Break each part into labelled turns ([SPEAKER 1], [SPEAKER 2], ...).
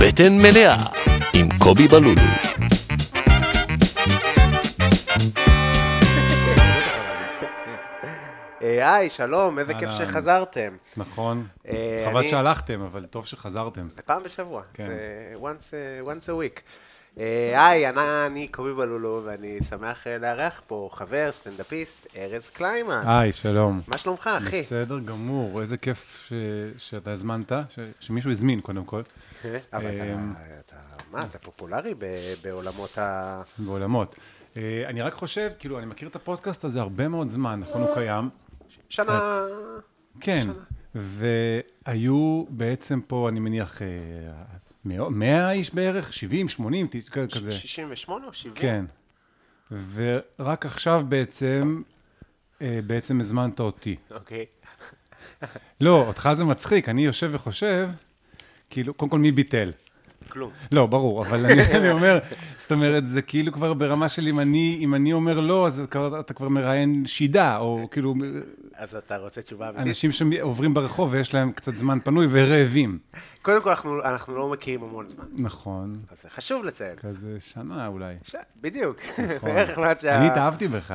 [SPEAKER 1] בטן מלאה עם קובי בלולו.
[SPEAKER 2] אה, היי, שלום, איזה כיף
[SPEAKER 3] אהלן.
[SPEAKER 2] שחזרתם.
[SPEAKER 3] נכון.
[SPEAKER 2] אה,
[SPEAKER 3] חבל
[SPEAKER 2] אני-
[SPEAKER 3] שהלכתם, אבל טוב שחזרתם.
[SPEAKER 2] זה פעם בשבוע,
[SPEAKER 3] כן.
[SPEAKER 2] זה once, uh, once a week. אה, היי, אני, אני קובי בלולו, ואני שמח אה, לארח פה חבר, סטנדאפיסט, ארז קליימן.
[SPEAKER 3] היי, שלום.
[SPEAKER 2] מה שלומך, אחי?
[SPEAKER 3] אה, בסדר גמור, איזה כיף ש- שאתה הזמנת, ש- שמישהו הזמין קודם כל,
[SPEAKER 2] אה, אבל
[SPEAKER 3] אמ,
[SPEAKER 2] אתה, אתה- מה, אתה פופולרי ב- בעולמות ה...
[SPEAKER 3] בעולמות. אה, אני רק חושב, כאילו, אני מכיר את הפודקאסט הזה הרבה מאוד זמן, נכון, הוא קיים.
[SPEAKER 2] שנה...
[SPEAKER 3] כן, והיו בעצם פה, אני מניח, אה, מאה- 100 איש בערך, 70, 80, ת- כ- כזה.
[SPEAKER 2] 68 או 70?
[SPEAKER 3] כן. ורק עכשיו בעצם, אה, בעצם הזמנת אותי.
[SPEAKER 2] אוקיי.
[SPEAKER 3] לא, אותך זה מצחיק, אני יושב וחושב, כאילו, קודם כל מי ביטל?
[SPEAKER 2] כלום.
[SPEAKER 3] לא, ברור, אבל אני, אני אומר, זאת אומרת, זה כאילו כבר ברמה של אם אני, אם אני אומר לא, אז כבר, אתה כבר מראיין שידה, או כאילו,
[SPEAKER 2] אז אתה רוצה תשובה אמיתית?
[SPEAKER 3] אנשים שעוברים ברחוב ויש להם קצת זמן פנוי ורעבים.
[SPEAKER 2] קודם כל, אנחנו- אנחנו לא מכירים המון זמן,
[SPEAKER 3] נכון,
[SPEAKER 2] אז זה חשוב לציין.
[SPEAKER 3] כזה שנה אולי.
[SPEAKER 2] ש- בדיוק.
[SPEAKER 3] כן. נכון.
[SPEAKER 2] בערך מה שה...
[SPEAKER 3] אני התאהבתי בך,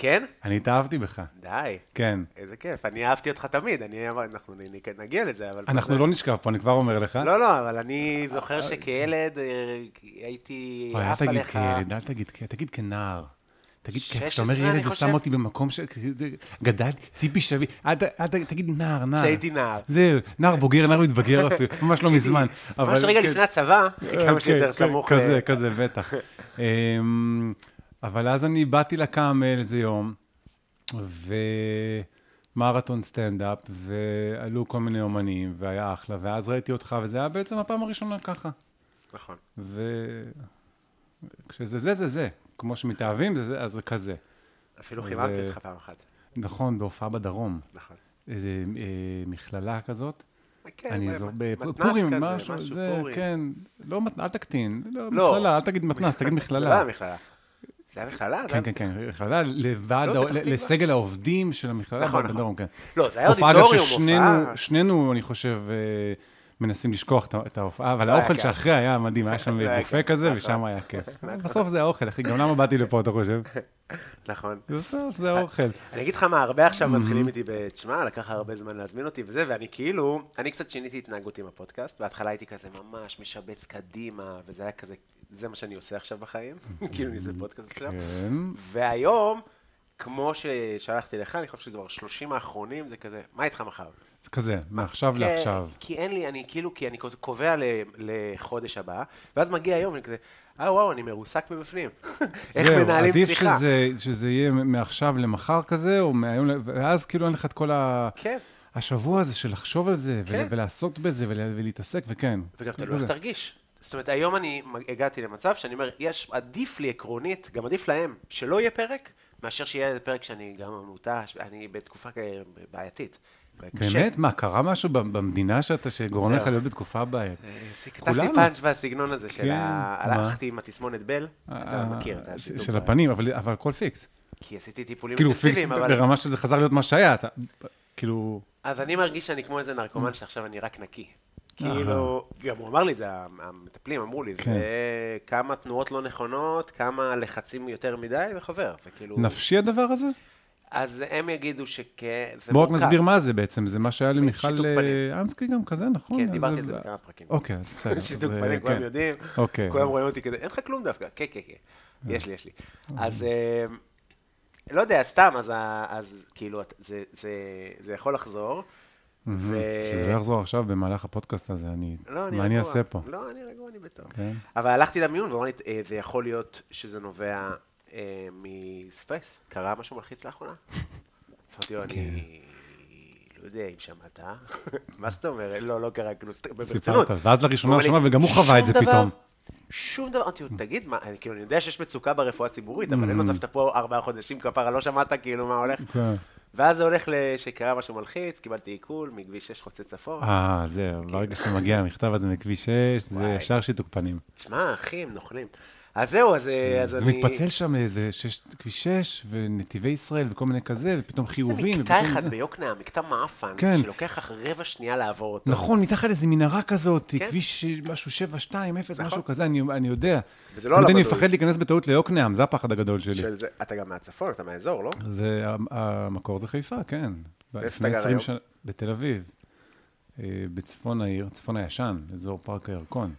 [SPEAKER 2] כן?
[SPEAKER 3] אני התאהבתי בך,
[SPEAKER 2] די.
[SPEAKER 3] כן.
[SPEAKER 2] איזה כיף, אני אהבתי אותך תמיד, אני אמר, אנחנו נ- נ- נגיע לזה, אבל...
[SPEAKER 3] אנחנו לא נשכב פה, אני כבר אומר לך.
[SPEAKER 2] לא, לא, אבל אני זוכר שכילד אה, הייתי
[SPEAKER 3] אוי, אל
[SPEAKER 2] עף
[SPEAKER 3] תגיד
[SPEAKER 2] עליך.
[SPEAKER 3] כילד, אל תגיד כילד, תגיד כנער. תגיד, כ-
[SPEAKER 2] 16,
[SPEAKER 3] כשאתה אומר
[SPEAKER 2] אני
[SPEAKER 3] ילד, זה
[SPEAKER 2] חושב.
[SPEAKER 3] שם אותי במקום ש... זה- גדל, ציפי שבי, אל ת- אל ת- תגיד נער, נער.
[SPEAKER 2] כשהייתי נער.
[SPEAKER 3] זהו, נער בוגר, נער מתבגר אפילו, ממש לא מזמן. אבל-
[SPEAKER 2] ממש רגע
[SPEAKER 3] כן,
[SPEAKER 2] לפני הצבא,
[SPEAKER 3] אה,
[SPEAKER 2] כמה
[SPEAKER 3] כן,
[SPEAKER 2] שיותר סמוך. אה. ל-
[SPEAKER 3] כזה, כזה, בטח. אמ, אבל אז אני באתי לקאמל איזה יום, ומרתון סטנדאפ, ועלו כל מיני אומנים, והיה אחלה, ואז ראיתי אותך, וזה היה בעצם הפעם הראשונה ככה.
[SPEAKER 2] נכון.
[SPEAKER 3] ו- כשזה זה, זה זה. כמו שמתאהבים, זה זה, אז זה כזה.
[SPEAKER 2] אפילו
[SPEAKER 3] אז,
[SPEAKER 2] חיממתי
[SPEAKER 3] אה,
[SPEAKER 2] אותך פעם אחת.
[SPEAKER 3] נכון, בהופעה בדרום.
[SPEAKER 2] נכון.
[SPEAKER 3] איזה אה, מכללה כזאת.
[SPEAKER 2] כן,
[SPEAKER 3] אני
[SPEAKER 2] אה,
[SPEAKER 3] אזור,
[SPEAKER 2] מתנ"ס
[SPEAKER 3] בפורים,
[SPEAKER 2] כזה,
[SPEAKER 3] משהו, זה,
[SPEAKER 2] פורים.
[SPEAKER 3] כן. לא, מת- אל תקטין. לא,
[SPEAKER 2] לא.
[SPEAKER 3] מכללה, אל תגיד מתנ"ס, תגיד
[SPEAKER 2] זה לא היה
[SPEAKER 3] מכללה.
[SPEAKER 2] מכללה. זה היה מכללה? זה
[SPEAKER 3] כן,
[SPEAKER 2] היה-
[SPEAKER 3] כן, כן, מכללה לוועד,
[SPEAKER 2] לא,
[SPEAKER 3] ה-
[SPEAKER 2] פתח תקווה.
[SPEAKER 3] לסגל העובדים של המכללה
[SPEAKER 2] נכון, נכון.
[SPEAKER 3] בדרום, כן.
[SPEAKER 2] לא, זה היה
[SPEAKER 3] הופעה, אגב,
[SPEAKER 2] אודיטוריום,
[SPEAKER 3] ששנינו,
[SPEAKER 2] הופעה.
[SPEAKER 3] שנינו, אני חושב, אה, מנסים לשכוח את ה- את ההופעה, אבל
[SPEAKER 2] לא היה
[SPEAKER 3] האוכל
[SPEAKER 2] כיף.
[SPEAKER 3] שאחרי היה מדהים, היה שם
[SPEAKER 2] לא היה
[SPEAKER 3] בופה
[SPEAKER 2] כיף,
[SPEAKER 3] כזה,
[SPEAKER 2] נכון.
[SPEAKER 3] ושם היה כיף. בסוף זה האוכל, אחי, גם למה באתי לפה, אתה חושב?
[SPEAKER 2] נכון.
[SPEAKER 3] בסוף זה האוכל.
[SPEAKER 2] אני אגיד לך מה, הרבה עכשיו
[SPEAKER 3] Mm-hmm.
[SPEAKER 2] מתחילים איתי ב... תשמע, לקח הרבה זמן להזמין אותי וזה, ואני כאילו, אני קצת שיניתי התנהגות עם הפודקאסט, בהתחלה הייתי כזה ממש משבץ קדימה, וזה היה כזה, זה מה שאני עושה עכשיו בחיים, כאילו אני עושה פודקאסט עכשיו,
[SPEAKER 3] כן.
[SPEAKER 2] והיום, כמו ששלחתי לך, אני חושב שכבר 30 האחרונים, זה כזה, מה איתך מחר?
[SPEAKER 3] זה כזה, מעכשיו
[SPEAKER 2] כן,
[SPEAKER 3] לעכשיו.
[SPEAKER 2] כי אין לי, אני כאילו, כי אני קובע ל- לחודש הבא, ואז מגיע היום, אני כזה, אה וואו, אני מרוסק מבפנים. איך
[SPEAKER 3] זהו,
[SPEAKER 2] מנהלים
[SPEAKER 3] עדיף
[SPEAKER 2] שיחה?
[SPEAKER 3] שזה- שזה יהיה מעכשיו למחר כזה, או מהיום, ל- ואז כאילו אין לך את כל ה...
[SPEAKER 2] כן.
[SPEAKER 3] השבוע הזה של לחשוב על זה, ול-
[SPEAKER 2] כן.
[SPEAKER 3] ולעשות בזה, ול- ולהתעסק, וכן.
[SPEAKER 2] וגם
[SPEAKER 3] זה
[SPEAKER 2] תלוי איך
[SPEAKER 3] כזה.
[SPEAKER 2] תרגיש. זאת אומרת, היום אני מג- הגעתי למצב שאני אומר, יש, עדיף לי עקרונית, גם עדיף להם, שלא יהיה פרק, מאשר שיהיה איזה פרק שאני גם מותש, אני בתקופה כ- בעייתית. קשה.
[SPEAKER 3] באמת? מה, קרה משהו ב- במדינה שאתה, שגורם
[SPEAKER 2] זהו.
[SPEAKER 3] לך להיות בתקופה בעייתית?
[SPEAKER 2] אה, כתבתי
[SPEAKER 3] כולנו.
[SPEAKER 2] פאנץ' והסגנון הזה של
[SPEAKER 3] כן,
[SPEAKER 2] ה-
[SPEAKER 3] מה?
[SPEAKER 2] הלכתי עם התסמונת בל, אתה
[SPEAKER 3] אה,
[SPEAKER 2] מכיר את השיתוק.
[SPEAKER 3] של הפנים, אבל אבל הכל פיקס.
[SPEAKER 2] כי עשיתי טיפולים
[SPEAKER 3] כאילו, פיקס
[SPEAKER 2] אינטנסיביים, אבל...
[SPEAKER 3] ברמה שזה חזר להיות מה שהיה, אתה... כאילו...
[SPEAKER 2] אז אני מרגיש שאני כמו איזה נרקומן שעכשיו אני רק נקי. כאילו, גם הוא אמר לי את זה, המטפלים אמרו לי,
[SPEAKER 3] כן.
[SPEAKER 2] זה כמה תנועות לא נכונות, כמה לחצים יותר מדי, וחוזר. וכאילו...
[SPEAKER 3] נפשי הדבר הזה?
[SPEAKER 2] אז הם יגידו שכן, זה
[SPEAKER 3] בואו רק נסביר מה זה בעצם, זה מה שהיה
[SPEAKER 2] שיתוק
[SPEAKER 3] למיכל אה,
[SPEAKER 2] פנים.
[SPEAKER 3] אנסקי גם כזה, נכון?
[SPEAKER 2] כן,
[SPEAKER 3] אז
[SPEAKER 2] דיברתי על
[SPEAKER 3] זה-
[SPEAKER 2] זה בכמה פרקים.
[SPEAKER 3] אוקיי, אז בסדר. אז,
[SPEAKER 2] שיתוק
[SPEAKER 3] אה,
[SPEAKER 2] פנים, כולם
[SPEAKER 3] כן.
[SPEAKER 2] יודעים.
[SPEAKER 3] אוקיי. אה.
[SPEAKER 2] כולם רואים אותי כזה, אין לך כלום דווקא. כן, כן, כן. יש לי, יש לי.
[SPEAKER 3] אוקיי.
[SPEAKER 2] אז אה, לא יודע, סתם, אז ה- אז כאילו, את- זה- זה- זה יכול לחזור.
[SPEAKER 3] מהמם.
[SPEAKER 2] ו-
[SPEAKER 3] שזה לא יחזור עכשיו במהלך הפודקאסט הזה, אני...
[SPEAKER 2] לא,
[SPEAKER 3] מה אני
[SPEAKER 2] רגוע.
[SPEAKER 3] אעשה פה?
[SPEAKER 2] לא, אני רגוע, אני בטוב.
[SPEAKER 3] כן.
[SPEAKER 2] אבל הלכתי למיון ואמרתי, "אה, זה יכול להיות שזה נובע אה, מסטרס. קרה משהו מלחיץ לאחרונה? אמרתי לו, אני
[SPEAKER 3] כן.
[SPEAKER 2] לא יודע אם שמעת. מה זאת אומרת? לא, לא קרה כלום. סט- ברצינות.
[SPEAKER 3] סיפרת, ואז לראשונה
[SPEAKER 2] הוא אמר לי,
[SPEAKER 3] שמע, וגם הוא חווה את
[SPEAKER 2] "שום
[SPEAKER 3] זה
[SPEAKER 2] דבר,
[SPEAKER 3] פתאום."
[SPEAKER 2] שום דבר, אמרתי לו, תגיד, מה, אני כאילו, אני יודע שיש מצוקה ברפואה הציבורית, אבל אין עזבת פה ארבעה חודשים כפרה, לא שמעת כאילו מה הולך.
[SPEAKER 3] Mm. כן.
[SPEAKER 2] ואז זה הולך שקרה משהו מלחיץ, קיבלתי עיכול מכביש 6 חוצה צפון.
[SPEAKER 3] אה, זהו, ברגע שמגיע המכתב הזה מכביש 6, זה
[SPEAKER 2] וואי.
[SPEAKER 3] ישר שיתוק פנים.
[SPEAKER 2] תשמע, אחי, הם נוכלים. אז זהו, אז,
[SPEAKER 3] כן.
[SPEAKER 2] אה, אז אני...
[SPEAKER 3] ומתפצל שם איזה שש, כביש 6 ונתיבי ישראל וכל מיני כזה, ופתאום חיובים.
[SPEAKER 2] זה
[SPEAKER 3] ופתאום
[SPEAKER 2] מקטע אחד
[SPEAKER 3] זה.
[SPEAKER 2] ביוקנעם, מקטע מאפן,
[SPEAKER 3] כן.
[SPEAKER 2] שלוקח לך רבע שנייה לעבור אותו.
[SPEAKER 3] נכון, מתחת איזה מנהרה כזאת,
[SPEAKER 2] כן.
[SPEAKER 3] כביש אה, משהו 720, משהו
[SPEAKER 2] נכון.
[SPEAKER 3] כזה, אני, אני יודע.
[SPEAKER 2] וזה לא
[SPEAKER 3] תמיד
[SPEAKER 2] עליו
[SPEAKER 3] אני
[SPEAKER 2] בדוי.
[SPEAKER 3] מפחד להיכנס בטעות ליוקנעם, זה הפחד הגדול שלי.
[SPEAKER 2] של זה- אתה גם מהצפון, אתה מהאזור, לא?
[SPEAKER 3] זה, המקור זה חיפה, כן.
[SPEAKER 2] ואיפה
[SPEAKER 3] לפני
[SPEAKER 2] אתה גר
[SPEAKER 3] 20
[SPEAKER 2] היום?
[SPEAKER 3] שנה- בתל אביב, אה, בצפון העיר, צפון הישן, אזור פארק הירקון.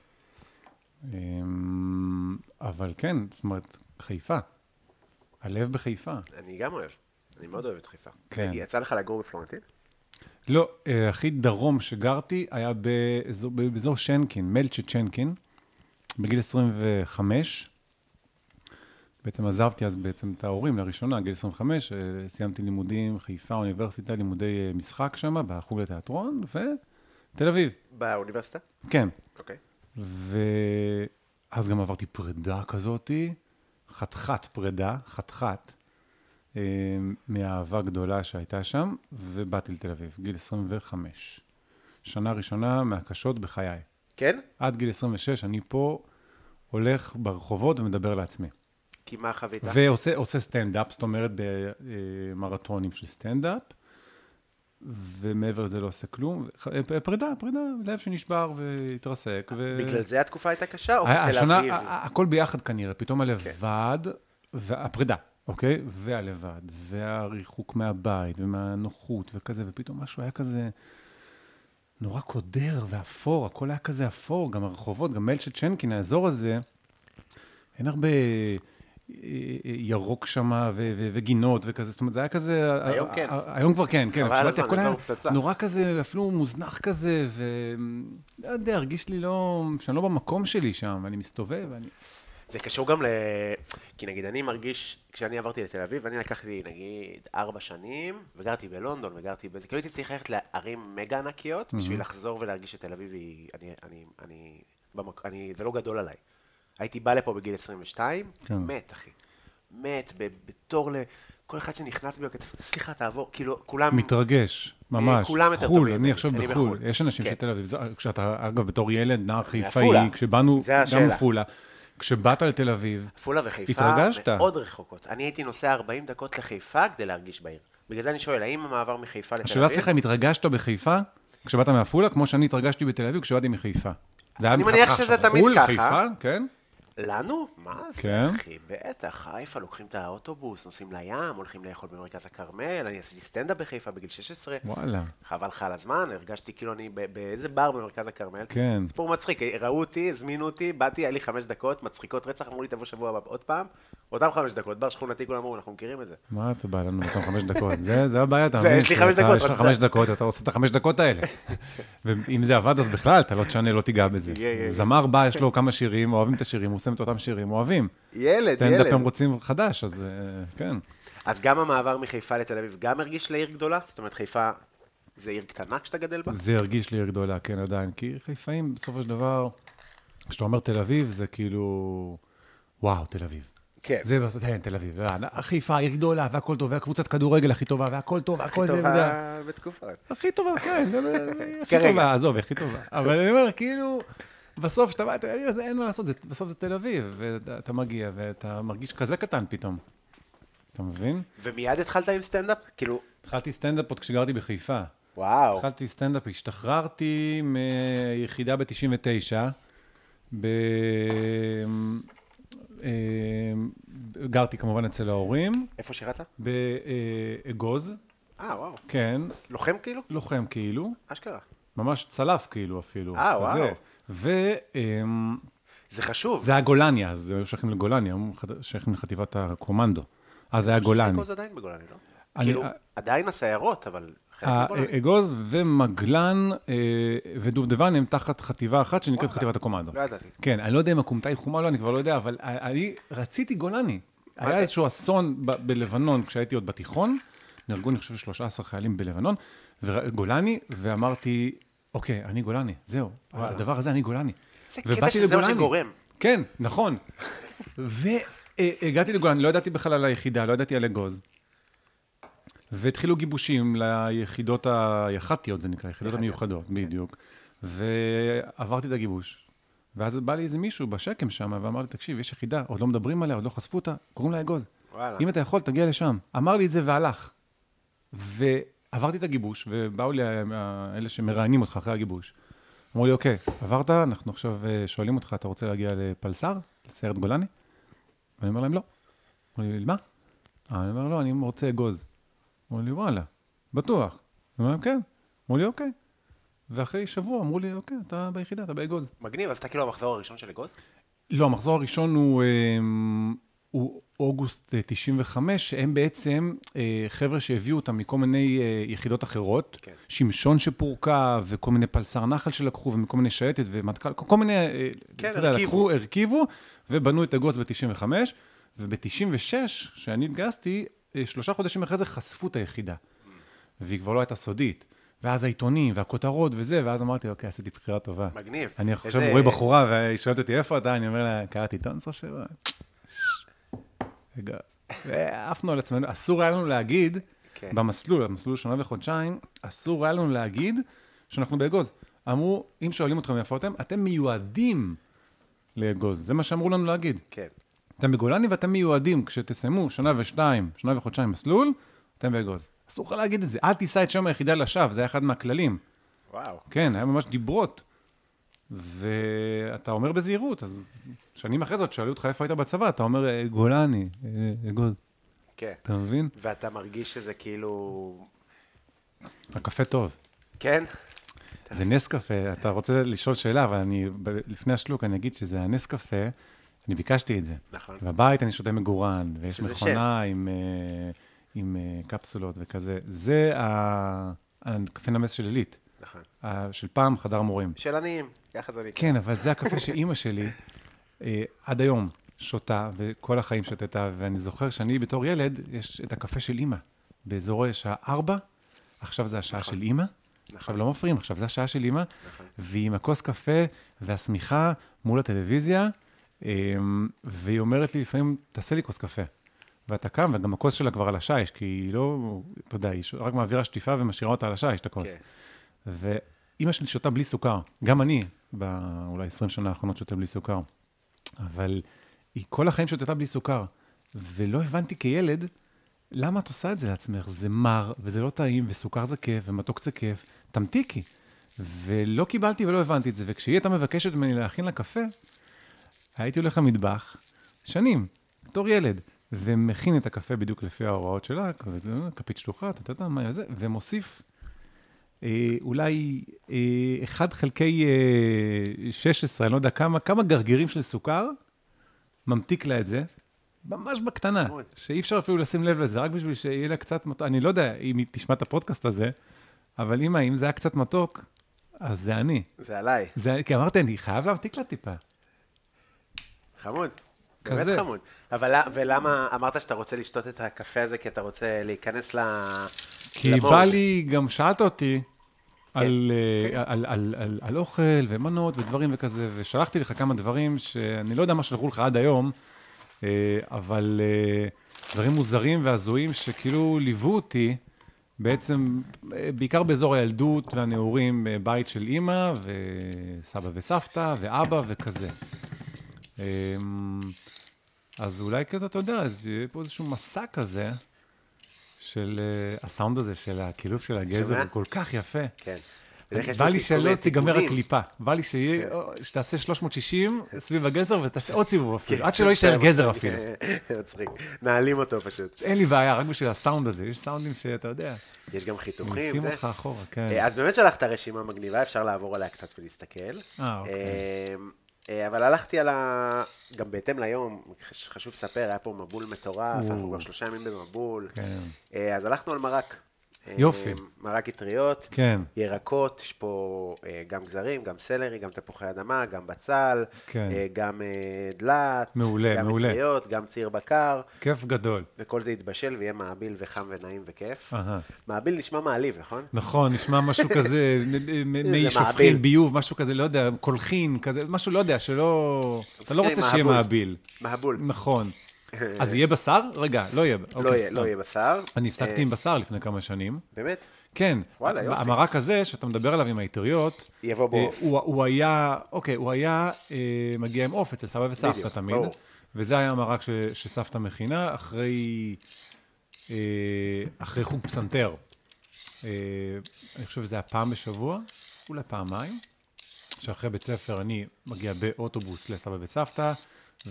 [SPEAKER 3] אמ, אבל כן, זאת אומרת, חיפה. הלב בחיפה.
[SPEAKER 2] אני גם אוהב. אני מאוד אוהב את חיפה.
[SPEAKER 3] כן.
[SPEAKER 2] יצא לך לגור בפלורנטין?
[SPEAKER 3] לא, אה, הכי דרום שגרתי היה באזור, באזור שנקין, מלצ'ה צ'נקין, בגיל 25. בעצם עזבתי אז בעצם את ההורים לראשונה, גיל 25, אה, סיימתי לימודים, חיפה, אוניברסיטה, לימודי אה, משחק שם, בחוג לתיאטרון, ותל אביב,
[SPEAKER 2] באוניברסיטה?
[SPEAKER 3] כן.
[SPEAKER 2] אוקיי.
[SPEAKER 3] ואז גם עברתי פרידה כזאתי, חתיכת פרידה, חתיכת, אה, מהאהבה גדולה שהייתה שם, ובאתי לתל אביב, גיל 25. שנה ראשונה מהקשות בחיי.
[SPEAKER 2] כן?
[SPEAKER 3] עד גיל 26 אני פה הולך ברחובות ומדבר לעצמי.
[SPEAKER 2] כי מה חווית?
[SPEAKER 3] ועושה עושה סטנדאפ, זאת אומרת במרתונים של סטנדאפ, ומעבר לזה לא עושה כלום. ח- אה, פרידה, פרידה, לב שנשבר והתרסק. ו...
[SPEAKER 2] בגלל זה התקופה הייתה קשה, או
[SPEAKER 3] ה-
[SPEAKER 2] בתל
[SPEAKER 3] השנה,
[SPEAKER 2] אוקיי, אביב? כן.
[SPEAKER 3] ה- ה- הכל ביחד כנראה, פתאום הלבד, והפרידה, אוקיי? והלבד, והריחוק מהבית, ומהנוחות, וכזה, ופתאום משהו היה כזה נורא קודר ואפור, הכל היה כזה אפור, גם הרחובות, גם מלצ'ה צ'נקין, האזור הזה, אין הרבה... אה, ירוק שמה, ו- ו- וגינות וכזה, זאת אומרת, זה היה כזה...
[SPEAKER 2] היום
[SPEAKER 3] ה-
[SPEAKER 2] כן.
[SPEAKER 3] ה- היום כבר כן, כן,
[SPEAKER 2] חבל
[SPEAKER 3] אבל שמעתי,
[SPEAKER 2] הזמן,
[SPEAKER 3] הכל היה
[SPEAKER 2] אזור פצצה.
[SPEAKER 3] נורא כזה, אפילו מוזנח כזה, ולא יודע, הרגיש לי לא... שאני לא במקום שלי שם, ואני מסתובב, ואני...
[SPEAKER 2] זה קשור גם ל... כי נגיד אני מרגיש, כשאני עברתי לתל אביב, אני לקח לי נגיד ארבע שנים, וגרתי בלונדון, וגרתי בזה, כאילו הייתי צריך ללכת לערים מגה ענקיות, בשביל לחזור ולהרגיש שתל אביב היא... אני, אני, אני, במק... אני, זה לא גדול עליי. הייתי בא לפה בגיל 22,
[SPEAKER 3] כן.
[SPEAKER 2] מת, אחי. מת, ב- בתור ל... כל אחד שנכנס בי, כתב, סליחה, תעבור, כאילו, כולם...
[SPEAKER 3] מתרגש, ממש.
[SPEAKER 2] אה, כולם יותר
[SPEAKER 3] חו"ל,
[SPEAKER 2] טובים
[SPEAKER 3] אני
[SPEAKER 2] ממני,
[SPEAKER 3] עכשיו
[SPEAKER 2] אני
[SPEAKER 3] בחו"ל.
[SPEAKER 2] בחו"ל.
[SPEAKER 3] יש אנשים
[SPEAKER 2] כן.
[SPEAKER 3] של תל אביב, זה- כשאתה, אגב, בתור ילד, נער חיפאי,
[SPEAKER 2] מעפולה.
[SPEAKER 3] כשבאנו,
[SPEAKER 2] זה
[SPEAKER 3] גם
[SPEAKER 2] השאלה.
[SPEAKER 3] מעפולה, כשבאת לתל אביב,
[SPEAKER 2] עפולה וחיפה
[SPEAKER 3] התרגשת.
[SPEAKER 2] מאוד רחוקות. אני הייתי נוסע 40 דקות לחיפה כדי להרגיש בעיר. בגלל זה אני שואל, האם המעבר מחיפה לתל אביב...
[SPEAKER 3] השאלה סליחה, אם התרגשת בחיפה, כשבאת מעפולה, כמו שאני התרגשתי בתל אביב כשבאתי מחיפה. זה היה
[SPEAKER 2] אני
[SPEAKER 3] מבחינתך
[SPEAKER 2] מניח שזה
[SPEAKER 3] עכשיו
[SPEAKER 2] תמיד
[SPEAKER 3] חו"ל,
[SPEAKER 2] ככה.
[SPEAKER 3] חיפה, כן?
[SPEAKER 2] לנו? מה זה,
[SPEAKER 3] כן.
[SPEAKER 2] אחי? בטח, חיפה, לוקחים את האוטובוס, נוסעים לים, הולכים לאכול במרכז הכרמל, אני עשיתי סטנדאפ בחיפה בגיל 16.
[SPEAKER 3] וואלה.
[SPEAKER 2] חבל לך על הזמן, הרגשתי כאילו אני ב- באיזה בר במרכז הכרמל.
[SPEAKER 3] כן.
[SPEAKER 2] סיפור מצחיק, ראו אותי, הזמינו אותי, באתי, היה לי חמש דקות, מצחיקות רצח, אמרו לי תבוא שבוע הבא עוד פעם, אותם חמש דקות, בר שכונתי, כולם אמרו, אנחנו מכירים את זה.
[SPEAKER 3] מה אתה בא לנו אותם חמש דקות? זה, זה הבעיה, תאמין.
[SPEAKER 2] יש לי חמש דקות,
[SPEAKER 3] יש לך
[SPEAKER 2] אבל
[SPEAKER 3] חמש
[SPEAKER 2] זה-
[SPEAKER 3] דקות, אתה עושה את החמש דקות האלה. ואם זה עבד, אז בכלל, אתה לא תשנה, לא תיגע בזה.
[SPEAKER 2] יהיה, יהיה.
[SPEAKER 3] זמר בא, יש לו כמה שירים, אוהבים את השירים, הוא עושה את אותם שירים, אוהבים.
[SPEAKER 2] ילד,
[SPEAKER 3] סטנדאפ
[SPEAKER 2] ילד.
[SPEAKER 3] הם רוצים חדש, אז אה, כן.
[SPEAKER 2] אז גם המעבר מחיפה לתל אביב גם הרגיש לעיר גדולה? זאת אומרת, חיפה זה עיר קטנה כשאתה גדל בה?
[SPEAKER 3] זה הרגיש לי עיר גדולה, כן, עדיין. כי חיפאים, בסופו של דבר, כשאתה אומר תל אביב, זה כאילו, וואו, תל אביב.
[SPEAKER 2] כן.
[SPEAKER 3] זה בסוף, כן, תל אביב. אה, חיפה, עיר גדולה, והכל טוב, והקבוצת כדורגל הכי טובה, והכל טוב,
[SPEAKER 2] הכי
[SPEAKER 3] והכל זה וזה.
[SPEAKER 2] טובה בתקופה.
[SPEAKER 3] הכי טובה, כן, לא, לא, הכי
[SPEAKER 2] כרגע.
[SPEAKER 3] טובה, עזוב, הכי טובה. אבל אני אומר, כאילו, בסוף כשאתה בא לתל אביב, אז אין מה לעשות, זה- בסוף זה תל אביב, ואתה מגיע, ואתה מרגיש כזה קטן פתאום. אתה מבין?
[SPEAKER 2] ומיד התחלת עם סטנדאפ? כאילו,
[SPEAKER 3] התחלתי סטנדאפ עוד כשגרתי בחיפה.
[SPEAKER 2] וואו.
[SPEAKER 3] התחלתי סטנדאפ, השתחררתי מיחידה ב-99, ב... אה, גרתי כמובן אצל ההורים,
[SPEAKER 2] איפה שירתת?
[SPEAKER 3] באגוז,
[SPEAKER 2] אה, וואו.
[SPEAKER 3] כן,
[SPEAKER 2] לוחם כאילו?
[SPEAKER 3] לוחם כאילו.
[SPEAKER 2] אשכרה.
[SPEAKER 3] ממש צלף כאילו אפילו.
[SPEAKER 2] אה, וואו.
[SPEAKER 3] וזה
[SPEAKER 2] זה חשוב.
[SPEAKER 3] היה גולני אז, היו שייכים לגולני, היום חד- שייכים לחטיבת הקומנדו. אז זה היה גולני.
[SPEAKER 2] אגוז עדיין בגולני, לא?
[SPEAKER 3] אני-
[SPEAKER 2] כאילו,
[SPEAKER 3] אה-
[SPEAKER 2] עדיין הסיירות, אבל חלק
[SPEAKER 3] ה-
[SPEAKER 2] מגולני.
[SPEAKER 3] אגוז ומגלן אה, ודובדבן הם תחת חטיבה אחת שנקראת
[SPEAKER 2] וואלה.
[SPEAKER 3] חטיבת הקומנדו.
[SPEAKER 2] לא ידעתי.
[SPEAKER 3] כן, אני לא יודע אם הקומטאי חומה או לא, אני כבר לא יודע, אבל אני רציתי גולני. היה
[SPEAKER 2] אוקיי.
[SPEAKER 3] איזשהו אסון ב- בלבנון כשהייתי עוד בתיכון, נהרגו, אני חושב, 13 חיילים בלבנון, ור- גולני, ואמרתי, אוקיי, אני גולני, זהו, הדבר הזה, אני גולני.
[SPEAKER 2] זה קטע שזה מה שגורם.
[SPEAKER 3] כן, נכון. והגעתי לגולני, לא ידעתי בכלל על היחידה, לא ידעתי על אגוז. והתחילו גיבושים ליחידות היח"טיות, זה נקרא, יחידות המיוחדות, בדיוק. ועברתי את הגיבוש, ואז בא לי איזה מישהו בשקם שם, ואמר לי, תקשיב, יש יחידה, עוד לא מדברים עליה, עוד לא חשפו אותה, קוראים לה אגוז.
[SPEAKER 2] וואלה.
[SPEAKER 3] אם אתה יכול, תגיע לשם. אמר לי את זה והלך. ועברתי את הגיבוש, ובאו לי ה- ה- אלה שמראיינים אותך אחרי הגיבוש. אמרו לי, אוקיי, עברת, אנחנו עכשיו אה, שואלים אותך, אתה רוצה להגיע לפלס"ר, לסיירת גולני? ואני אומר להם, לא. אמרו לי, מה? אה, אני אומר, לא, אני רוצה אגוז. אמרו לי, וואלה, בטוח. אני אומר להם, כן. אמרו לי, אוקיי. ואחרי שבוע אמרו לי, אוקיי, אתה ביחידה, אתה באגוז.
[SPEAKER 2] מגניב, אז אתה כאילו המחזור הראשון של אגוז?
[SPEAKER 3] לא, המחזור הראשון הוא, אמ, הוא אוגוסט אה, 95, שהם בעצם אה, חבר'ה שהביאו אותם מכל מיני אה, יחידות אחרות,
[SPEAKER 2] כן.
[SPEAKER 3] שמשון שפורקה, וכל מיני פלסר נחל שלקחו, ומכל מיני שייטת ומטכ"ל, כל כל מיני, אה,
[SPEAKER 2] כן,
[SPEAKER 3] אתה יודע,
[SPEAKER 2] הרכיבו.
[SPEAKER 3] לקחו, הרכיבו, ובנו את אגוז ב-95, וב-96, כשאני התגייסתי, אה, שלושה חודשים אחרי זה חשפו את היחידה. והיא כבר לא הייתה סודית. ואז העיתונים, והכותרות וזה, ואז אמרתי, אוקיי, עשיתי בחירה טובה.
[SPEAKER 2] מגניב.
[SPEAKER 3] אני
[SPEAKER 2] איזה-
[SPEAKER 3] עכשיו רואה בחורה, והיא שואלת אותי, איפה אתה? אני אומר לה, קראתי עיתון סוף שבוע. רגע. ועפנו על עצמנו, אסור היה לנו להגיד,
[SPEAKER 2] כן.
[SPEAKER 3] במסלול, במסלול שנה וחודשיים, אסור היה לנו להגיד שאנחנו באגוז. אמרו, אם שואלים אתכם איפה אתם, אתם מיועדים לאגוז. זה מה שאמרו לנו להגיד.
[SPEAKER 2] כן.
[SPEAKER 3] אתם בגולני ואתם מיועדים, כשתסיימו שנה ושתיים, שנה וחודשיים מסלול, אתם באגוז. אסור לך להגיד את זה. אל תישא את שם היחידה לשווא, זה היה אחד מהכללים.
[SPEAKER 2] וואו.
[SPEAKER 3] כן, היה ממש דיברות. ואתה אומר בזהירות, אז שנים אחרי זאת שאלו אותך איפה היית בצבא, אתה אומר, "אה, גולני, אה, אגוז,
[SPEAKER 2] כן.
[SPEAKER 3] אתה מבין?
[SPEAKER 2] ואתה מרגיש שזה כאילו...
[SPEAKER 3] הקפה טוב.
[SPEAKER 2] כן?
[SPEAKER 3] זה נס קפה, אתה רוצה לשאול שאלה, אבל אני, ב- לפני השלוק אני אגיד שזה הנס קפה, אני ביקשתי את זה.
[SPEAKER 2] נכון.
[SPEAKER 3] בבית אני שותה מגורן, ויש
[SPEAKER 2] שזה
[SPEAKER 3] מכונה עם, אה, עם אה, קפסולות וכזה. זה ה- הקפה נמס של עילית,
[SPEAKER 2] נכון.
[SPEAKER 3] ה- של פעם חדר מורים.
[SPEAKER 2] של עניים, ככה זה נקרא.
[SPEAKER 3] כן, אבל זה הקפה שאימא שלי אה, עד היום שותה, וכל החיים שתתה, ואני זוכר שאני בתור ילד, יש את הקפה של אימא, באזורי שעה 4, עכשיו זה השעה של אימא, עכשיו לא מפריעים, עכשיו זה השעה של אימא, והיא עם הכוס קפה והשמיכה מול הטלוויזיה, אה, והיא אומרת לי לפעמים, תעשה לי כוס קפה. ואתה קם, וגם הכוס שלה כבר על השיש, כי היא לא, אתה יודע, היא ש- רק מעבירה שטיפה ומשאירה אותה על השיש, את הכוס.
[SPEAKER 2] כן.
[SPEAKER 3] ואימא שלי שותה בלי סוכר. גם אני, באולי 20 שנה האחרונות שותה בלי סוכר. אבל היא כל החיים שותתה בלי סוכר. ולא הבנתי כילד, למה את עושה את זה לעצמך? זה מר, וזה לא טעים, וסוכר זה כיף, ומתוק זה כיף. תמתיקי. ולא קיבלתי ולא הבנתי את זה. וכשהיא הייתה מבקשת ממני להכין לה קפה, הייתי הולך למטבח שנים, בתור ילד, ומכין את הקפה בדיוק לפי ההוראות שלה, כזה, אה, כפית שלוחה, טה-טה-טה, מה זה, ומוסיף אה, אולי אה, 1 חלקי אה, 16, אני לא יודע כמה, כמה גרגירים של סוכר, ממתיק לה את זה, ממש בקטנה,
[SPEAKER 2] אוי.
[SPEAKER 3] שאי אפשר אפילו לשים לב לזה, רק בשביל שיהיה לה קצת מתוק, אני לא יודע אם היא תשמע את הפודקאסט הזה, אבל אמא, אם זה היה קצת מתוק, אז זה אני.
[SPEAKER 2] זה עליי.
[SPEAKER 3] זה, כי אמרתי, אני חייב להמתיק לה טיפה.
[SPEAKER 2] חמוד.
[SPEAKER 3] כזה.
[SPEAKER 2] באמת חמוד. אבל ל- ולמה אמרת שאתה רוצה לשתות את הקפה הזה כי אתה רוצה להיכנס ל...
[SPEAKER 3] כי
[SPEAKER 2] למוד?
[SPEAKER 3] בא לי, גם שאלת אותי על, אה, על, על, על, על אוכל ומנות ודברים וכזה, ושלחתי לך כמה דברים שאני לא יודע מה שלחו לך עד היום, אה, אבל אה, דברים מוזרים והזויים שכאילו ליוו אותי. בעצם, אה, בעיקר באזור הילדות והנעורים, אה, בית של אימא וסבא וסבתא ואבא וכזה. אמ, אז אולי כזה, אתה יודע, אז יהיה פה איזשהו מסע כזה של אה, הסאונד הזה, של הקילוף של הגזר,
[SPEAKER 2] שומע?
[SPEAKER 3] הוא כל כך יפה.
[SPEAKER 2] כן. בדרך כלל יש
[SPEAKER 3] בא
[SPEAKER 2] לו
[SPEAKER 3] לי
[SPEAKER 2] תיקוני-
[SPEAKER 3] שלא תיגמר
[SPEAKER 2] תיקונים. כן.
[SPEAKER 3] הקליפה, בא לי שיהיה, או, שתעשה 360 סביב הגזר ותעשה עוד סיבוב
[SPEAKER 2] כן.
[SPEAKER 3] אפילו, עד שלא יישאר גזר אפילו.
[SPEAKER 2] מצחיק. נעלים אותו פשוט.
[SPEAKER 3] אין לי בעיה, רק בשביל הסאונד הזה, יש סאונדים שאתה יודע,
[SPEAKER 2] יש גם חיתוכים.
[SPEAKER 3] מוליכים
[SPEAKER 2] זה.
[SPEAKER 3] אותך אחורה, כן.
[SPEAKER 2] אה, אז באמת שלחת רשימה מגניבה, אפשר לעבור עליה קצת ולהסתכל.
[SPEAKER 3] אה, אוקיי.
[SPEAKER 2] אה, אה, אבל הלכתי על ה... גם בהתאם ליום, חש- חשוב לספר, היה פה מבול מטורף,
[SPEAKER 3] או.
[SPEAKER 2] אנחנו כבר שלושה ימים במבול.
[SPEAKER 3] כן.
[SPEAKER 2] אה, אז הלכנו על מרק. אה,
[SPEAKER 3] יופי.
[SPEAKER 2] מרק אטריות.
[SPEAKER 3] כן.
[SPEAKER 2] ירקות, יש פה אה, גם גזרים, גם סלרי, גם תפוחי אדמה, גם בצל,
[SPEAKER 3] כן.
[SPEAKER 2] אה, גם אה, דלעת,
[SPEAKER 3] מעולה,
[SPEAKER 2] גם
[SPEAKER 3] מעולה.
[SPEAKER 2] אטריות, גם ציר בקר,
[SPEAKER 3] כיף גדול.
[SPEAKER 2] וכל זה יתבשל ויהיה מעביל וחם ונעים וכיף.
[SPEAKER 3] אהה.
[SPEAKER 2] מעביל נשמע מעליב, נכון?
[SPEAKER 3] נכון, נשמע משהו כזה, מ- מ-
[SPEAKER 2] זה
[SPEAKER 3] מי
[SPEAKER 2] מעביל.
[SPEAKER 3] שופכין, ביוב, משהו כזה, לא יודע, קולחין, כזה, משהו, לא יודע, שלא... אתה לא
[SPEAKER 2] כן,
[SPEAKER 3] רוצה שיהיה
[SPEAKER 2] מעבול.
[SPEAKER 3] מעביל.
[SPEAKER 2] מהבול.
[SPEAKER 3] נכון. אז יהיה בשר? רגע, לא יהיה.
[SPEAKER 2] לא
[SPEAKER 3] אוקיי.
[SPEAKER 2] יהיה- לא יהיה בשר.
[SPEAKER 3] אני
[SPEAKER 2] אה,
[SPEAKER 3] הפסקתי עם בשר לפני כמה שנים,
[SPEAKER 2] באמת?
[SPEAKER 3] כן,
[SPEAKER 2] וואלה, יופי.
[SPEAKER 3] המרק הזה שאתה מדבר עליו עם האטריות,
[SPEAKER 2] יבוא
[SPEAKER 3] אה,
[SPEAKER 2] בעוף.
[SPEAKER 3] הוא, הוא היה, אוקיי, הוא היה אה, מגיע עם עוף אצל סבא וסבתא
[SPEAKER 2] בדיוק,
[SPEAKER 3] תמיד,
[SPEAKER 2] ברור.
[SPEAKER 3] וזה היה המרק ש, שסבתא מכינה אחרי, אה, אחרי חוג פסנתר. אה, אני חושב שזה היה פעם בשבוע, אולי פעמיים, שאחרי בית ספר אני מגיע באוטובוס לסבא וסבתא,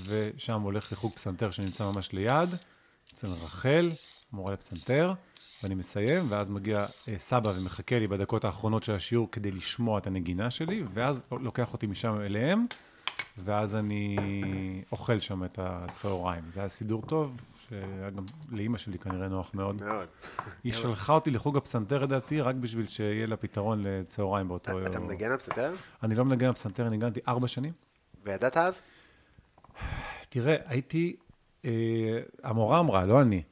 [SPEAKER 3] ושם הולך לחוג פסנתר שנמצא ממש ליד, אצל רחל, מורה לפסנתר, ואני מסיים, ואז מגיע אה, סבא ומחכה לי בדקות האחרונות של השיעור כדי לשמוע את הנגינה שלי, ואז לוקח אותי משם אליהם, ואז אני אוכל שם את הצהריים. זה היה סידור טוב, שהיה גם לאימא שלי כנראה נוח מאוד.
[SPEAKER 2] מאוד.
[SPEAKER 3] היא שלחה אותי לחוג הפסנתר, לדעתי, רק בשביל שיהיה לה פתרון לצהריים באותו יום.
[SPEAKER 2] אתה מנגן על פסנתר?
[SPEAKER 3] אני לא מנגן על פסנתר, אני ניגנתי ארבע שנים.
[SPEAKER 2] וידעת אז?
[SPEAKER 3] תראה, הייתי, אה, המורה אמרה, לא אני.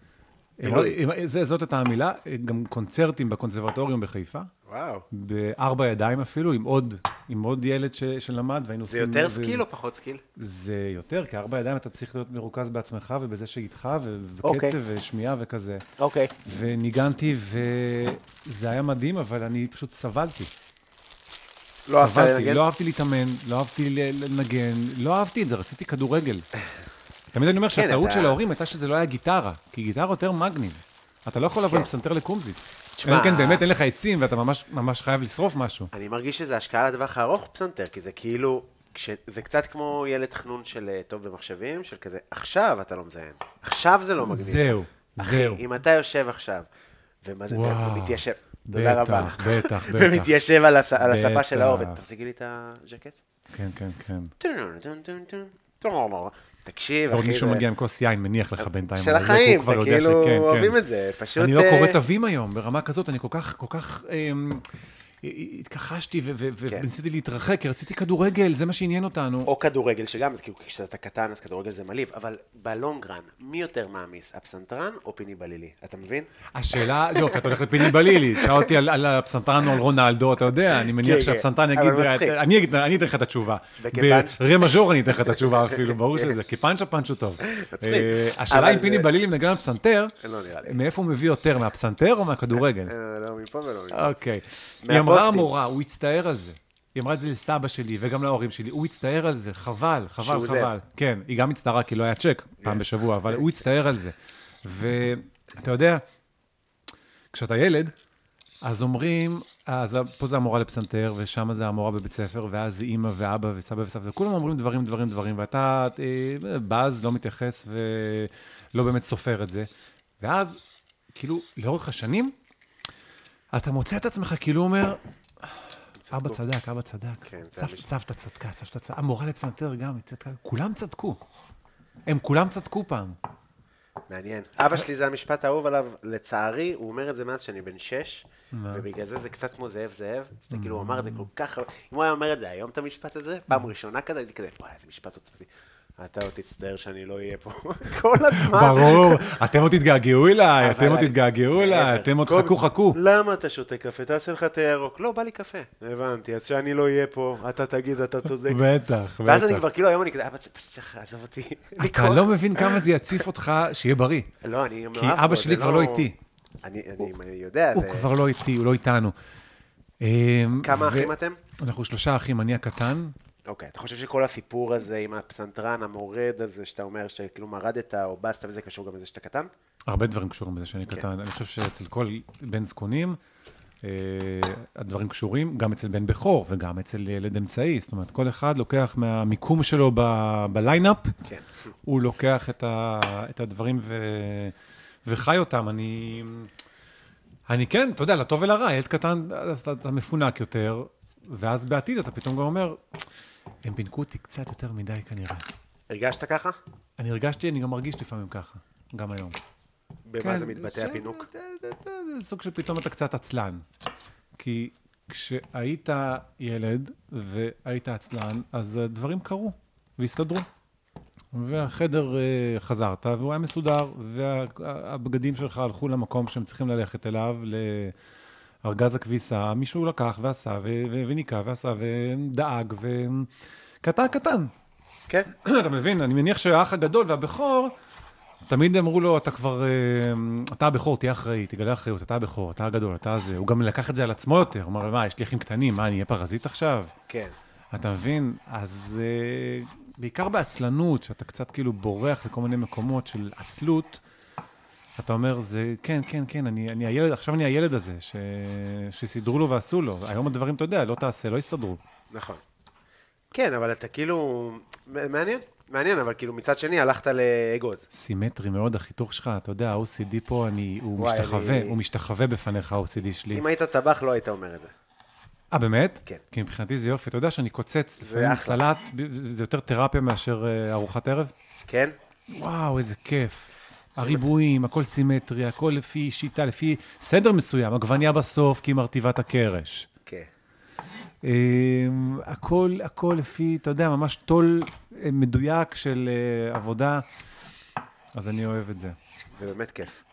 [SPEAKER 3] הם-
[SPEAKER 2] אלוהי.
[SPEAKER 3] הם- זה- זאת הייתה המילה, אה, גם קונצרטים בקונסרבטוריום בחיפה,
[SPEAKER 2] וואו.
[SPEAKER 3] בארבע ידיים אפילו, עם עוד, עם עוד ילד ש, שלמד, והיינו
[SPEAKER 2] זה
[SPEAKER 3] עושים...
[SPEAKER 2] יותר סקיל או פחות סקיל?
[SPEAKER 3] זה יותר, כי ארבע ידיים אתה צריך להיות מרוכז בעצמך ובזה שאיתך, ו-
[SPEAKER 2] אוקיי.
[SPEAKER 3] וקצב ושמיעה וכזה.
[SPEAKER 2] אוקיי.
[SPEAKER 3] וניגנתי, וזה היה מדהים, אבל אני פשוט סבלתי.
[SPEAKER 2] לא אהבת
[SPEAKER 3] סבלתי,
[SPEAKER 2] לנגן?
[SPEAKER 3] לא אהבתי להתאמן, לא אהבתי ל- לנגן, לא אהבתי את זה, רציתי כדורגל. תמיד אני אומר שהטעות
[SPEAKER 2] כן, אתה-
[SPEAKER 3] של ההורים הייתה שזה לא היה גיטרה, כי גיטרה יותר מגניב. אתה לא יכול לבוא עם פסנתר לקומזיץ.
[SPEAKER 2] כן. תשמע-
[SPEAKER 3] אלא אם כן באמת אין לך עצים ואתה ממש- ממש חייב לשרוף משהו.
[SPEAKER 2] אני מרגיש שזה השקעה לטווח הארוך פסנתר, כי זה כאילו, כש... זה קצת כמו ילד חנון של אה, טוב במחשבים, של כזה, עכשיו אתה לא מזיין, עכשיו זה לא מגניב.
[SPEAKER 3] זהו, זהו.
[SPEAKER 2] אחי, אם אתה יושב עכשיו, ומה זה,
[SPEAKER 3] וואו,
[SPEAKER 2] ומתיישב, תודה
[SPEAKER 3] בטח,
[SPEAKER 2] רבה.
[SPEAKER 3] בטח, בטח.
[SPEAKER 2] ומתיישב על הס- על הספה
[SPEAKER 3] בטח.
[SPEAKER 2] של האובן. תחזיקי לי את הז'קט.
[SPEAKER 3] כן, כן, כן.
[SPEAKER 2] טון, טון, טון, טון, טון. תקשיב,
[SPEAKER 3] ועוד
[SPEAKER 2] אחי,
[SPEAKER 3] מישהו
[SPEAKER 2] זה-
[SPEAKER 3] מגיע עם כוס יין, מניח לך בינתיים.
[SPEAKER 2] של
[SPEAKER 3] אבל זה, כי הוא
[SPEAKER 2] החיים,
[SPEAKER 3] כבר
[SPEAKER 2] אתה
[SPEAKER 3] יודע
[SPEAKER 2] כאילו
[SPEAKER 3] שכן, כן.
[SPEAKER 2] אוהבים את זה, פשוט...
[SPEAKER 3] אני לא
[SPEAKER 2] אה,
[SPEAKER 3] קורא תווים היום, ברמה כזאת, אני כל כך, כל כך... אמ, התכחשתי ו- ו-
[SPEAKER 2] כן.
[SPEAKER 3] וניסיתי להתרחק, כי רציתי כדורגל, זה מה שעניין אותנו.
[SPEAKER 2] או כדורגל שגם, כאילו כשאתה קטן אז כדורגל זה מלהיב, אבל בלונגרן, מי יותר מעמיס, הפסנתרן או פיני בלילי? אתה מבין?
[SPEAKER 3] השאלה, לא, יופי, אתה הולך לפיני בלילי, תשאל אותי על- על הפסנתרן או על רונלדו, אתה יודע, אני
[SPEAKER 2] כן,
[SPEAKER 3] מניח
[SPEAKER 2] כן,
[SPEAKER 3] שהפסנתרן
[SPEAKER 2] אבל
[SPEAKER 3] יגיד, "אה,
[SPEAKER 2] מצחיק.
[SPEAKER 3] אני אגיד- אני אתן לך את התשובה.
[SPEAKER 2] וכפאנץ'?
[SPEAKER 3] ברה מז'ור אני אתן לך את התשובה אפילו, ברור שזה, כי פאנצ'ה פאנצ'ו טוב. אה, השאלה
[SPEAKER 2] אבל
[SPEAKER 3] אם פיני
[SPEAKER 2] זה-
[SPEAKER 3] בלילי מנגן על פסנתר,
[SPEAKER 2] לא נראה לי.
[SPEAKER 3] מאיפה הוא מביא יותר, מהפסנתר או מהכדורגל?
[SPEAKER 2] אה, לא מפה ולא מפה.
[SPEAKER 3] אוקיי. היא
[SPEAKER 2] מהפוסטים.
[SPEAKER 3] אמרה המורה, הוא הצטער על זה. היא אמרה את זה לסבא שלי וגם להורים שלי, הוא הצטער על זה, חבל,
[SPEAKER 2] שהוא
[SPEAKER 3] חבל,
[SPEAKER 2] זה. כן.
[SPEAKER 3] חבל. כן, היא גם הצטערה כי לא היה צ'ק פעם בשבוע, אבל הוא הצטער על זה. ואתה יודע, כשאתה ילד, אז אומרים, אז פה זה המורה לפסנתר, ושם זה המורה בבית ספר, ואז זה אימא ואבא וסבא וסבתא, כולם אומרים דברים, דברים, דברים, ואתה אה, בז, לא מתייחס ולא באמת סופר את זה. ואז, כאילו, לאורך השנים, אתה מוצא את עצמך כאילו אומר, אבא צדק, אבא צדק,
[SPEAKER 2] כן, זה
[SPEAKER 3] סבת-
[SPEAKER 2] היה מש-
[SPEAKER 3] סבתא צדקה, סבתא צדקה, המורה לפסנתר גם, היא צדקה, כולם צדקו. הם כולם צדקו פעם.
[SPEAKER 2] מעניין.
[SPEAKER 3] אה,
[SPEAKER 2] אבא שלי זה המשפט האהוב עליו, לצערי, הוא אומר את זה מאז שאני בן שש, ובגלל זה זה קצת כמו זאב זאב, זה כאילו הוא אמר את זה כל כך, הרבה- אם הוא היה אומר את זה היום, את המשפט הזה, פעם ראשונה כזה, הייתי כזה, וואי, איזה משפט עוצמתי. אתה עוד תצטער שאני לא אהיה פה כל הזמן.
[SPEAKER 3] ברור, אתם עוד תתגעגעו אליי,
[SPEAKER 2] אבל
[SPEAKER 3] אתם עוד
[SPEAKER 2] אני-
[SPEAKER 3] תתגעגעו אליי,
[SPEAKER 2] להפך,
[SPEAKER 3] אתם עוד
[SPEAKER 2] כל-
[SPEAKER 3] חכו חכו.
[SPEAKER 2] למה אתה שותה קפה? תעשה לך את הירוק. לא, בא לי קפה. הבנתי, אז שאני לא אהיה פה, אתה תגיד, אתה צודק.
[SPEAKER 3] בטח,
[SPEAKER 2] לא, ואז אני
[SPEAKER 3] בטח.
[SPEAKER 2] כבר, כאילו, היום אני כזה, אבא, פשוט עזוב אותי. אני
[SPEAKER 3] אתה
[SPEAKER 2] כל-
[SPEAKER 3] לא מבין כמה זה יציף אותך שיהיה בריא.
[SPEAKER 2] לא, אני מאוהב
[SPEAKER 3] כי
[SPEAKER 2] בו,
[SPEAKER 3] אבא
[SPEAKER 2] זה
[SPEAKER 3] שלי כבר לא איתי.
[SPEAKER 2] אני אני יודע,
[SPEAKER 3] הוא
[SPEAKER 2] אה, זה-
[SPEAKER 3] כבר לא איתי, הוא לא איתנו. אמ,
[SPEAKER 2] כמה
[SPEAKER 3] ו-
[SPEAKER 2] אחים אתם?
[SPEAKER 3] אנחנו שלושה אחים, אני הקטן.
[SPEAKER 2] אוקיי, אתה חושב שכל הסיפור הזה עם הפסנתרן המורד הזה, שאתה אומר שכאילו מרדת או בסת וזה קשור גם לזה שאתה קטן?
[SPEAKER 3] הרבה דברים קשורים לזה שאני
[SPEAKER 2] כן.
[SPEAKER 3] קטן. אני חושב שאצל כל בן זקונים, אה, הדברים קשורים, גם אצל בן בכור וגם אצל ילד אמצעי. זאת אומרת, כל אחד לוקח מהמיקום שלו ב- בליינאפ,
[SPEAKER 2] כן.
[SPEAKER 3] הוא לוקח את, ה, את הדברים ו, וחי אותם. אני, אני כן, אתה יודע, לטוב ולרע, ילד קטן, אז אתה, אתה מפונק יותר, ואז בעתיד אתה פתאום גם אומר, הם פינקו אותי קצת יותר מדי כנראה.
[SPEAKER 2] הרגשת ככה?
[SPEAKER 3] אני הרגשתי, אני גם מרגיש לפעמים ככה, גם היום.
[SPEAKER 2] במה
[SPEAKER 3] כן,
[SPEAKER 2] זה מתבטא
[SPEAKER 3] ש-
[SPEAKER 2] הפינוק?
[SPEAKER 3] זה- זה- זה- זה סוג שפתאום אתה קצת עצלן. כי כשהיית ילד והיית עצלן, אז הדברים קרו והסתדרו. והחדר אה, חזרת, והוא היה מסודר, והבגדים שלך הלכו למקום שהם צריכים ללכת אליו, לארגז הכביסה, מישהו לקח ועשה, ו- ו- וניקה ועשה, ודאג, וקטן קטן.
[SPEAKER 2] כן.
[SPEAKER 3] אתה מבין? אני מניח שהאח הגדול והבכור, תמיד אמרו לו, אתה כבר, אה, אתה הבכור, תהיה אחראי, תגלה אחריות, אתה הבכור, אתה הגדול, אתה זה. הוא גם לקח את זה על עצמו יותר, הוא אמר, מה, יש לי אחים קטנים, מה, אני אהיה פרזיט עכשיו?
[SPEAKER 2] כן.
[SPEAKER 3] אתה מבין? אז אה, בעיקר בעצלנות, שאתה קצת כאילו בורח לכל מיני מקומות של עצלות, אתה אומר, זה, כן, כן, כן, אני, אני הילד, עכשיו אני הילד הזה, ש, שסידרו לו ועשו לו. היום הדברים, אתה יודע, לא תעשה, לא יסתדרו.
[SPEAKER 2] נכון. כן, אבל אתה כאילו... מ- מעניין, מעניין, אבל כאילו מצד שני הלכת לאגוז.
[SPEAKER 3] סימטרי מאוד, החיתוך שלך, אתה יודע, ה-OCD פה, אני, הוא
[SPEAKER 2] וואי,
[SPEAKER 3] משתחווה,
[SPEAKER 2] אני-
[SPEAKER 3] הוא משתחווה בפניך, ה-OCD שלי.
[SPEAKER 2] אם היית טבח לא היית אומר את זה.
[SPEAKER 3] אה, באמת?
[SPEAKER 2] כן.
[SPEAKER 3] כי מבחינתי זה יופי, אתה יודע שאני קוצץ, לפעמים
[SPEAKER 2] אחלה.
[SPEAKER 3] סלט, ב- זה יותר תרפיה מאשר אה, ארוחת ערב?
[SPEAKER 2] כן?
[SPEAKER 3] וואו, איזה כיף. הריבועים, הכל סימטרי, הכל לפי שיטה, לפי סדר מסוים, עגבניה בסוף, כי היא מרטיבה את הקרש.
[SPEAKER 2] כן.
[SPEAKER 3] אמ, הכל, הכל לפי, אתה יודע, ממש תול אה, מדויק של אה, עבודה, אז אני אוהב את זה.
[SPEAKER 2] זה באמת כיף.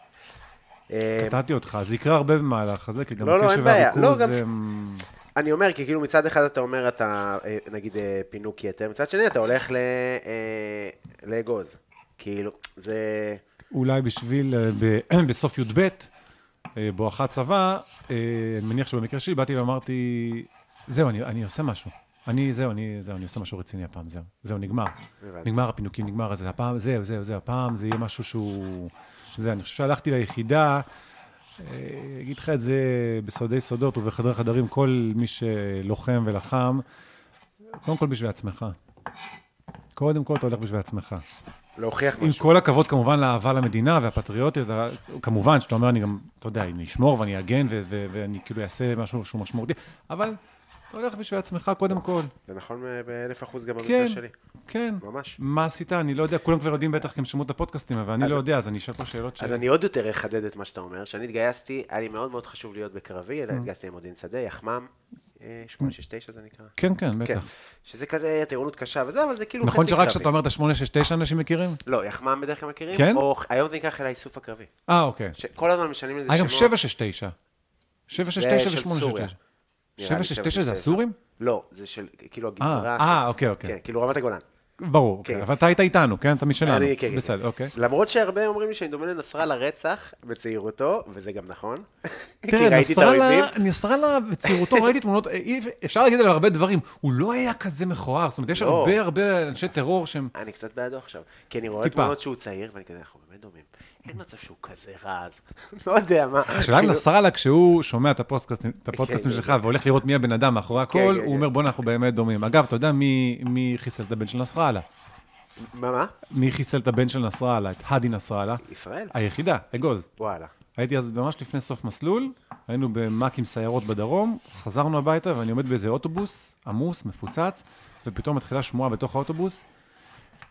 [SPEAKER 2] אה,
[SPEAKER 3] קטעתי אותך, זה יקרה הרבה במהלך הזה, כי גם
[SPEAKER 2] לא, לא, אין
[SPEAKER 3] הקשב
[SPEAKER 2] בעיה.
[SPEAKER 3] והריכוז
[SPEAKER 2] לא, גם-
[SPEAKER 3] הם...
[SPEAKER 2] אני אומר, כי כאילו מצד אחד אתה אומר, אתה אה, נגיד אה, פינוק יתר, מצד שני אתה הולך ל- אה, לאגוז. כאילו, זה...
[SPEAKER 3] אולי בשביל, אה, ב- בסוף י"ב, אה, בואכה צבא, אה, אני מניח שבמקרה שלי באתי ואמרתי, זהו, אני, אני עושה משהו. אני, זהו, אני, זהו, אני עושה משהו רציני הפעם, זהו. זהו, נגמר.
[SPEAKER 2] הבנתי.
[SPEAKER 3] נגמר הפינוקים, נגמר הזה, הפעם, זהו, זהו, זהו, הפעם זה יהיה משהו שהוא... זה, אני חושב שהלכתי ליחידה, אה, אגיד לך את זה בסודי סודות ובחדרי חדרים, כל מי שלוחם ולחם, קודם כל בשביל עצמך. קודם כל אתה הולך בשביל עצמך.
[SPEAKER 2] להוכיח
[SPEAKER 3] עם
[SPEAKER 2] משהו.
[SPEAKER 3] כל הכבוד כמובן לאהבה למדינה והפטריוטיות, ה- כמובן שאתה אומר, אני גם, אתה יודע, אני אשמור ואני אגן ו- ו- ואני כאילו אעשה משהו שהוא משמעותי, אבל אתה הולך בשביל עצמך קודם כל.
[SPEAKER 2] זה נכון אה, באלף אחוז גם
[SPEAKER 3] כן,
[SPEAKER 2] במקרה שלי.
[SPEAKER 3] כן.
[SPEAKER 2] ממש.
[SPEAKER 3] מה עשית? אני לא יודע, כולם כבר יודעים בטח, כי הם שמעו את הפודקאסטים, אבל אני לא יודע, אז אני אשאל פה שאלות ש...
[SPEAKER 2] אז אני עוד יותר אחדד את מה שאתה אומר. כשאני התגייסתי, היה לי מאוד מאוד חשוב להיות בקרבי,
[SPEAKER 3] Mm.
[SPEAKER 2] אלא התגייסתי עם מודיעין שדה, יחמ"מ, אה, 869 זה נקרא.
[SPEAKER 3] כן, כן,
[SPEAKER 2] כן.
[SPEAKER 3] בטח.
[SPEAKER 2] שזה כזה טירונות קשה וזה, אבל זה כאילו חצי קרבי.
[SPEAKER 3] נכון שרק כשאתה אומר את ה-869 אנשים מכירים?
[SPEAKER 2] לא, יחמ"מ בדרך כלל מכירים.
[SPEAKER 3] כן?
[SPEAKER 2] או היום זה נקרא חיל האיסוף הקרבי.
[SPEAKER 3] אה, אוקיי.
[SPEAKER 2] שכל הזמן משנים לזה
[SPEAKER 3] היה גם
[SPEAKER 2] שמות.
[SPEAKER 3] 769. 769
[SPEAKER 2] של סוריה.
[SPEAKER 3] ו-869.
[SPEAKER 2] לי,
[SPEAKER 3] 769 זה
[SPEAKER 2] 769.
[SPEAKER 3] הסורים?
[SPEAKER 2] לא, זה של כאילו
[SPEAKER 3] אה,
[SPEAKER 2] הגזרה.
[SPEAKER 3] אה,
[SPEAKER 2] של-
[SPEAKER 3] אוקיי, אוקיי.
[SPEAKER 2] כן, כאילו רמת הגולן.
[SPEAKER 3] ברור,
[SPEAKER 2] כן.
[SPEAKER 3] אוקיי. אבל אתה היית איתנו, כן? אתה משלנו.
[SPEAKER 2] אני- כן, כן,
[SPEAKER 3] בסדר,
[SPEAKER 2] כן.
[SPEAKER 3] אוקיי.
[SPEAKER 2] למרות שהרבה אומרים לי שאני דומה לנסראללה רצח בצעירותו, וזה גם נכון. כי
[SPEAKER 3] תראה,
[SPEAKER 2] ראיתי את האויבים.
[SPEAKER 3] נסראללה, נסראללה בצעירותו, ראיתי תמונות, אי- אפשר להגיד עליו הרבה דברים, הוא לא היה כזה מכוער, זאת אומרת, יש
[SPEAKER 2] לא.
[SPEAKER 3] הרבה הרבה אנשי טרור שהם...
[SPEAKER 2] אני קצת בעדו עכשיו. כי אני רואה
[SPEAKER 3] טיפה.
[SPEAKER 2] תמונות שהוא צעיר, ואני כזה, אנחנו באמת דומים. אין מצב שהוא כזה רע אז. לא יודע מה.
[SPEAKER 3] השאלה אם
[SPEAKER 2] כאילו,
[SPEAKER 3] נסראללה, כשהוא שומע את הפודקאסטים- את הפודקאסטים
[SPEAKER 2] כן,
[SPEAKER 3] שלך והולך לראות מי הבן אדם מאחורי
[SPEAKER 2] כן,
[SPEAKER 3] הכל,
[SPEAKER 2] כן.
[SPEAKER 3] הוא אומר, בואנה, אנחנו באמת דומים. אגב, אתה יודע מי מי חיסל את הבן של נסראללה?
[SPEAKER 2] מה, מה?
[SPEAKER 3] מי חיסל את הבן של נסראללה? את האדי נסראללה?
[SPEAKER 2] ישראל?
[SPEAKER 3] היחידה, אגוז.
[SPEAKER 2] וואלה.
[SPEAKER 3] הייתי אז ממש לפני סוף מסלול, היינו במאק עם סיירות בדרום, חזרנו הביתה ואני עומד באיזה אוטובוס עמוס, מפוצץ, ופתאום מתחילה שמועה בתוך האוטובוס,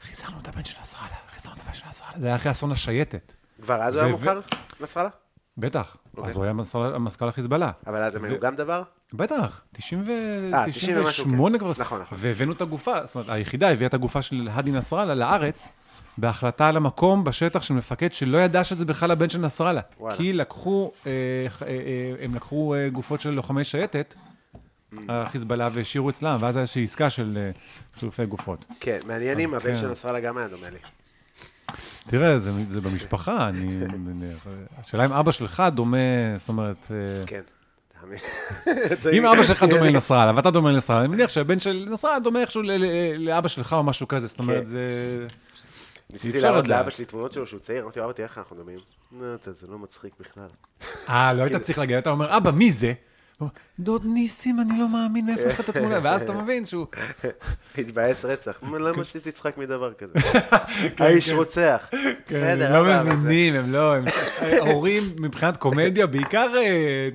[SPEAKER 3] חיסלנו את הבן של נסראללה, חיסלנו את הבן של נסראללה. זה היה אחרי אסון השייטת.
[SPEAKER 2] כבר אז הוא היה
[SPEAKER 3] ו- ו-
[SPEAKER 2] מוכר? נסראללה?
[SPEAKER 3] בטח,
[SPEAKER 2] אוקיי.
[SPEAKER 3] אז הוא היה מזכ"ל- מזכ"ל החיזבאללה.
[SPEAKER 2] אבל אז הם היו גם דבר?
[SPEAKER 3] בטח, 90 ו...
[SPEAKER 2] אה, 90 ומשהו,
[SPEAKER 3] 98
[SPEAKER 2] כן.
[SPEAKER 3] כבר.
[SPEAKER 2] נכון, נכון.
[SPEAKER 3] והבאנו את הגופה, זאת אומרת, היחידה הביאה את הגופה של האדי נסראללה לארץ, בהחלטה על המקום בשטח של מפקד שלא ידע שזה בכלל הבן של נסראללה.
[SPEAKER 2] וואלה.
[SPEAKER 3] כי לקחו, אה, ח- אה, אה, הם לקחו אה, גופות של לוחמי שייטת,
[SPEAKER 2] Mm.
[SPEAKER 3] החיזבאללה, והשאירו אצלם, ואז הייתה איזושהי עסקה של אה, חילופי גופות.
[SPEAKER 2] כן, מעניין
[SPEAKER 3] אז
[SPEAKER 2] אם הבן
[SPEAKER 3] כן.
[SPEAKER 2] של נסראללה גם היה דומה לי.
[SPEAKER 3] תראה, זה, זה במשפחה, אני
[SPEAKER 2] כן.
[SPEAKER 3] מניח. השאלה אם אבא שלך דומה, זאת אומרת... אה,
[SPEAKER 2] כן. תאמין.
[SPEAKER 3] אם אבא שלך דומה לנסראללה, ואתה דומה לנסראללה, אני מניח שהבן של נסראללה דומה איכשהו ל- ל- לאבא שלך או משהו כזה, זאת
[SPEAKER 2] כן.
[SPEAKER 3] אומרת, זה...
[SPEAKER 2] ניסיתי
[SPEAKER 3] אי אפשר
[SPEAKER 2] להראות
[SPEAKER 3] לדעת.
[SPEAKER 2] לאבא שלי תמונות שלו שהוא צעיר, אמרתי לו, אבא תראה איך אנחנו דומים. לא, אתה- זה לא מצחיק בכלל.
[SPEAKER 3] אה, לא היית צריך להגיד, אתה אומר, אבא, מי זה? הוא אומר, דוד ניסים, אני לא מאמין מאיפה יש לך את התמונה, ואז אתה מבין שהוא...
[SPEAKER 2] התבאס רצח. "מה, למה שתצחק מדבר כזה? האיש רוצח.
[SPEAKER 3] כן,
[SPEAKER 2] בסדר,
[SPEAKER 3] הם לא
[SPEAKER 2] אבא, אבל זה-
[SPEAKER 3] מבינים, הם לא... הם- הורים, מבחינת קומדיה, בעיקר... אה,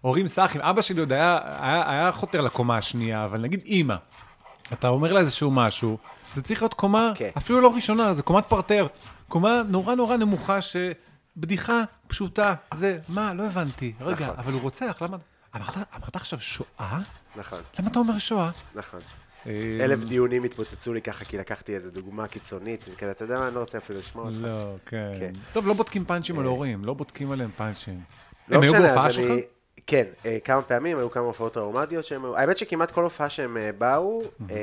[SPEAKER 3] הורים סאחים, אבא שלי עוד היה, היה, היה חותר לקומה השנייה, אבל נגיד אימא, אתה אומר לה איזשהו משהו, זה צריך להיות קומה,
[SPEAKER 2] כן.
[SPEAKER 3] אפילו לא ראשונה, זה קומת פרטר, קומה נורא נורא נמוכה, שבדיחה פשוטה, זה, מה, לא הבנתי, רגע,
[SPEAKER 2] נכון.
[SPEAKER 3] אבל הוא רוצח, למה... אמרת, אמרת עכשיו שואה?
[SPEAKER 2] נכון,
[SPEAKER 3] למה אתה אומר שואה?
[SPEAKER 2] נכון.
[SPEAKER 3] אה,
[SPEAKER 2] אלף דיונים התפוצצו לי ככה, כי לקחתי איזו דוגמה קיצונית, זה כזה, אתה יודע מה, אני לא רוצה אפילו לשמוע אותך.
[SPEAKER 3] לא, כן.
[SPEAKER 2] כן. אה.
[SPEAKER 3] טוב, לא בודקים פאנצ'ים על הורים, לא בודקים עליהם פאנצ'ים.
[SPEAKER 2] לא
[SPEAKER 3] הם היו
[SPEAKER 2] משנה,
[SPEAKER 3] בהופעה
[SPEAKER 2] אז
[SPEAKER 3] שלך?
[SPEAKER 2] אני- כן, אה, כמה פעמים, היו כמה הופעות טראומטיות שהם... היו- האמת שכמעט כל הופעה שהם אה, באו, אה,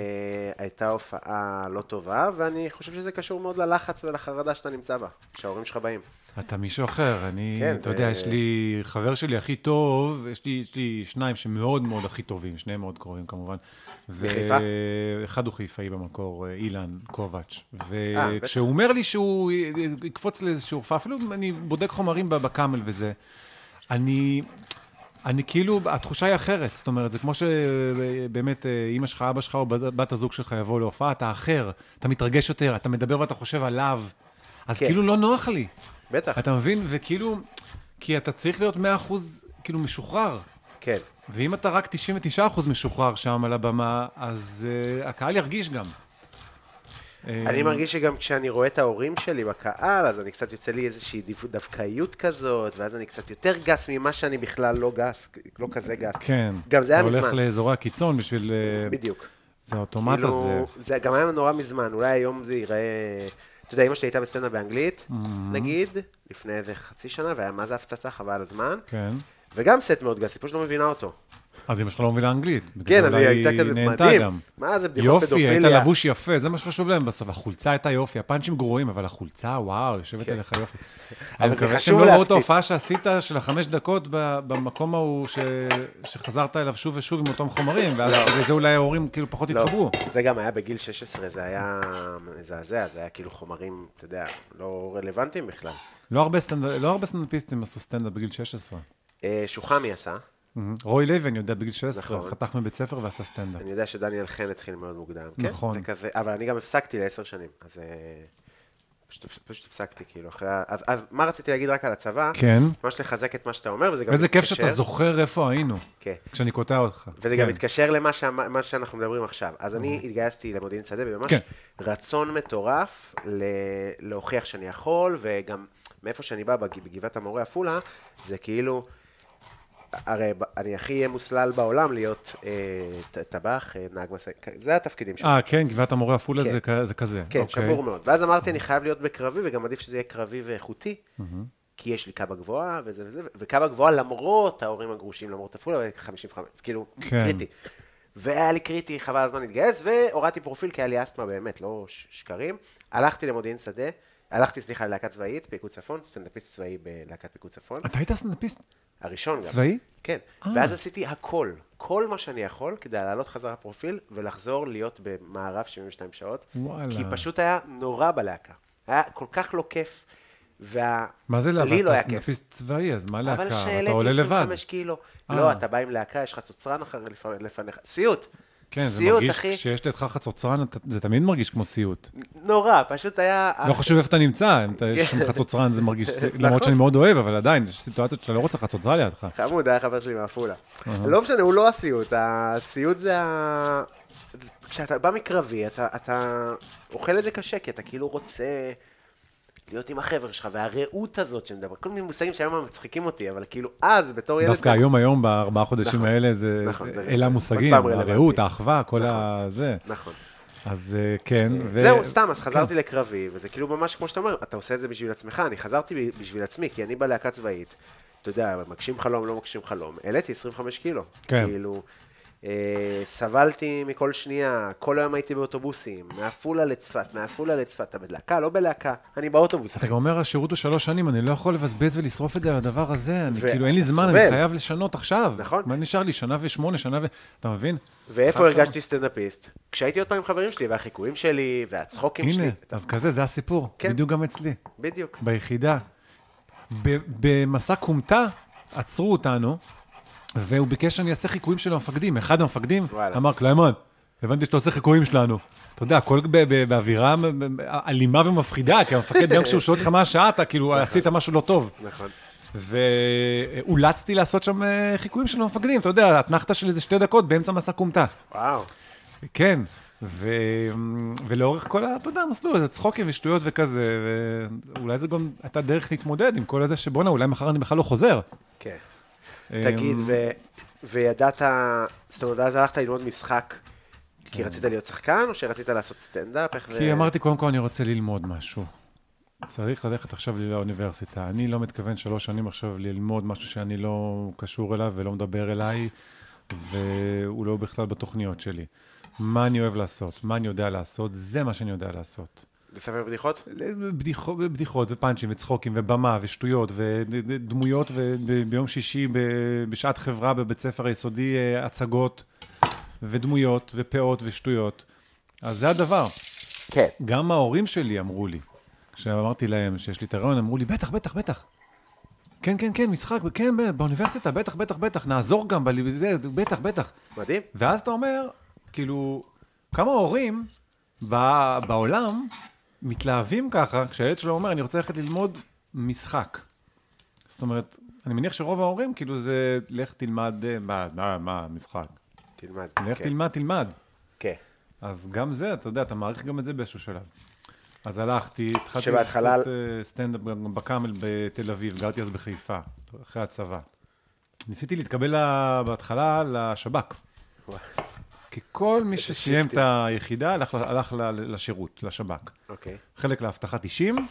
[SPEAKER 2] הייתה הופעה לא טובה, ואני חושב שזה קשור מאוד ללחץ ולחרדה שאתה נמצא בה, שההורים שלך באים.
[SPEAKER 3] אתה מישהו אחר, אני,
[SPEAKER 2] כן,
[SPEAKER 3] אתה
[SPEAKER 2] זה-
[SPEAKER 3] יודע, יש לי חבר שלי הכי טוב, יש לי, יש לי שניים שמאוד מאוד הכי טובים, שניהם מאוד קרובים כמובן.
[SPEAKER 2] מחיפה?
[SPEAKER 3] אחד הוא חיפאי במקור, אה, אילן קובץ'.
[SPEAKER 2] אה, בטח.
[SPEAKER 3] וכשהוא אומר לי שהוא אה, יקפוץ לאיזושהי הופעה, אפילו אם אני בודק חומרים ב- בקאמל וזה, אני... אני כאילו, התחושה היא אחרת, זאת אומרת, זה כמו שבאמת אימא שלך, אבא שלך או בת- בת הזוג שלך יבואו להופעה, אתה אחר, אתה מתרגש יותר, אתה מדבר ואתה חושב עליו, אז
[SPEAKER 2] כן.
[SPEAKER 3] כאילו לא נוח לי.
[SPEAKER 2] בטח,
[SPEAKER 3] אתה מבין? וכאילו, כי אתה צריך להיות 100% כאילו משוחרר.
[SPEAKER 2] כן.
[SPEAKER 3] ואם אתה רק 99% משוחרר שם על הבמה, אז uh, הקהל ירגיש גם. אה,
[SPEAKER 2] אני מרגיש שגם כשאני רואה את ההורים שלי בקהל, אז אני קצת יוצא לי איזושהי דו- דווקאיות כזאת, ואז אני קצת יותר גס ממה שאני בכלל לא גס, לא כזה גס.
[SPEAKER 3] כן.
[SPEAKER 2] גם זה היה
[SPEAKER 3] אתה
[SPEAKER 2] מזמן.
[SPEAKER 3] הולך לאזורי הקיצון בשביל... אה,
[SPEAKER 2] בדיוק.
[SPEAKER 3] זה האוטומט הזה.
[SPEAKER 2] כאילו, זה גם היה נורא מזמן, אולי היום זה ייראה... אתה יודע, אמא שלי הייתה בסצנה באנגלית,
[SPEAKER 3] Mm-hmm.
[SPEAKER 2] נגיד, לפני איזה חצי שנה, והיה מה זה הפצצה, חבל על הזמן.
[SPEAKER 3] כן.
[SPEAKER 2] וגם סט מאוד גס, היא פשוט לא מבינה אותו.
[SPEAKER 3] אז אמא שלך לא מבינה אנגלית.
[SPEAKER 2] כן,
[SPEAKER 3] בגדול
[SPEAKER 2] אז
[SPEAKER 3] אולי
[SPEAKER 2] היא הייתה
[SPEAKER 3] היא
[SPEAKER 2] כזה
[SPEAKER 3] נהנתה
[SPEAKER 2] מדהים.
[SPEAKER 3] גם.
[SPEAKER 2] מה זה בדיחות
[SPEAKER 3] יופי,
[SPEAKER 2] פדופיליה?
[SPEAKER 3] היית לבוש יפה, זה מה שחשוב להם בסוף. החולצה הייתה יופי, הפאנצ'ים גרועים, אבל החולצה, וואו, יושבת עליך יופי. אני
[SPEAKER 2] כן. זה
[SPEAKER 3] מקווה
[SPEAKER 2] חשוב
[SPEAKER 3] שהם לא ראו את
[SPEAKER 2] להפציץ.
[SPEAKER 3] ההופעה שעשית של החמש דקות ב- במקום ההוא ש- שחזרת אליו שוב ושוב עם אותם חומרים, ואז וזה אולי ההורים כאילו פחות
[SPEAKER 2] לא,
[SPEAKER 3] התחברו.
[SPEAKER 2] זה גם היה בגיל 16, זה היה מזעזע, זה היה כאילו חומרים, אתה יודע, לא רלוונטיים בכלל.
[SPEAKER 3] לא הרבה סטנד- לא הרבה סטנדאפיסטים עשו סטנדאפ בגיל 16.
[SPEAKER 2] אה, שוחמי עשה,
[SPEAKER 3] מהמם. רוי לוי, אני יודע, בגיל 16,
[SPEAKER 2] נכון.
[SPEAKER 3] חתך מבית ספר ועשה סטנדאפ.
[SPEAKER 2] אני יודע שדניאל חן התחיל מאוד מוקדם.
[SPEAKER 3] נכון.
[SPEAKER 2] כן, זה כזה, אבל אני גם הפסקתי לעשר שנים, אז אה, פשוט, פשוט הפסקתי, כאילו, אחרי ה... אז, אז מה רציתי להגיד רק על הצבא?
[SPEAKER 3] כן.
[SPEAKER 2] ממש לחזק את מה שאתה אומר, וזה גם
[SPEAKER 3] איזה כיף
[SPEAKER 2] מתקשר-
[SPEAKER 3] שאתה זוכר איפה היינו,
[SPEAKER 2] כן.
[SPEAKER 3] כשאני קוטע אותך.
[SPEAKER 2] וזה גם
[SPEAKER 3] כן. אוקיי.
[SPEAKER 2] מתקשר למה שה- מה שאנחנו מדברים עכשיו. אז אני התגייסתי למודיעין שדה בממש
[SPEAKER 3] כן.
[SPEAKER 2] רצון מטורף ל- להוכיח שאני יכול, וגם מאיפה שאני בא, בג- בגבעת המורה עפולה, זה כאילו, הרי ב- אני הכי אהיה מוסלל בעולם להיות אה, ט- טבח, אה, נהג משאית, זה התפקידים שלי.
[SPEAKER 3] אה, כן, גבעת המורה עפולה
[SPEAKER 2] כן.
[SPEAKER 3] זה כ- זה כזה.
[SPEAKER 2] כן,
[SPEAKER 3] אוקיי.
[SPEAKER 2] שבור מאוד. ואז אמרתי, אני חייב להיות בקרבי, וגם עדיף שזה יהיה קרבי ואיכותי, כי יש לי קאבה גבוהה וזה וזה, ו- וקאבה גבוהה למרות ההורים הגרושים, למרות עפולה, אבל 55, זה כאילו,
[SPEAKER 3] כן.
[SPEAKER 2] קריטי. והיה לי קריטי, חבל הזמן להתגייס, והורדתי פרופיל, כי היה לי אסתמה באמת, לא ש- שקרים. הלכתי למודיעין שדה, הלכתי, סליחה, ללהקה צבאית, פיקוד צפון, סטנדאפיסט צבאי בלהקת פיקוד צפון,
[SPEAKER 3] אתה היית סטנדאפיסט
[SPEAKER 2] הראשון גם.
[SPEAKER 3] צבאי?
[SPEAKER 2] כן,
[SPEAKER 3] אה.
[SPEAKER 2] ואז עשיתי הכל, כל מה שאני יכול כדי לעלות חזרה פרופיל ולחזור להיות במערב 72 שעות.
[SPEAKER 3] וואלה.
[SPEAKER 2] כי פשוט היה נורא בלהקה. היה כל כך לא כיף. וה...
[SPEAKER 3] מה זה
[SPEAKER 2] לי
[SPEAKER 3] לבד?
[SPEAKER 2] לא
[SPEAKER 3] אתה
[SPEAKER 2] היה כיף.
[SPEAKER 3] סטנדאפיסט צבאי, אז מה
[SPEAKER 2] אבל
[SPEAKER 3] להקה? אתה עולה
[SPEAKER 2] כשהעליתי
[SPEAKER 3] לבד.
[SPEAKER 2] 25 קילו.
[SPEAKER 3] אה.
[SPEAKER 2] לא, אתה בא עם להקה, יש לך צוצרן אחר לפ- לפניך. סיוט.
[SPEAKER 3] כן, זה
[SPEAKER 2] סיוט,
[SPEAKER 3] מרגיש,
[SPEAKER 2] אחי.
[SPEAKER 3] כשיש לידך חצוצרן, אתה- זה תמיד מרגיש כמו סיוט.
[SPEAKER 2] נורא, פשוט היה...
[SPEAKER 3] לא חשוב איפה אתה נמצא, אם אתה- יש
[SPEAKER 2] אה, כן.
[SPEAKER 3] שם חצוצרן, זה מרגיש, למרות
[SPEAKER 2] נכון.
[SPEAKER 3] שאני מאוד אוהב, אבל עדיין, יש סיטואציות שאתה לא רוצה חצוצרה לידך.
[SPEAKER 2] חמוד, היה חבר שלי מעפולה. לא משנה, הוא לא הסיוט, הסיוט זה ה... כשאתה בא מקרבי, אתה, אתה אוכל את זה קשה, כי אתה כאילו רוצה להיות עם החבר'ה שלך, והרעות הזאת שמדבר, כל מיני מושגים שהיום הם מצחיקים אותי, אבל כאילו אז, בתור ילד...
[SPEAKER 3] דווקא היום, היום, בארבעה חודשים
[SPEAKER 2] נכון,
[SPEAKER 3] האלה, זה,
[SPEAKER 2] נכון, זה-
[SPEAKER 3] אלה המושגים,
[SPEAKER 2] עוד פעם רלוונטי.
[SPEAKER 3] הרעות, האחווה, כל
[SPEAKER 2] נכון.
[SPEAKER 3] ה... זה.
[SPEAKER 2] נכון.
[SPEAKER 3] אז אה, כן. ו-
[SPEAKER 2] זהו, סתם, אז חזרתי לקרבי, וזה כאילו ממש כמו שאתה אומר, אתה עושה את זה בשביל עצמך, אני חזרתי ב- בשביל עצמי, כי אני בלהקה צבאית, אתה יודע, מגשים חלום, לא מגשים חלום, העליתי 25 קילו.
[SPEAKER 3] כן.
[SPEAKER 2] כאילו, אה, סבלתי מכל שנייה, כל היום הייתי באוטובוסים, מעפולה לצפת, מעפולה לצפת, אתה בלהקה, לא בלהקה, אני באוטובוס.
[SPEAKER 3] אתה גם אומר, השירות הוא שלוש שנים, אני לא יכול לבזבז ולשרוף את זה על הדבר הזה, אני
[SPEAKER 2] ו-
[SPEAKER 3] כאילו, אין לי זמן, אני
[SPEAKER 2] סובל.
[SPEAKER 3] חייב לשנות עכשיו.
[SPEAKER 2] נכון.
[SPEAKER 3] מה נשאר לי, שנה ושמונה, שנה ו... אתה מבין?
[SPEAKER 2] ואיפה
[SPEAKER 3] אחד שנה.
[SPEAKER 2] הרגשתי סטנדאפיסט? כשהייתי עוד פעם עם חברים שלי, והחיקויים שלי, והצחוקים שלי.
[SPEAKER 3] הנה, אז כזה, זה הסיפור.
[SPEAKER 2] כן.
[SPEAKER 3] בדיוק גם אצלי,
[SPEAKER 2] בדיוק.
[SPEAKER 3] ביחידה. ב- במסע כומתה עצרו אותנו, והוא ביקש שאני אעשה חיקויים של המפקדים. אחד המפקדים
[SPEAKER 2] וואלה.
[SPEAKER 3] אמר, קליימן, הבנתי שאתה עושה חיקויים שלנו. אתה יודע, הכל ב- ב- באווירה מ- מ- אלימה ומפחידה, כי המפקד, גם כשהוא שואל אותך מה השעה, אתה כאילו עשית משהו לא טוב.
[SPEAKER 2] נכון.
[SPEAKER 3] ואולצתי לעשות שם אה, חיקויים של המפקדים, אתה יודע, אתנחתה של איזה שתי דקות באמצע מסע כומתה.
[SPEAKER 2] וואו.
[SPEAKER 3] כן, ו... ולאורך כל, ה- אתה יודע, המסלול הזה, צחוקים ושטויות וכזה, ואולי זה גם הייתה דרך להתמודד עם כל הזה שבואנה, אולי מחר אני בכלל לא חוזר.
[SPEAKER 2] כן. תגיד,
[SPEAKER 3] אמ,
[SPEAKER 2] ו... וידעת, זאת אומרת, ואז הלכת ללמוד משחק,
[SPEAKER 3] כן.
[SPEAKER 2] כי רצית להיות שחקן, או שרצית לעשות סטנדאפ? איך זה-
[SPEAKER 3] כי אמרתי, קודם כל אני רוצה ללמוד משהו. צריך ללכת עכשיו לי לאוניברסיטה. אני לא מתכוון שלוש שנים עכשיו ללמוד משהו שאני לא קשור אליו ולא מדבר אליי, והוא לא בכלל בתוכניות שלי. מה אני אוהב לעשות, מה אני יודע לעשות, זה מה שאני יודע לעשות.
[SPEAKER 2] לספר בדיחות?
[SPEAKER 3] בדיחות, בדיחות ופאנצ'ים וצחוקים ובמה ושטויות ודמויות, וביום שישי ב- בשעת חברה בבית ספר היסודי אה, הצגות ודמויות ופאות ושטויות. אז זה הדבר.
[SPEAKER 2] כן.
[SPEAKER 3] גם ההורים שלי אמרו לי, כשאמרתי להם שיש לי את הרעיון, אמרו לי, בטח, בטח, בטח. כן, כן, כן, משחק, כן, ב- באוניברסיטה, בטח, בטח, בטח, נעזור גם, ב- זה, בטח, בטח.
[SPEAKER 2] מדהים.
[SPEAKER 3] ואז אתה אומר, כאילו, כמה הורים ב- בעולם מתלהבים ככה, כשהילד שלו אומר, אני רוצה ללכת ללמוד משחק. זאת אומרת, אני מניח שרוב ההורים, כאילו, זה, לך תלמד, אה, מה, מה, מה, משחק.
[SPEAKER 2] תלמד.
[SPEAKER 3] לך
[SPEAKER 2] כן,
[SPEAKER 3] תלמד, תלמד.
[SPEAKER 2] כן.
[SPEAKER 3] אז גם זה, אתה יודע, אתה מעריך גם את זה באיזשהו שלב. אז הלכתי, התחלתי
[SPEAKER 2] שבהתחלה-
[SPEAKER 3] לעשות אה, סטנדאפ גם בקאמל בתל אביב, גרתי אז בחיפה, אחרי הצבא. ניסיתי להתקבל ל- בהתחלה לשב"כ.
[SPEAKER 2] וואי,
[SPEAKER 3] כי כל מי שסיים את היחידה הלך, ל- הלך ל- לשירות, לשב"כ.
[SPEAKER 2] אוקיי.
[SPEAKER 3] חלק לאבטחת אישים,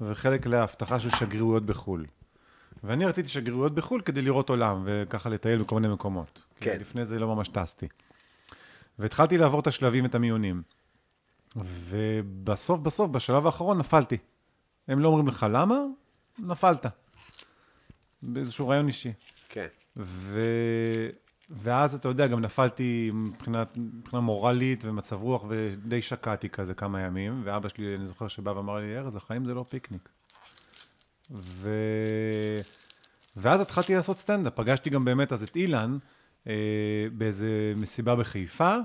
[SPEAKER 3] וחלק לאבטחה של שגרירויות בחו"ל. ואני רציתי שגרירויות בחו"ל כדי לראות עולם, וככה לטייל בכל מיני מקומות.
[SPEAKER 2] כן.
[SPEAKER 3] כי לפני זה לא ממש טסתי. והתחלתי לעבור את השלבים, את המיונים. ובסוף, בסוף, בשלב האחרון נפלתי. הם לא אומרים לך למה, נפלת. באיזשהו רעיון אישי.
[SPEAKER 2] כן.
[SPEAKER 3] ו... ואז, אתה יודע, גם נפלתי מבחינת, מבחינה מורלית ומצב רוח, ודי שקעתי כזה כמה ימים, ואבא שלי, אני זוכר שבא ואמר לי, ארז, החיים זה לא פיקניק. ו... ואז התחלתי לעשות סטנדאפ. פגשתי גם באמת אז את אילן אה, באיזה מסיבה בחיפה,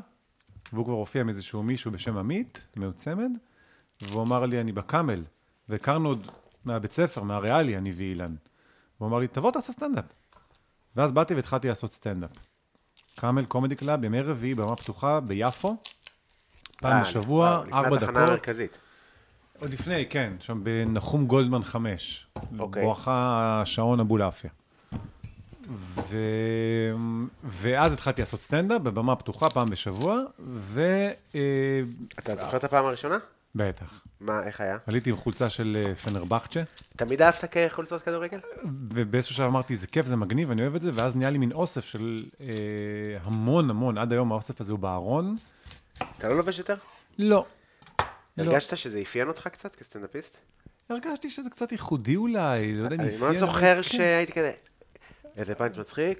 [SPEAKER 3] והוא כבר הופיע עם איזשהו מישהו בשם עמית, מעוצמד, והוא אמר לי, אני בקאמל, והכרנו עוד מהבית ספר, מהריאלי, אני ואילן. והוא אמר לי, תבוא תעשה סטנדאפ. ואז באתי והתחלתי לעשות סטנדאפ. קאמל קומדי קלאב, ימי רביעי, במה פתוחה, ביפו. פעם
[SPEAKER 2] אה,
[SPEAKER 3] בשבוע,
[SPEAKER 2] לפני
[SPEAKER 3] ארבע
[SPEAKER 2] התחנה
[SPEAKER 3] דקות.
[SPEAKER 2] המרכזית.
[SPEAKER 3] עוד לפני, כן, שם בנחום גולדמן 5.
[SPEAKER 2] אוקיי.
[SPEAKER 3] בואכה שעון אבולעפיה. ו... ואז התחלתי לעשות סטנדאפ בבמה פתוחה פעם בשבוע, ו... אה,
[SPEAKER 2] אתה זוכר את הפעם הראשונה?
[SPEAKER 3] בטח.
[SPEAKER 2] מה, איך היה?
[SPEAKER 3] עליתי עם חולצה של אה, פנרבחצ'ה,
[SPEAKER 2] תמיד אהבת כ- חולצות כדורגל?
[SPEAKER 3] ובאיזשהו שלב אמרתי, זה כיף, זה מגניב, אני אוהב את זה, ואז נהיה לי מין אוסף של אה, המון המון, עד היום האוסף הזה הוא בארון.
[SPEAKER 2] אתה לא לובש יותר?
[SPEAKER 3] לא. לא.
[SPEAKER 2] הרגשת שזה אפיין אותך קצת כסטנדאפיסט?
[SPEAKER 3] הרגשתי שזה קצת ייחודי אולי, לא יודע אם
[SPEAKER 2] אני
[SPEAKER 3] אפיין,
[SPEAKER 2] לא
[SPEAKER 3] אבל
[SPEAKER 2] זוכר
[SPEAKER 3] כן.
[SPEAKER 2] שהייתי כזה... איזה פאנץ' מצחיק?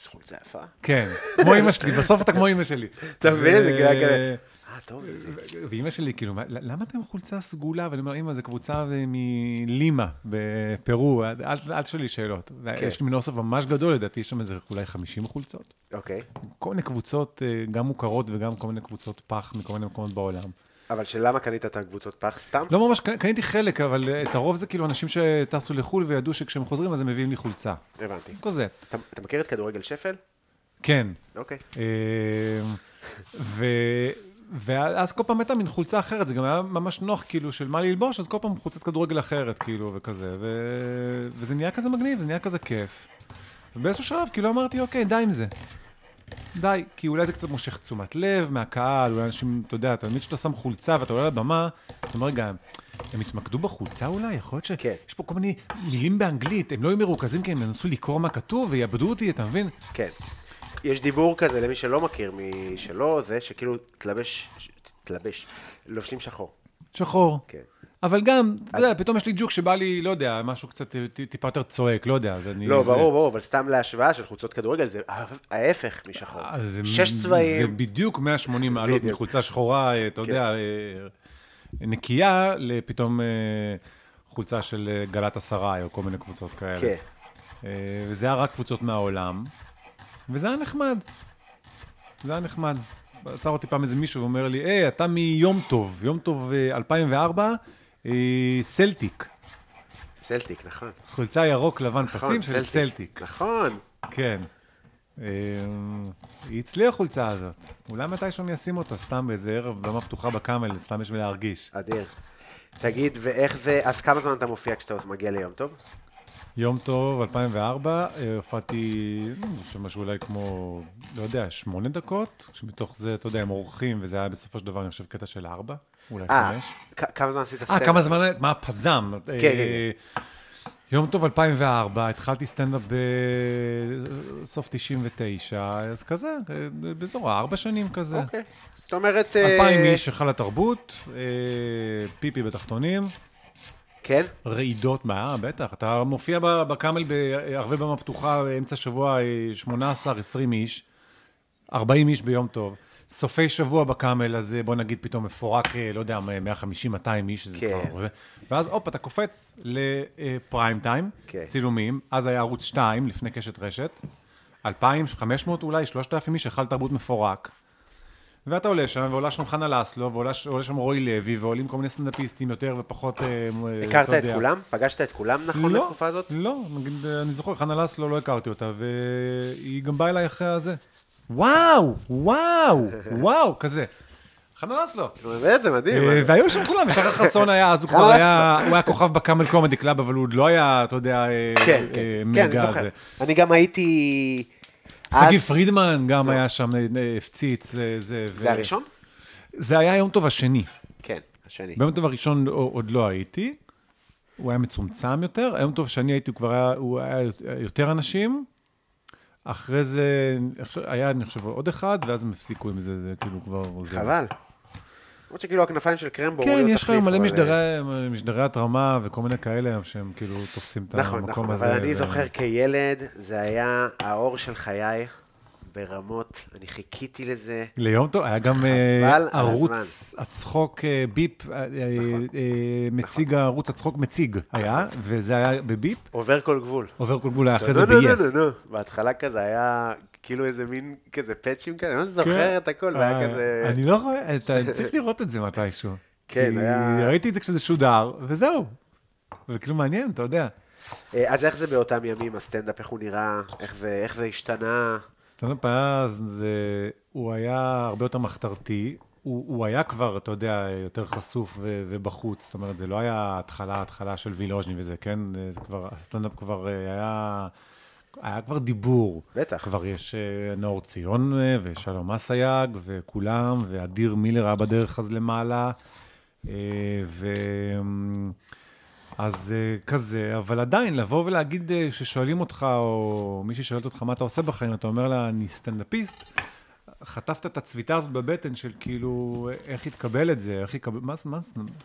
[SPEAKER 2] יש חולצה יפה.
[SPEAKER 3] כן, כמו אימא שלי, בסוף אתה כמו אימא שלי.
[SPEAKER 2] אתה מבין? זה
[SPEAKER 3] ו-
[SPEAKER 2] כאילו כזה. אה, טוב, זה זה.
[SPEAKER 3] ואימא שלי, כאילו, "מה- למה אתם חולצה סגולה? ואני אומר, אימא, זו קבוצה אה, מלימה, בפרו, אל- אל אל תשאלי שאלות.
[SPEAKER 2] כן.
[SPEAKER 3] יש לי מין אוסף ממש גדול, לדעתי, יש שם איזה אולי 50 חולצות.
[SPEAKER 2] אוקיי.
[SPEAKER 3] כל מיני קבוצות, אה, גם מוכרות וגם כל מיני קבוצות פח מכל מיני מקומות בעולם.
[SPEAKER 2] אבל שלמה קנית את הקבוצות פח סתם?
[SPEAKER 3] לא ממש, ק- קניתי חלק, אבל אה, את הרוב זה כאילו אנשים שטסו לחו"ל וידעו שכשהם חוזרים אז הם מביאים לי חולצה.
[SPEAKER 2] הבנתי.
[SPEAKER 3] כזה.
[SPEAKER 2] אתה אתה מכיר את כדורגל שפל?
[SPEAKER 3] כן,
[SPEAKER 2] אוקיי.
[SPEAKER 3] אמ, ו... ואז כל פעם הייתה מין חולצה אחרת, זה גם היה ממש נוח כאילו של מה ללבוש, אז כל פעם חולצת כדורגל אחרת כאילו וכזה, ו... וזה נהיה כזה מגניב, זה נהיה כזה כיף. ובאיזשהו שלב כאילו אמרתי, אוקיי, די עם זה. די, כי אולי זה קצת מושך תשומת לב מהקהל, אולי אנשים, אתה יודע, תמיד כשאתה שם חולצה ואתה עולה לבמה, אתה אומר, רגע, הם התמקדו בחולצה אולי? יכול להיות
[SPEAKER 2] כן.
[SPEAKER 3] שיש פה כל מיני מילים באנגלית, הם לא היו מרוכזים כי הם ינסו לקרוא מה כתוב ויאבדו אותי, אתה מבין?
[SPEAKER 2] כן. יש דיבור כזה למי שלא מכיר, מי שלא, זה שכאילו תלבש, תלבש, לובשים שחור.
[SPEAKER 3] שחור.
[SPEAKER 2] כן.
[SPEAKER 3] אבל גם, אתה יודע, פתאום יש לי ג'וק שבא לי, לא יודע, משהו קצת ט- טיפה יותר צועק, לא יודע, אז אני...
[SPEAKER 2] לא,
[SPEAKER 3] זה-
[SPEAKER 2] ברור, ברור, אבל סתם להשוואה של חולצות כדורגל זה ההפך משחור.
[SPEAKER 3] אז אה, זה-
[SPEAKER 2] שש
[SPEAKER 3] זה
[SPEAKER 2] צבעים,
[SPEAKER 3] בדיוק 180 מעלות
[SPEAKER 2] בדיוק. כן.
[SPEAKER 3] מחולצה שחורה, אה, אתה יודע, אה, נקייה, לפתאום אה, חולצה של אה, גלת עשרה, או כל מיני קבוצות כאלה.
[SPEAKER 2] כן.
[SPEAKER 3] אה, וזה היה רק קבוצות מהעולם, וזה היה נחמד. זה היה נחמד. עצר אותי פעם איזה מישהו ואומר לי, היי, אתה מיום טוב, יום טוב אה, 2004, אה, סלטיק.
[SPEAKER 2] סלטיק, נכון.
[SPEAKER 3] חולצה ירוק לבן
[SPEAKER 2] נכון,
[SPEAKER 3] פסים של סלטיק,
[SPEAKER 2] נכון.
[SPEAKER 3] כן. אמ, היא אצלי החולצה הזאת. אולי מתישהו אני אשים אותה סתם באיזה ערב במה פתוחה בקאמל, סתם בשביל להרגיש.
[SPEAKER 2] אדיר. תגיד, ואיך זה, אז כמה זמן אתה מופיע כשאתה מגיע ליום טוב?
[SPEAKER 3] יום טוב, 2004, אה, הופעתי אה, משהו אולי כמו, לא יודע, שמונה דקות, שמתוך זה, אתה יודע, הם עורכים, וזה היה בסופו של דבר, אני חושב, קטע של ארבע, אולי
[SPEAKER 2] אה,
[SPEAKER 3] חמש.
[SPEAKER 2] כ- כמה זמן עשית
[SPEAKER 3] אה,
[SPEAKER 2] סטנדאפ?
[SPEAKER 3] כמה זמן, מה הפזם? כן,
[SPEAKER 2] כן,
[SPEAKER 3] יום טוב 2004, התחלתי סטנדאפ בסוף 99, אז כזה, אה, באזור הארבע שנים כזה.
[SPEAKER 2] אוקיי. זאת אומרת... אה,
[SPEAKER 3] אלפיים איש, היכל התרבות, אה, פיפי בתחתונים,
[SPEAKER 2] כן?
[SPEAKER 3] רעידות, מה, בטח, אתה מופיע ב- בקאמל בערבי במה פתוחה, אמצע שבוע, אה, 18-20 איש, 40 איש ביום טוב. סופי שבוע בקאמל, אז אה, בוא נגיד פתאום מפורק, אה, לא יודע, 150-200 איש, זה
[SPEAKER 2] כן.
[SPEAKER 3] כבר... אה. ואז הופ, אתה קופץ לפריים טיים,
[SPEAKER 2] כן.
[SPEAKER 3] צילומים, אז היה ערוץ 2 לפני קשת רשת, 2,500 אולי, 3,000 איש, היכל תרבות מפורק. ואתה עולה שם, ועולה שם חנה לסלו, ועולה ש- עולה שם רועי לוי, ועולים כל מיני סטנדאפיסטים יותר ופחות, אה, אה,
[SPEAKER 2] הכרת
[SPEAKER 3] אתה
[SPEAKER 2] את
[SPEAKER 3] יודע.
[SPEAKER 2] כולם? פגשת את כולם נכון
[SPEAKER 3] לא,
[SPEAKER 2] בתקופה הזאת?
[SPEAKER 3] לא, נגיד, אה, אני זוכר, חנה לסלו, לא הכרתי אותה, והיא גם באה אליי אחרי הזה. וואו, וואו, וואו, כזה. חנה לסלו.
[SPEAKER 2] נו, באמת, זה מדהים.
[SPEAKER 3] אה,
[SPEAKER 2] מה זה?
[SPEAKER 3] והיו שם כולם, ושחר חסון היה, אז הוא כבר
[SPEAKER 2] חנה
[SPEAKER 3] היה, הוא היה כוכב בקאמל קומדי קלאב, אבל הוא עוד לא היה, אתה יודע, אה,
[SPEAKER 2] כן,
[SPEAKER 3] אה,
[SPEAKER 2] כן, כן, אני
[SPEAKER 3] מגה
[SPEAKER 2] זוכר.
[SPEAKER 3] הזה.
[SPEAKER 2] אני גם הייתי...
[SPEAKER 3] שגיא
[SPEAKER 2] אז- לא.
[SPEAKER 3] פרידמן גם היה שם, אה, אה, הפציץ, אה, זה. ו-
[SPEAKER 2] זה הראשון?
[SPEAKER 3] זה היה יום טוב השני.
[SPEAKER 2] כן, השני.
[SPEAKER 3] ביום טוב הראשון לא- עוד לא הייתי, הוא היה מצומצם יותר, היום טוב שאני הייתי, הוא כבר היה, הוא היה יותר אנשים, אחרי זה עכשיו, היה, אני חושב, עוד אחד, ואז הם הפסיקו עם זה, זה כאילו כבר... זה-
[SPEAKER 2] חבל. למרות שכאילו הכנפיים של קרמבו...
[SPEAKER 3] כן,
[SPEAKER 2] הוא לא
[SPEAKER 3] יש לך
[SPEAKER 2] תחליף,
[SPEAKER 3] היום מלא
[SPEAKER 2] אבל, אה,
[SPEAKER 3] משדרי, משדרי התרמה וכל מיני כאלה שהם כאילו תופסים את
[SPEAKER 2] נכון,
[SPEAKER 3] המקום
[SPEAKER 2] נכון,
[SPEAKER 3] הזה.
[SPEAKER 2] אבל אני
[SPEAKER 3] ו-
[SPEAKER 2] זוכר כילד, זה היה האור של חיי ברמות, אני חיכיתי לזה.
[SPEAKER 3] ליום טוב, היה גם אה,
[SPEAKER 2] חבל על נכון.
[SPEAKER 3] ערוץ הצחוק אה, ביפ, אה, אה, אה, מציג הערוץ הצחוק מציג היה, וזה היה בביפ,
[SPEAKER 2] עובר כל גבול.
[SPEAKER 3] עובר כל גבול היה אחרי זה
[SPEAKER 2] נו, נו,
[SPEAKER 3] ב-yes.
[SPEAKER 2] נו, נו, נו. בהתחלה כזה היה כאילו איזה מין כזה פאצ'ים כזה, אני ממש
[SPEAKER 3] כן.
[SPEAKER 2] זוכר את הכל, והיה
[SPEAKER 3] אה,
[SPEAKER 2] כזה...
[SPEAKER 3] אני לא רואה, אתה צריך לראות את זה מתישהו.
[SPEAKER 2] כן,
[SPEAKER 3] כי
[SPEAKER 2] היה-
[SPEAKER 3] ראיתי את זה כשזה שודר, וזהו. זה כאילו מעניין, אתה יודע.
[SPEAKER 2] אה, אז איך זה באותם ימים, הסטנדאפ, איך הוא נראה, איך זה- איך זה השתנה?
[SPEAKER 3] סטנדאפ אז זה, הוא היה הרבה יותר מחתרתי. הוא, הוא היה כבר, אתה יודע, יותר חשוף ו, ובחוץ, זאת אומרת, זה לא היה התחלה, התחלה של וילוז'ני וזה, כן? זה כבר, הסטנדאפ כבר אה, היה, היה כבר דיבור.
[SPEAKER 2] בטח.
[SPEAKER 3] כבר יש אה, נאור ציון אה, ושלום אסייג וכולם, ואדיר מילר היה בדרך אז למעלה. אה, ו... אז אה, כזה, אבל עדיין, לבוא ולהגיד אה, ששואלים אותך, או מישהי שואלת אותך מה אתה עושה בחיים, אתה אומר לה, אני סטנדאפיסט, חטפת את הצביטה הזאת בבטן של כאילו, איך יתקבל את זה, איך יקבל, מה, מה,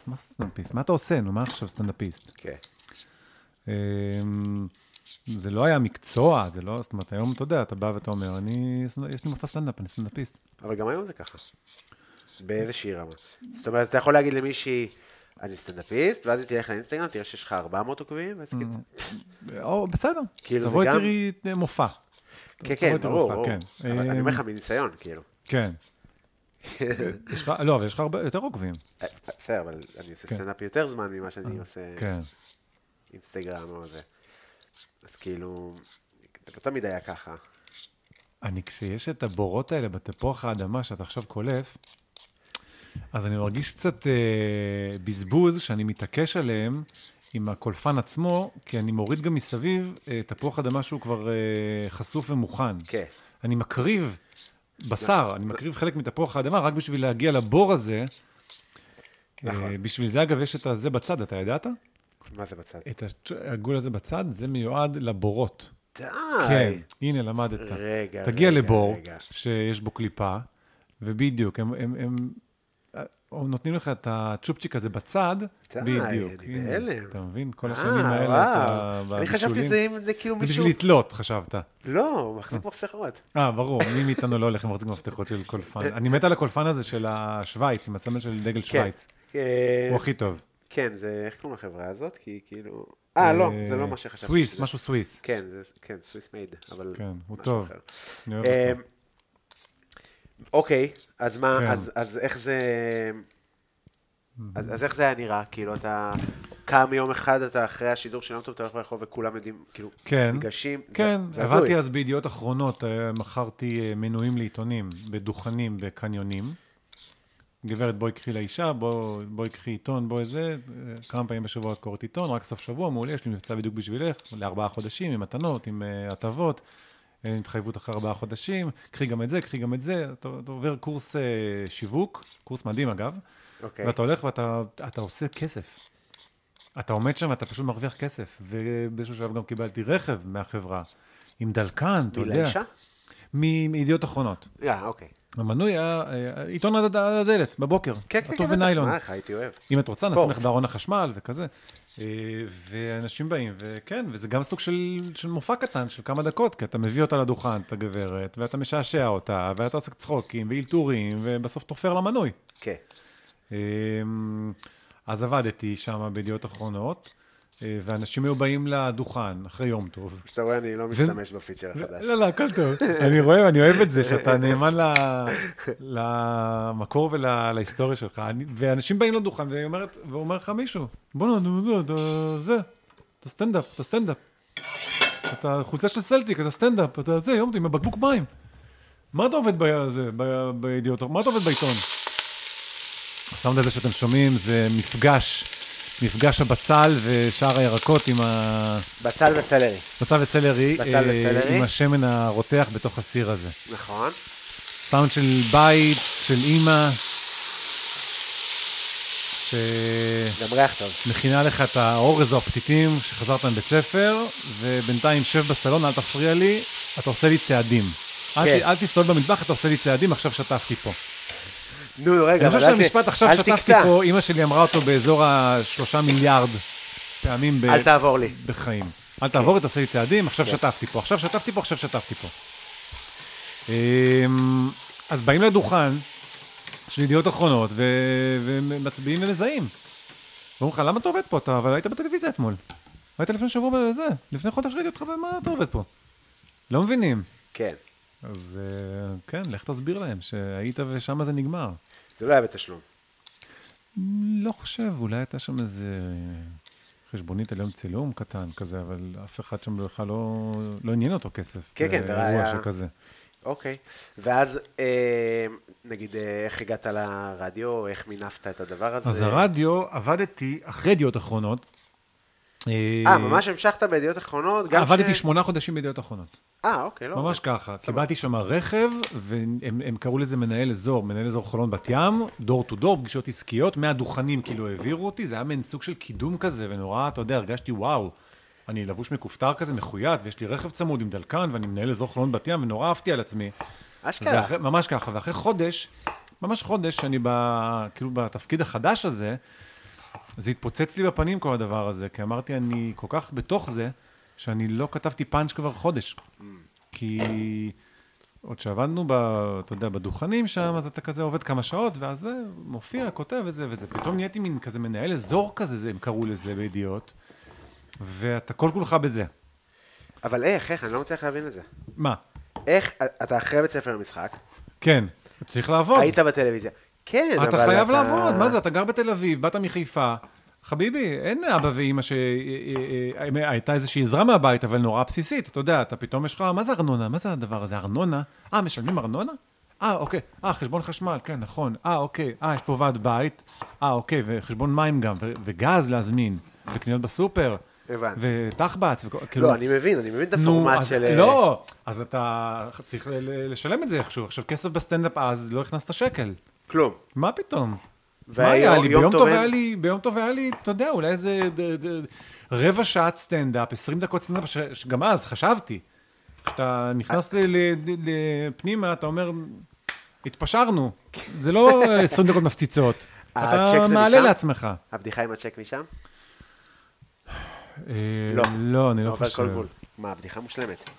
[SPEAKER 3] מה סטנדאפיסט? מה אתה עושה? נו, מה עכשיו סטנדאפיסט?
[SPEAKER 2] כן.
[SPEAKER 3] אמ, זה לא היה מקצוע, זה לא, זאת אומרת, היום אתה יודע, אתה בא ואתה אומר, אני, יש לי מופע סטנדאפ, אני סטנדאפיסט.
[SPEAKER 2] אבל גם היום זה ככה. באיזושהי רמה. זאת אומרת, אתה יכול להגיד למישהי, אני סטנדאפיסט, ואז היא תלך לאינסטגרם, תראה שיש לך 400 עוקבים, ותגיד,
[SPEAKER 3] Mm, או, בסדר,
[SPEAKER 2] כאילו, זה
[SPEAKER 3] תבואי
[SPEAKER 2] גם-
[SPEAKER 3] תראי אה, מופע.
[SPEAKER 2] כן,
[SPEAKER 3] תבואי
[SPEAKER 2] כן,
[SPEAKER 3] תראי
[SPEAKER 2] ברור,
[SPEAKER 3] מופע,
[SPEAKER 2] ברור.
[SPEAKER 3] כן.
[SPEAKER 2] אבל אני
[SPEAKER 3] אמ,
[SPEAKER 2] אומר לך מניסיון, כאילו.
[SPEAKER 3] כן. יש לך, לא, אבל יש לך הרבה יותר עוקבים.
[SPEAKER 2] אה, בסדר, אבל אני עושה סטנדאפ יותר זמן ממה שאני עושה
[SPEAKER 3] כן.
[SPEAKER 2] אינסטגרם או זה. אז כאילו, זה לא תמיד היה ככה.
[SPEAKER 3] אני, כשיש את הבורות האלה בתפוח האדמה שאתה עכשיו קולף, אז אני מרגיש קצת אה, בזבוז שאני מתעקש עליהם עם הקולפן עצמו, כי אני מוריד גם מסביב אה, תפוח אדמה שהוא כבר אה, חשוף ומוכן.
[SPEAKER 2] כן.
[SPEAKER 3] אני מקריב בשר, אני מקריב חלק מתפוח האדמה רק בשביל להגיע לבור הזה.
[SPEAKER 2] נכון.
[SPEAKER 3] אה, בשביל זה, אגב, יש את הזה בצד, אתה ידעת?
[SPEAKER 2] מה זה בצד?
[SPEAKER 3] את הש- העגול הזה בצד, זה מיועד לבורות.
[SPEAKER 2] די.
[SPEAKER 3] כן, הנה, למדת.
[SPEAKER 2] רגע,
[SPEAKER 3] תגיע
[SPEAKER 2] רגע,
[SPEAKER 3] לבור
[SPEAKER 2] רגע.
[SPEAKER 3] שיש בו קליפה, ובדיוק, הם, הם, הם, הם נותנים לך את הצ'ופצ'יק הזה בצד,
[SPEAKER 2] די,
[SPEAKER 3] בדיוק.
[SPEAKER 2] אני
[SPEAKER 3] הנה,
[SPEAKER 2] בהלם.
[SPEAKER 3] אתה מבין? כל
[SPEAKER 2] אה,
[SPEAKER 3] השנים האלה, אתה...
[SPEAKER 2] וואו. אני חשבתי
[SPEAKER 3] בבישולים-
[SPEAKER 2] שזה אם זה כאילו
[SPEAKER 3] זה
[SPEAKER 2] מישהו...
[SPEAKER 3] בשביל לתלות, חשבת.
[SPEAKER 2] לא, הוא מחזיק מפתחות.
[SPEAKER 3] כן. אה, ברור, מי מאיתנו לא הולך עם מחזיק מפתחות של קולפן. אני מת על הקולפן הזה של השוויץ, עם הסמל של דגל
[SPEAKER 2] אה, כן.
[SPEAKER 3] שוויץ.
[SPEAKER 2] אה,
[SPEAKER 3] הוא הכי טוב.
[SPEAKER 2] כן, זה... איך קוראים לחברה הזאת? כי כאילו... אה, לא, זה לא מה שחשבתי.
[SPEAKER 3] סוויס,
[SPEAKER 2] שזה.
[SPEAKER 3] משהו סוויס.
[SPEAKER 2] כן, זה... כן, סוויס מייד, אבל...
[SPEAKER 3] כן, הוא
[SPEAKER 2] משהו
[SPEAKER 3] טוב.
[SPEAKER 2] אחר.
[SPEAKER 3] אני אוהב אותו.
[SPEAKER 2] אמ, אוקיי, אז מה,
[SPEAKER 3] כן.
[SPEAKER 2] אז- אז איך זה...
[SPEAKER 3] Mm-hmm.
[SPEAKER 2] אז אז איך זה היה נראה? כאילו, אתה קם יום אחד, אתה אחרי השידור של יום טוב, אתה הולך ברחוב וכולם יודעים, כאילו,
[SPEAKER 3] כן.
[SPEAKER 2] ניגשים. זה-
[SPEAKER 3] כן,
[SPEAKER 2] זה הזוי.
[SPEAKER 3] עבדתי אז בידיעות אחרונות, אה, מכרתי אה, מנויים לעיתונים, בדוכנים, בקניונים. גברת, בואי קחי לאישה, בוא- בואי קחי עיתון, בואי זה, אה, כמה פעמים בשבוע את קוראת עיתון, רק סוף שבוע, מעולה, יש לי מבצע בדיוק בשבילך, לארבעה חודשים, עם מתנות, עם אה, הטבות, אה, התחייבות אחרי ארבעה חודשים, קחי גם את זה, קחי גם את זה, אתה, אתה עובר קורס אה, שיווק, קורס מדהים אגב,
[SPEAKER 2] אוקיי.
[SPEAKER 3] ואתה הולך ואתה אתה עושה כסף. אתה עומד שם ואתה פשוט מרוויח כסף, ובאיזשהו שלב גם קיבלתי רכב מהחברה, עם דלקן, אתה יודע.
[SPEAKER 2] מלאישה?
[SPEAKER 3] מ- מידיעות אחרונות.
[SPEAKER 2] אה, אוקיי.
[SPEAKER 3] המנוי היה אה, עיתון עד על הדלת, בבוקר.
[SPEAKER 2] כן, כן, כן.
[SPEAKER 3] עטוף
[SPEAKER 2] בטח.
[SPEAKER 3] בניילון.
[SPEAKER 2] מה, איך הייתי אוהב.
[SPEAKER 3] אם את רוצה, נשים
[SPEAKER 2] ספורט.
[SPEAKER 3] לך בארון החשמל וכזה. אה, ואנשים באים, וכן, וזה גם סוג של, של מופע קטן של כמה דקות, כי אתה מביא אותה לדוכן, את הגברת, ואתה משעשע אותה, ואתה עושה צחוקים ואילתורים, ובסוף תופר למנוי.
[SPEAKER 2] כן.
[SPEAKER 3] אה, אז עבדתי שם בידיעות אחרונות, אה, ואנשים היו באים לדוכן אחרי יום טוב,
[SPEAKER 2] שאתה רואה, אני לא משתמש בפיצ'ר החדש.
[SPEAKER 3] לא, לא, הכל טוב. אני רואה, אני אוהב את זה, שאתה נאמן ל- למקור ולהיסטוריה שלך. אני- ואנשים באים לדוכן והיא אומרת- ואומר לך מישהו, בוא'נה, נו, נו, אתה זה, אתה סטנדאפ, אתה סטנדאפ. אתה חולצה של סלטיק, אתה סטנדאפ, אתה זה, יום טוב, עם הבקבוק מים. מה אתה עובד בזה, ב- בידיעות, מה אתה עובד בעיתון? הסאונד הזה שאתם שומעים זה מפגש, מפגש הבצל ושאר הירקות עם ה...
[SPEAKER 2] בצל וסלרי.
[SPEAKER 3] בצל וסלרי,
[SPEAKER 2] בצל
[SPEAKER 3] אה,
[SPEAKER 2] וסלרי.
[SPEAKER 3] עם השמן הרותח בתוך הסיר הזה.
[SPEAKER 2] נכון.
[SPEAKER 3] סאונד של בית, של אימא,
[SPEAKER 2] גם ריח טוב.
[SPEAKER 3] שמכינה לך את האורז או הפתיתים שחזרת מבית ספר, ובינתיים שב בסלון, אל תפריע לי, אתה עושה לי צעדים. אל,
[SPEAKER 2] כן.
[SPEAKER 3] ת- אל תסתובב במטבח, אתה עושה לי צעדים, עכשיו שטפתי פה.
[SPEAKER 2] נו, רגע,
[SPEAKER 3] אני חושב
[SPEAKER 2] אבל אל ת-
[SPEAKER 3] שהמשפט עכשיו
[SPEAKER 2] אל
[SPEAKER 3] שטפתי
[SPEAKER 2] תקטע.
[SPEAKER 3] פה, אימא שלי אמרה אותו באזור השלושה מיליארד פעמים ב-
[SPEAKER 2] אל תעבור לי.
[SPEAKER 3] בחיים. אל תעבור, תעשה לי צעדים, עכשיו שטפתי פה, עכשיו שטפתי פה, עכשיו שטפתי פה. אמ, אז באים לדוכן של ידיעות אחרונות ו- ומצביעים ומזהים. ואומרים לך, למה אתה עובד פה? אתה אבל היית בטלוויזיה אתמול. היית לפני שבוע בזה, לפני חודש ראיתי אותך, במה אתה עובד פה? לא מבינים.
[SPEAKER 2] כן.
[SPEAKER 3] אז אה, כן, לך תסביר להם שהיית ושם זה נגמר.
[SPEAKER 2] זה לא היה בתשלום.
[SPEAKER 3] לא חושב, אולי הייתה שם איזה חשבונית על יום צילום קטן כזה, אבל אף אחד שם בכלל לא, לא עניין אותו כסף.
[SPEAKER 2] כן, כן,
[SPEAKER 3] באירוע
[SPEAKER 2] היה-
[SPEAKER 3] שכזה.
[SPEAKER 2] אוקיי. ואז, אה, נגיד, אה, איך הגעת לרדיו, איך מינפת את הדבר הזה?
[SPEAKER 3] אז הרדיו, עבדתי אחרי ידיעות אחרונות. אה,
[SPEAKER 2] אה, ממש המשכת בידיעות אחרונות? גם
[SPEAKER 3] עבדתי
[SPEAKER 2] ש-
[SPEAKER 3] שמונה חודשים בידיעות אחרונות.
[SPEAKER 2] אה, אוקיי, לא.
[SPEAKER 3] ממש ככה. קיבלתי שם רכב, והם הם קראו לזה מנהל אזור, מנהל אזור חולון בת ים, דור טו דור, פגישות עסקיות, מהדוכנים כאילו העבירו אותי, זה היה מעין סוג של קידום כזה, ונורא, אתה יודע, הרגשתי וואו. אני לבוש מכופתר כזה, מחויית, ויש לי רכב צמוד עם דלקן, ואני מנהל אזור חולון בת ים, ונורא אהבתי על עצמי.
[SPEAKER 2] אשכרה.
[SPEAKER 3] ואחרי- ממש ככה, ואחרי חודש, ממש חודש שאני ב... כאילו בתפקיד החדש הזה, זה התפוצץ לי בפנים כל הדבר הזה, כי אמרתי, אני כל כך בתוך זה, שאני לא כתבתי פאנץ' כבר חודש. כי עוד שעבדנו, ב, אתה יודע, בדוכנים שם, אז אתה כזה עובד כמה שעות, ואז זה מופיע, כותב את זה וזה. פתאום נהייתי מין כזה מנהל אזור כזה, זה, הם קראו לזה בידיעות, ואתה כל כולך בזה.
[SPEAKER 2] אבל איך, איך, אני לא מצליח להבין את זה.
[SPEAKER 3] מה?
[SPEAKER 2] איך, אתה אחרי בית ספר למשחק,
[SPEAKER 3] כן, צריך לעבוד.
[SPEAKER 2] היית בטלוויזיה. כן, אבל
[SPEAKER 3] אתה חייב לעבוד, מה זה, אתה גר בתל אביב, באת מחיפה. חביבי, אין אבא ואימא ש... אה, אה, אה, הייתה איזושהי עזרה מהבית, אבל נורא בסיסית, אתה יודע, אתה פתאום יש לך, מה זה ארנונה? מה זה הדבר הזה? ארנונה? אה, משלמים ארנונה? אה, אוקיי. אה, חשבון חשמל, כן, נכון. אה, אוקיי. אה, יש פה ועד בית. אה, אוקיי, וחשבון מים גם, ו- וגז להזמין, וקניות בסופר.
[SPEAKER 2] הבנתי.
[SPEAKER 3] ותחבץ, וכאילו...
[SPEAKER 2] לא, אני מבין, אני מבין את הפורמט
[SPEAKER 3] אז,
[SPEAKER 2] של... אה,
[SPEAKER 3] לא, אז אתה צריך ל- ל- לשלם את זה איכשהו. עכשיו, כסף בסטנדאפ אז לא הכנסת שקל.
[SPEAKER 2] כלום.
[SPEAKER 3] מה פתאום?
[SPEAKER 2] והיה
[SPEAKER 3] מה היה
[SPEAKER 2] יום-
[SPEAKER 3] לי?
[SPEAKER 2] יום
[SPEAKER 3] ביום טוב
[SPEAKER 2] טוב
[SPEAKER 3] היה
[SPEAKER 2] אין?
[SPEAKER 3] לי, ביום טוב היה לי, אתה יודע, אולי איזה ד- ד- רבע שעת סטנדאפ, 20 דקות סטנדאפ, ש- שגם אז חשבתי. כשאתה נכנס
[SPEAKER 2] אה.
[SPEAKER 3] ל- ל- ל- לפנימה, אתה אומר, התפשרנו. זה לא 20 דקות מפציצות.
[SPEAKER 2] אה, הצ'ק
[SPEAKER 3] אתה
[SPEAKER 2] זה
[SPEAKER 3] מעלה
[SPEAKER 2] משם?
[SPEAKER 3] לעצמך.
[SPEAKER 2] הבדיחה עם הצ'ק משם?
[SPEAKER 3] אה,
[SPEAKER 2] לא.
[SPEAKER 3] לא, אני
[SPEAKER 2] אתה
[SPEAKER 3] לא
[SPEAKER 2] עובר כל
[SPEAKER 3] חושב.
[SPEAKER 2] גבול. מה, הבדיחה מושלמת.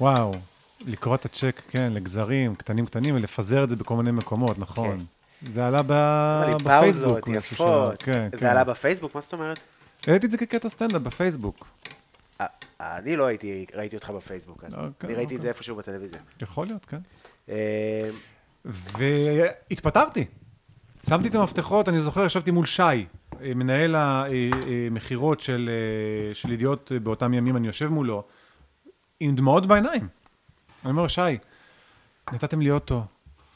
[SPEAKER 3] וואו, לקרוא את הצ'ק, כן, לגזרים, קטנים קטנים, ולפזר את זה בכל מיני מקומות, נכון. זה עלה ב-
[SPEAKER 2] כן. אבל עם
[SPEAKER 3] בפייסבוק.
[SPEAKER 2] פאוזות
[SPEAKER 3] מישהו שלח,
[SPEAKER 2] יפות.
[SPEAKER 3] כן, כן.
[SPEAKER 2] זה עלה בפייסבוק, מה זאת אומרת?
[SPEAKER 3] העליתי את זה כקטע סטנדאפ בפייסבוק.
[SPEAKER 2] אה, אני לא הייתי, ראיתי אותך בפייסבוק. אני
[SPEAKER 3] אוקיי,
[SPEAKER 2] אני ראיתי
[SPEAKER 3] אוקיי.
[SPEAKER 2] את זה איפשהו בטלוויזיה.
[SPEAKER 3] יכול להיות, כן.
[SPEAKER 2] אה,
[SPEAKER 3] והתפטרתי. שמתי את המפתחות, אני זוכר, ישבתי מול שי, אה, מנהל המכירות של, אה, של ידיעות אה, באותם ימים, אני יושב מולו, עם דמעות בעיניים. אני אומר, שי, נתתם לי אוטו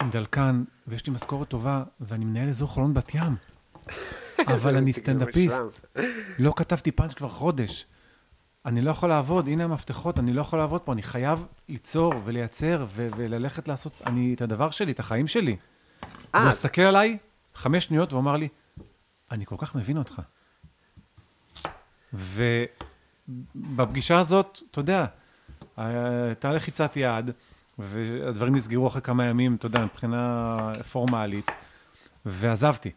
[SPEAKER 3] עם דלקן ויש לי משכורת טובה, ואני מנהל אזור חולון בת ים. אבל אני
[SPEAKER 2] זה
[SPEAKER 3] סטנדאפיסט,
[SPEAKER 2] כאילו משלם.
[SPEAKER 3] לא כתבתי פאנץ' כבר חודש. אני לא יכול לעבוד, הנה המפתחות, אני לא יכול לעבוד פה, אני חייב ליצור ולייצר ו- וללכת לעשות אני, את הדבר שלי, את החיים שלי.
[SPEAKER 2] אה,
[SPEAKER 3] הוא הסתכל עליי חמש שניות והוא אמר לי, אני כל כך מבין אותך. ובפגישה הזאת, אתה יודע, אה, הייתה לחיצת יד, והדברים נסגרו אחרי כמה ימים, אתה יודע, מבחינה פורמלית, ועזבתי.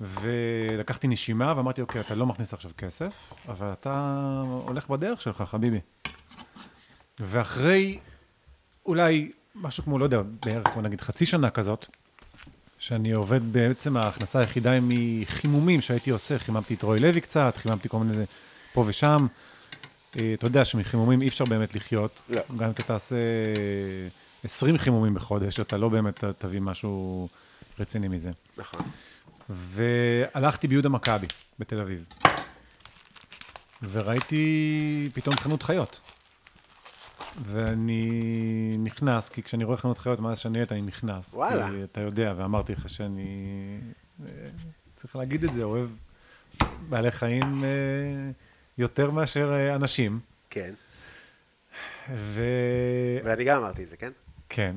[SPEAKER 3] ולקחתי נשימה ואמרתי, אוקיי, אתה לא מכניס עכשיו כסף, אבל אתה הולך בדרך שלך, חביבי. ואחרי אולי משהו כמו, לא יודע, בערך, בוא נגיד חצי שנה כזאת, שאני עובד בעצם, ההכנסה היחידה היא מחימומים שהייתי עושה, חיממתי את רוי לוי קצת, חיממתי כל מיני פה ושם. אה, אתה יודע שמחימומים אי אפשר באמת לחיות.
[SPEAKER 2] לא.
[SPEAKER 3] גם אם אתה תעשה 20 חימומים בחודש, אתה לא באמת ת- תביא משהו רציני מזה.
[SPEAKER 2] נכון.
[SPEAKER 3] והלכתי ביהודה מכבי בתל אביב, וראיתי פתאום חנות חיות. ואני נכנס, כי כשאני רואה חנות חיות מאז שאני עת, אני נכנס.
[SPEAKER 2] וואלה.
[SPEAKER 3] כי אתה יודע, ואמרתי לך שאני... אה, צריך להגיד את זה, אוהב בעלי חיים אה, יותר מאשר אה, אנשים.
[SPEAKER 2] כן.
[SPEAKER 3] ו...
[SPEAKER 2] ואני גם אמרתי את זה, כן?
[SPEAKER 3] כן,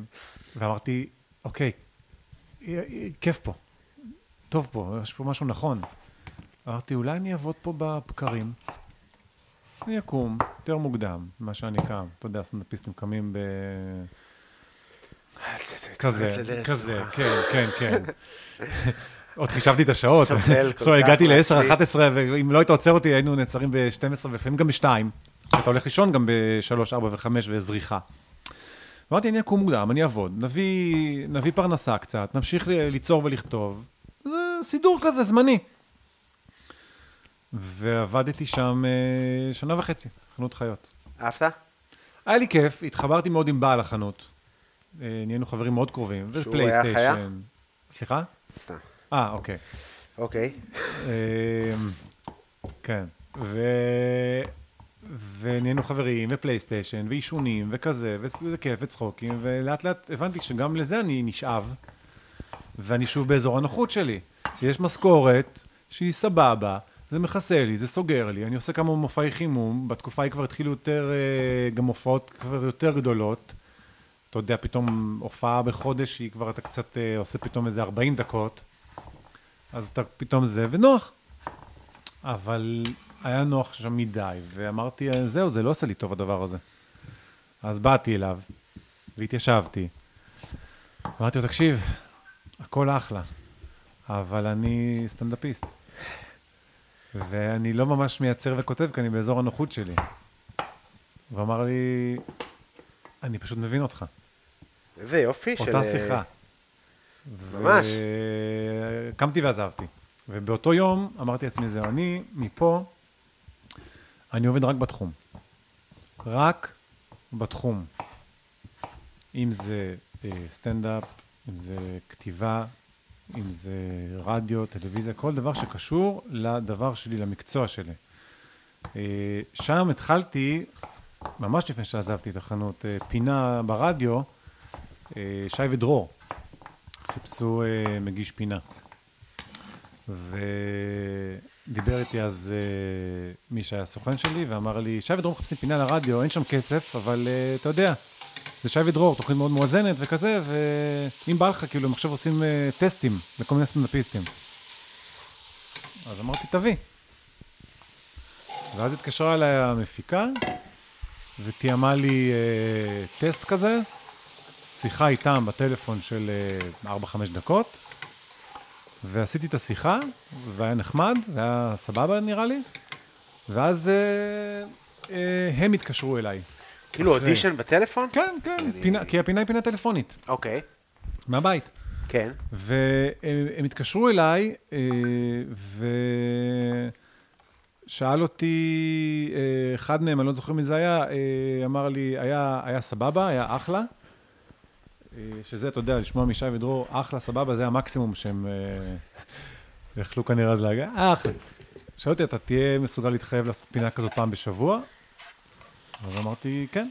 [SPEAKER 3] ואמרתי, אוקיי, אה, אה, כיף פה, טוב פה, יש פה משהו נכון. אמרתי, אולי אני אעבוד פה בבקרים, אני אקום יותר מוקדם ממה שאני קם. אתה יודע, סטנדאפיסטים קמים ב...
[SPEAKER 2] אה,
[SPEAKER 3] כזה, כזה, כן, כן, כן. עוד חישבתי את השעות.
[SPEAKER 2] סבל כל
[SPEAKER 3] זאת אומרת,
[SPEAKER 2] כך
[SPEAKER 3] הגעתי ל-10,
[SPEAKER 2] מעצבן.
[SPEAKER 3] 11, ואם לא היית עוצר אותי, היינו נעצרים ב-12 ולפעמים גם ב-2. אתה הולך לישון גם ב-3, 4 ו-5 וזריחה. אמרתי, אני אקום מוקדם, אני אעבוד, נביא, נביא פרנסה קצת, נמשיך ל- ליצור ולכתוב. זה סידור כזה, זמני. ועבדתי שם אה, שנה וחצי, חנות חיות.
[SPEAKER 2] אהבת?
[SPEAKER 3] היה לי כיף, התחברתי מאוד עם בעל החנות. אה, נהיינו חברים מאוד קרובים.
[SPEAKER 2] שהוא
[SPEAKER 3] ופלייסטיישן.
[SPEAKER 2] היה חיה?
[SPEAKER 3] סליחה?
[SPEAKER 2] סתם.
[SPEAKER 3] אה, אוקיי.
[SPEAKER 2] אוקיי.
[SPEAKER 3] אמ, כן. ו... ונהיינו חברים, ופלייסטיישן, ועישונים, וכזה, וזה כיף, וצחוקים, ולאט לאט הבנתי שגם לזה אני נשאב, ואני שוב באזור הנוחות שלי. יש משכורת שהיא סבבה, זה מכסה לי, זה סוגר לי, אני עושה כמה מופעי חימום, בתקופה ההיא כבר התחילו יותר, אה, גם הופעות כבר יותר גדולות. אתה יודע, פתאום הופעה בחודש, היא כבר אתה קצת אה, עושה פתאום איזה 40 דקות. אז אתה פתאום זה, ונוח. אבל היה נוח שם מדי, ואמרתי, זהו, זה לא עושה לי טוב הדבר הזה. אז באתי אליו, והתיישבתי. אמרתי לו, תקשיב, הכל אחלה, אבל אני סטנדאפיסט. ואני לא ממש מייצר וכותב, כי אני באזור הנוחות שלי. הוא אמר לי, אני פשוט מבין אותך.
[SPEAKER 2] איזה יופי של... אה,
[SPEAKER 3] אותה שיחה.
[SPEAKER 2] ממש.
[SPEAKER 3] קמתי ועזבתי. ובאותו יום אמרתי לעצמי, זהו, אני מפה, אני עובד רק בתחום. רק בתחום. אם זה אה, סטנדאפ, אם זה כתיבה, אם זה רדיו, טלוויזיה, כל דבר שקשור לדבר שלי, למקצוע שלי. אה, שם התחלתי, ממש לפני שעזבתי את החנות, אה, פינה ברדיו, אה, שי ודרור. חיפשו אה, מגיש פינה. ודיבר איתי אז אה, מי שהיה סוכן שלי, ואמר לי, שי ודרור מחפשים פינה לרדיו, אין שם כסף, אבל אה, אתה יודע, זה שי ודרור, תוכנית מאוד מואזנת וכזה, ואם בא לך, כאילו, הם עכשיו עושים אה, טסטים לכל מיני סטנדאפיסטים. אז אמרתי, תביא. ואז התקשרה אליי המפיקה, ותיאמה לי אה, טסט כזה, שיחה איתם בטלפון של אה, 4-5 דקות, ועשיתי את השיחה, והיה נחמד, והיה סבבה נראה לי, ואז אה, אה, הם התקשרו אליי.
[SPEAKER 2] כאילו
[SPEAKER 3] אחרי.
[SPEAKER 2] אודישן בטלפון?
[SPEAKER 3] כן, כן,
[SPEAKER 2] אני-
[SPEAKER 3] פינה, כי הפינה היא פינה טלפונית,
[SPEAKER 2] אוקיי.
[SPEAKER 3] מהבית.
[SPEAKER 2] כן.
[SPEAKER 3] והם הם התקשרו אליי, אה, ושאל אותי, אה, אחד מהם, אני לא זוכר מי זה היה, אה, אמר לי, היה, היה סבבה, היה אחלה. אה, שזה, אתה יודע, לשמוע משי ודרור, אחלה, סבבה, זה המקסימום שהם אה, יכלו כנראה אז להגיד, "אה, אחלה. שאל אותי, אתה תהיה מסוגל להתחייב לעשות פינה כזאת פעם בשבוע? אז אמרתי, כן.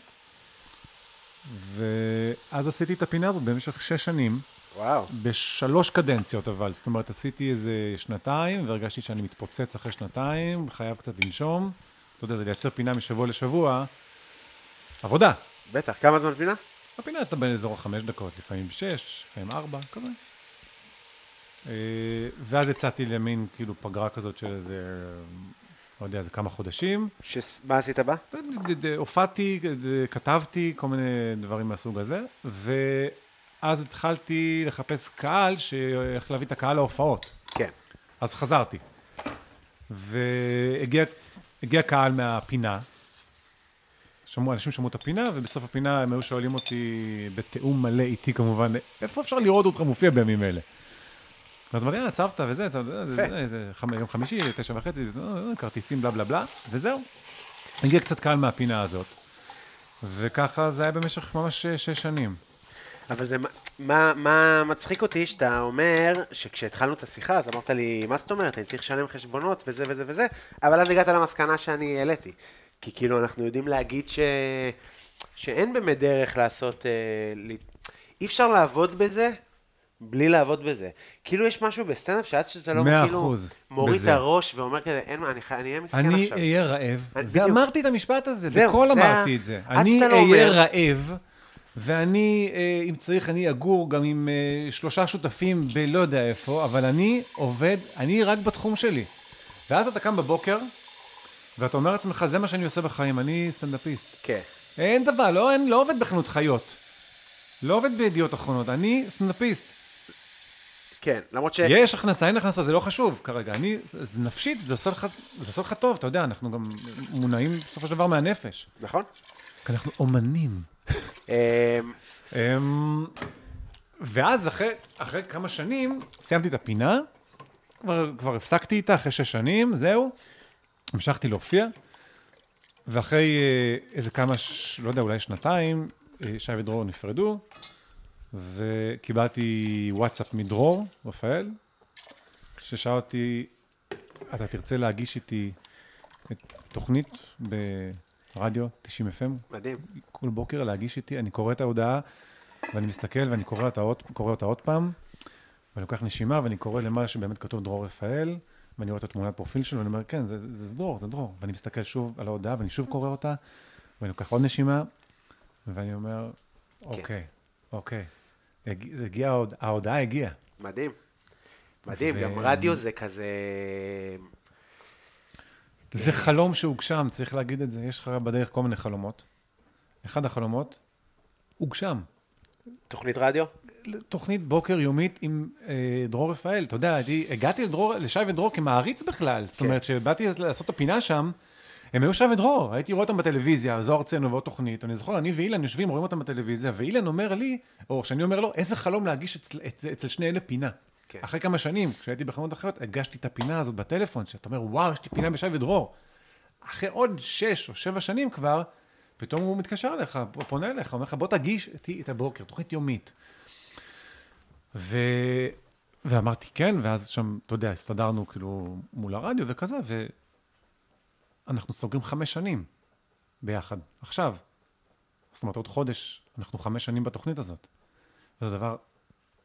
[SPEAKER 3] ואז עשיתי את הפינה הזאת במשך שש שנים.
[SPEAKER 2] וואו.
[SPEAKER 3] בשלוש קדנציות אבל, זאת אומרת, עשיתי איזה שנתיים, והרגשתי שאני מתפוצץ אחרי שנתיים, חייב קצת לנשום. אתה יודע, זה לייצר פינה משבוע לשבוע. עבודה.
[SPEAKER 2] בטח, כמה זמן פינה?
[SPEAKER 3] בפינה אתה באזור החמש דקות, לפעמים שש, לפעמים ארבע, כזה. אה, ואז יצאתי למין כאילו פגרה כזאת של איזה, לא יודע, איזה כמה חודשים.
[SPEAKER 2] שס- מה עשית בה?
[SPEAKER 3] ד- ד- ד- הופעתי, ד- כתבתי, כל מיני דברים מהסוג הזה, ואז התחלתי לחפש קהל, שאיך להביא את הקהל להופעות.
[SPEAKER 2] כן.
[SPEAKER 3] אז חזרתי. והגיע הגיע קהל מהפינה, שמעו, אנשים שמעו את הפינה, ובסוף הפינה הם היו שואלים אותי, בתיאום מלא איתי כמובן, איפה אפשר לראות אותך מופיע בימים אלה? אז אמרתי, יאללה, צבת וזה, צבת, זה, זה,
[SPEAKER 2] יפה.
[SPEAKER 3] זה, זה, חמ- יום חמישי, תשע וחצי, זה, אה, אה, כרטיסים, בלה בלה בלה, וזהו. הגיע קצת קהל מהפינה הזאת, וככה זה היה במשך ממש אה, שש שש שנים.
[SPEAKER 2] אבל זה, מה- מה, מה מצחיק אותי שאתה אומר שכשהתחלנו את השיחה אז אמרת לי מה זאת אומרת אני צריך לשלם חשבונות וזה וזה וזה אבל אז הגעת למסקנה שאני העליתי כי כאילו אנחנו יודעים להגיד ש... שאין באמת דרך לעשות אה, ל... אי אפשר לעבוד בזה בלי לעבוד בזה כאילו יש משהו בסטנדאפ שעד שאתה לא
[SPEAKER 3] מאה
[SPEAKER 2] כאילו
[SPEAKER 3] אחוז
[SPEAKER 2] מוריד
[SPEAKER 3] בזה.
[SPEAKER 2] את הראש ואומר כזה אין מה אני, חי- אני אהיה מסכן
[SPEAKER 3] אני
[SPEAKER 2] כן,
[SPEAKER 3] אה,
[SPEAKER 2] עכשיו
[SPEAKER 3] אהיה רעב.
[SPEAKER 2] אני-
[SPEAKER 3] זה
[SPEAKER 2] בדיוק.
[SPEAKER 3] אמרתי את המשפט הזה,
[SPEAKER 2] זהו,
[SPEAKER 3] לכל
[SPEAKER 2] זה
[SPEAKER 3] אמרתי
[SPEAKER 2] ה-
[SPEAKER 3] את זה.
[SPEAKER 2] עד
[SPEAKER 3] אני
[SPEAKER 2] שאתה לא
[SPEAKER 3] אהיה
[SPEAKER 2] אומר.
[SPEAKER 3] רעב, ואני, אה, אם צריך, אני אגור גם עם אה, שלושה שותפים בלא יודע איפה, אבל אני עובד, אני רק בתחום שלי. ואז אתה קם בבוקר, ואתה אומר לעצמך, זה מה שאני עושה בחיים, אני סטנדאפיסט.
[SPEAKER 2] כן.
[SPEAKER 3] אין דבר, לא, אין, לא עובד בחנות חיות. לא עובד בידיעות אחרונות, אני סטנדאפיסט.
[SPEAKER 2] כן למרות ש...
[SPEAKER 3] יש הכנסה, אין הכנסה, זה לא חשוב כרגע. אני, זה נפשית, זה עושה לך, זה עושה לך טוב, אתה יודע, אנחנו גם מונעים בסופו של דבר מהנפש.
[SPEAKER 2] נכון?
[SPEAKER 3] כי אנחנו אומנים.
[SPEAKER 2] אה,
[SPEAKER 3] אמ, ואז אחרי, אחרי כמה שנים, סיימתי את הפינה, כבר, כבר הפסקתי איתה אחרי שש שנים, זהו. המשכתי להופיע, ואחרי אה, איזה כמה, ש... לא יודע, אולי שנתיים, אה, שי ודרור נפרדו, וקיבלתי וואטסאפ מדרור, רפאל, ששאל אותי, אתה תרצה להגיש איתי את תוכנית ברדיו 90 FM,
[SPEAKER 2] מדהים.
[SPEAKER 3] כל בוקר להגיש איתי, אני קורא את ההודעה, ואני מסתכל ואני קורא אותה עוד, קורא אותה עוד פעם, ואני לוקח נשימה ואני קורא למה שבאמת כתוב דרור רפאל, ואני רואה את התמונת פרופיל שלו, ואני אומר, כן, זה, זה, זה דרור, זה דרור. ואני מסתכל שוב על ההודעה, ואני שוב קורא אותה, ואני לוקח עוד נשימה, ואני אומר, אוקיי, אוקיי. הגיע, הגיע ההוד- ההודעה הגיעה.
[SPEAKER 2] מדהים. מדהים,
[SPEAKER 3] ו-
[SPEAKER 2] גם רדיו זה כזה...
[SPEAKER 3] זה חלום שהוגשם, צריך להגיד את זה. יש לך בדרך כל מיני חלומות. אחד החלומות, הוגשם.
[SPEAKER 2] תוכנית רדיו?
[SPEAKER 3] תוכנית בוקר יומית עם אה, דרור רפאל. אתה יודע, אני הגעתי לדרור, לשי ודרור כמעריץ בכלל. זאת
[SPEAKER 2] כן.
[SPEAKER 3] אומרת, כשבאתי לעשות את הפינה שם, הם היו שי ודרור, הייתי רואה אותם בטלוויזיה, זוהר צנו ועוד תוכנית. אני זוכר, אני ואילן יושבים, רואים אותם בטלוויזיה, ואילן אומר לי, או שאני אומר לו, איזה חלום להגיש אצל, אצל, אצל שני אלה פינה.
[SPEAKER 2] כן.
[SPEAKER 3] אחרי כמה שנים, כשהייתי בחנות אחרת, הגשתי את הפינה הזאת בטלפון, שאתה אומר, וואו, יש לי פינה בשי ודרור. אחרי עוד שש או שבע שנים כבר, פתאום הוא מתקשר אליך, פונה אליך, אומר לך, בוא תגיש איתי את הבוקר, תוכנית יומית. ו... ואמרתי כן, ואז שם, אתה יודע, הסתדרנו כאילו מול הרדיו וכזה, ואנחנו סוגרים חמש שנים ביחד, עכשיו. זאת אומרת, עוד חודש, אנחנו חמש שנים בתוכנית הזאת. זה הדבר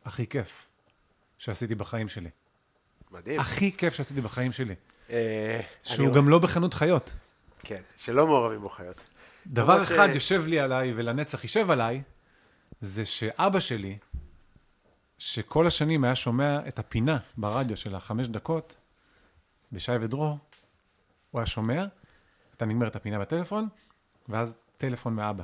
[SPEAKER 3] הכי כיף שעשיתי בחיים שלי.
[SPEAKER 2] מדהים.
[SPEAKER 3] הכי כיף שעשיתי בחיים שלי.
[SPEAKER 2] אה,
[SPEAKER 3] שהוא
[SPEAKER 2] אני-
[SPEAKER 3] גם לא בחנות חיות.
[SPEAKER 2] כן, שלא מעורבים בו חיות.
[SPEAKER 3] דבר
[SPEAKER 2] למרות ש-
[SPEAKER 3] אחד יושב לי עליי ולנצח יישב עליי, זה שאבא שלי, שכל השנים היה שומע את הפינה ברדיו של החמש דקות, בשי ודרור, הוא היה שומע, אתה נגמר את הפינה בטלפון, ואז טלפון מאבא.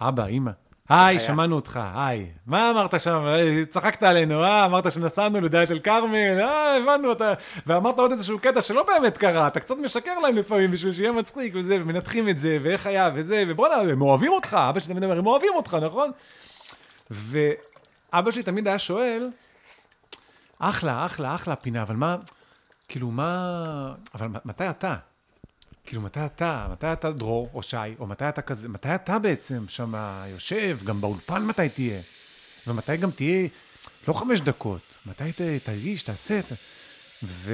[SPEAKER 3] אבא, אימא. היי,
[SPEAKER 2] היה?
[SPEAKER 3] שמענו אותך, היי. מה אמרת שם? אה, צחקת עלינו, אה? אמרת שנסענו לדאלית אל כרמל, אה, הבנו אותה. ואמרת עוד איזשהו קטע שלא באמת קרה, אתה קצת משקר להם לפעמים בשביל שיהיה מצחיק וזה, ומנתחים את זה, ואיך היה, וזה, ובואנה, הם אוהבים אותך, אבא שלי תמיד אומר, הם אוהבים אותך, נכון? ואבא שלי תמיד היה שואל, אחלה, אחלה, אחלה פינה, אבל מה, כאילו מה, אבל מ- מתי אתה? כאילו, מתי אתה, מתי אתה דרור או שי, או מתי אתה כזה, מתי אתה בעצם שם יושב, גם באולפן מתי תהיה, ומתי גם תהיה, לא חמש דקות, מתי ת, תרגיש, תעשה, ת... ו...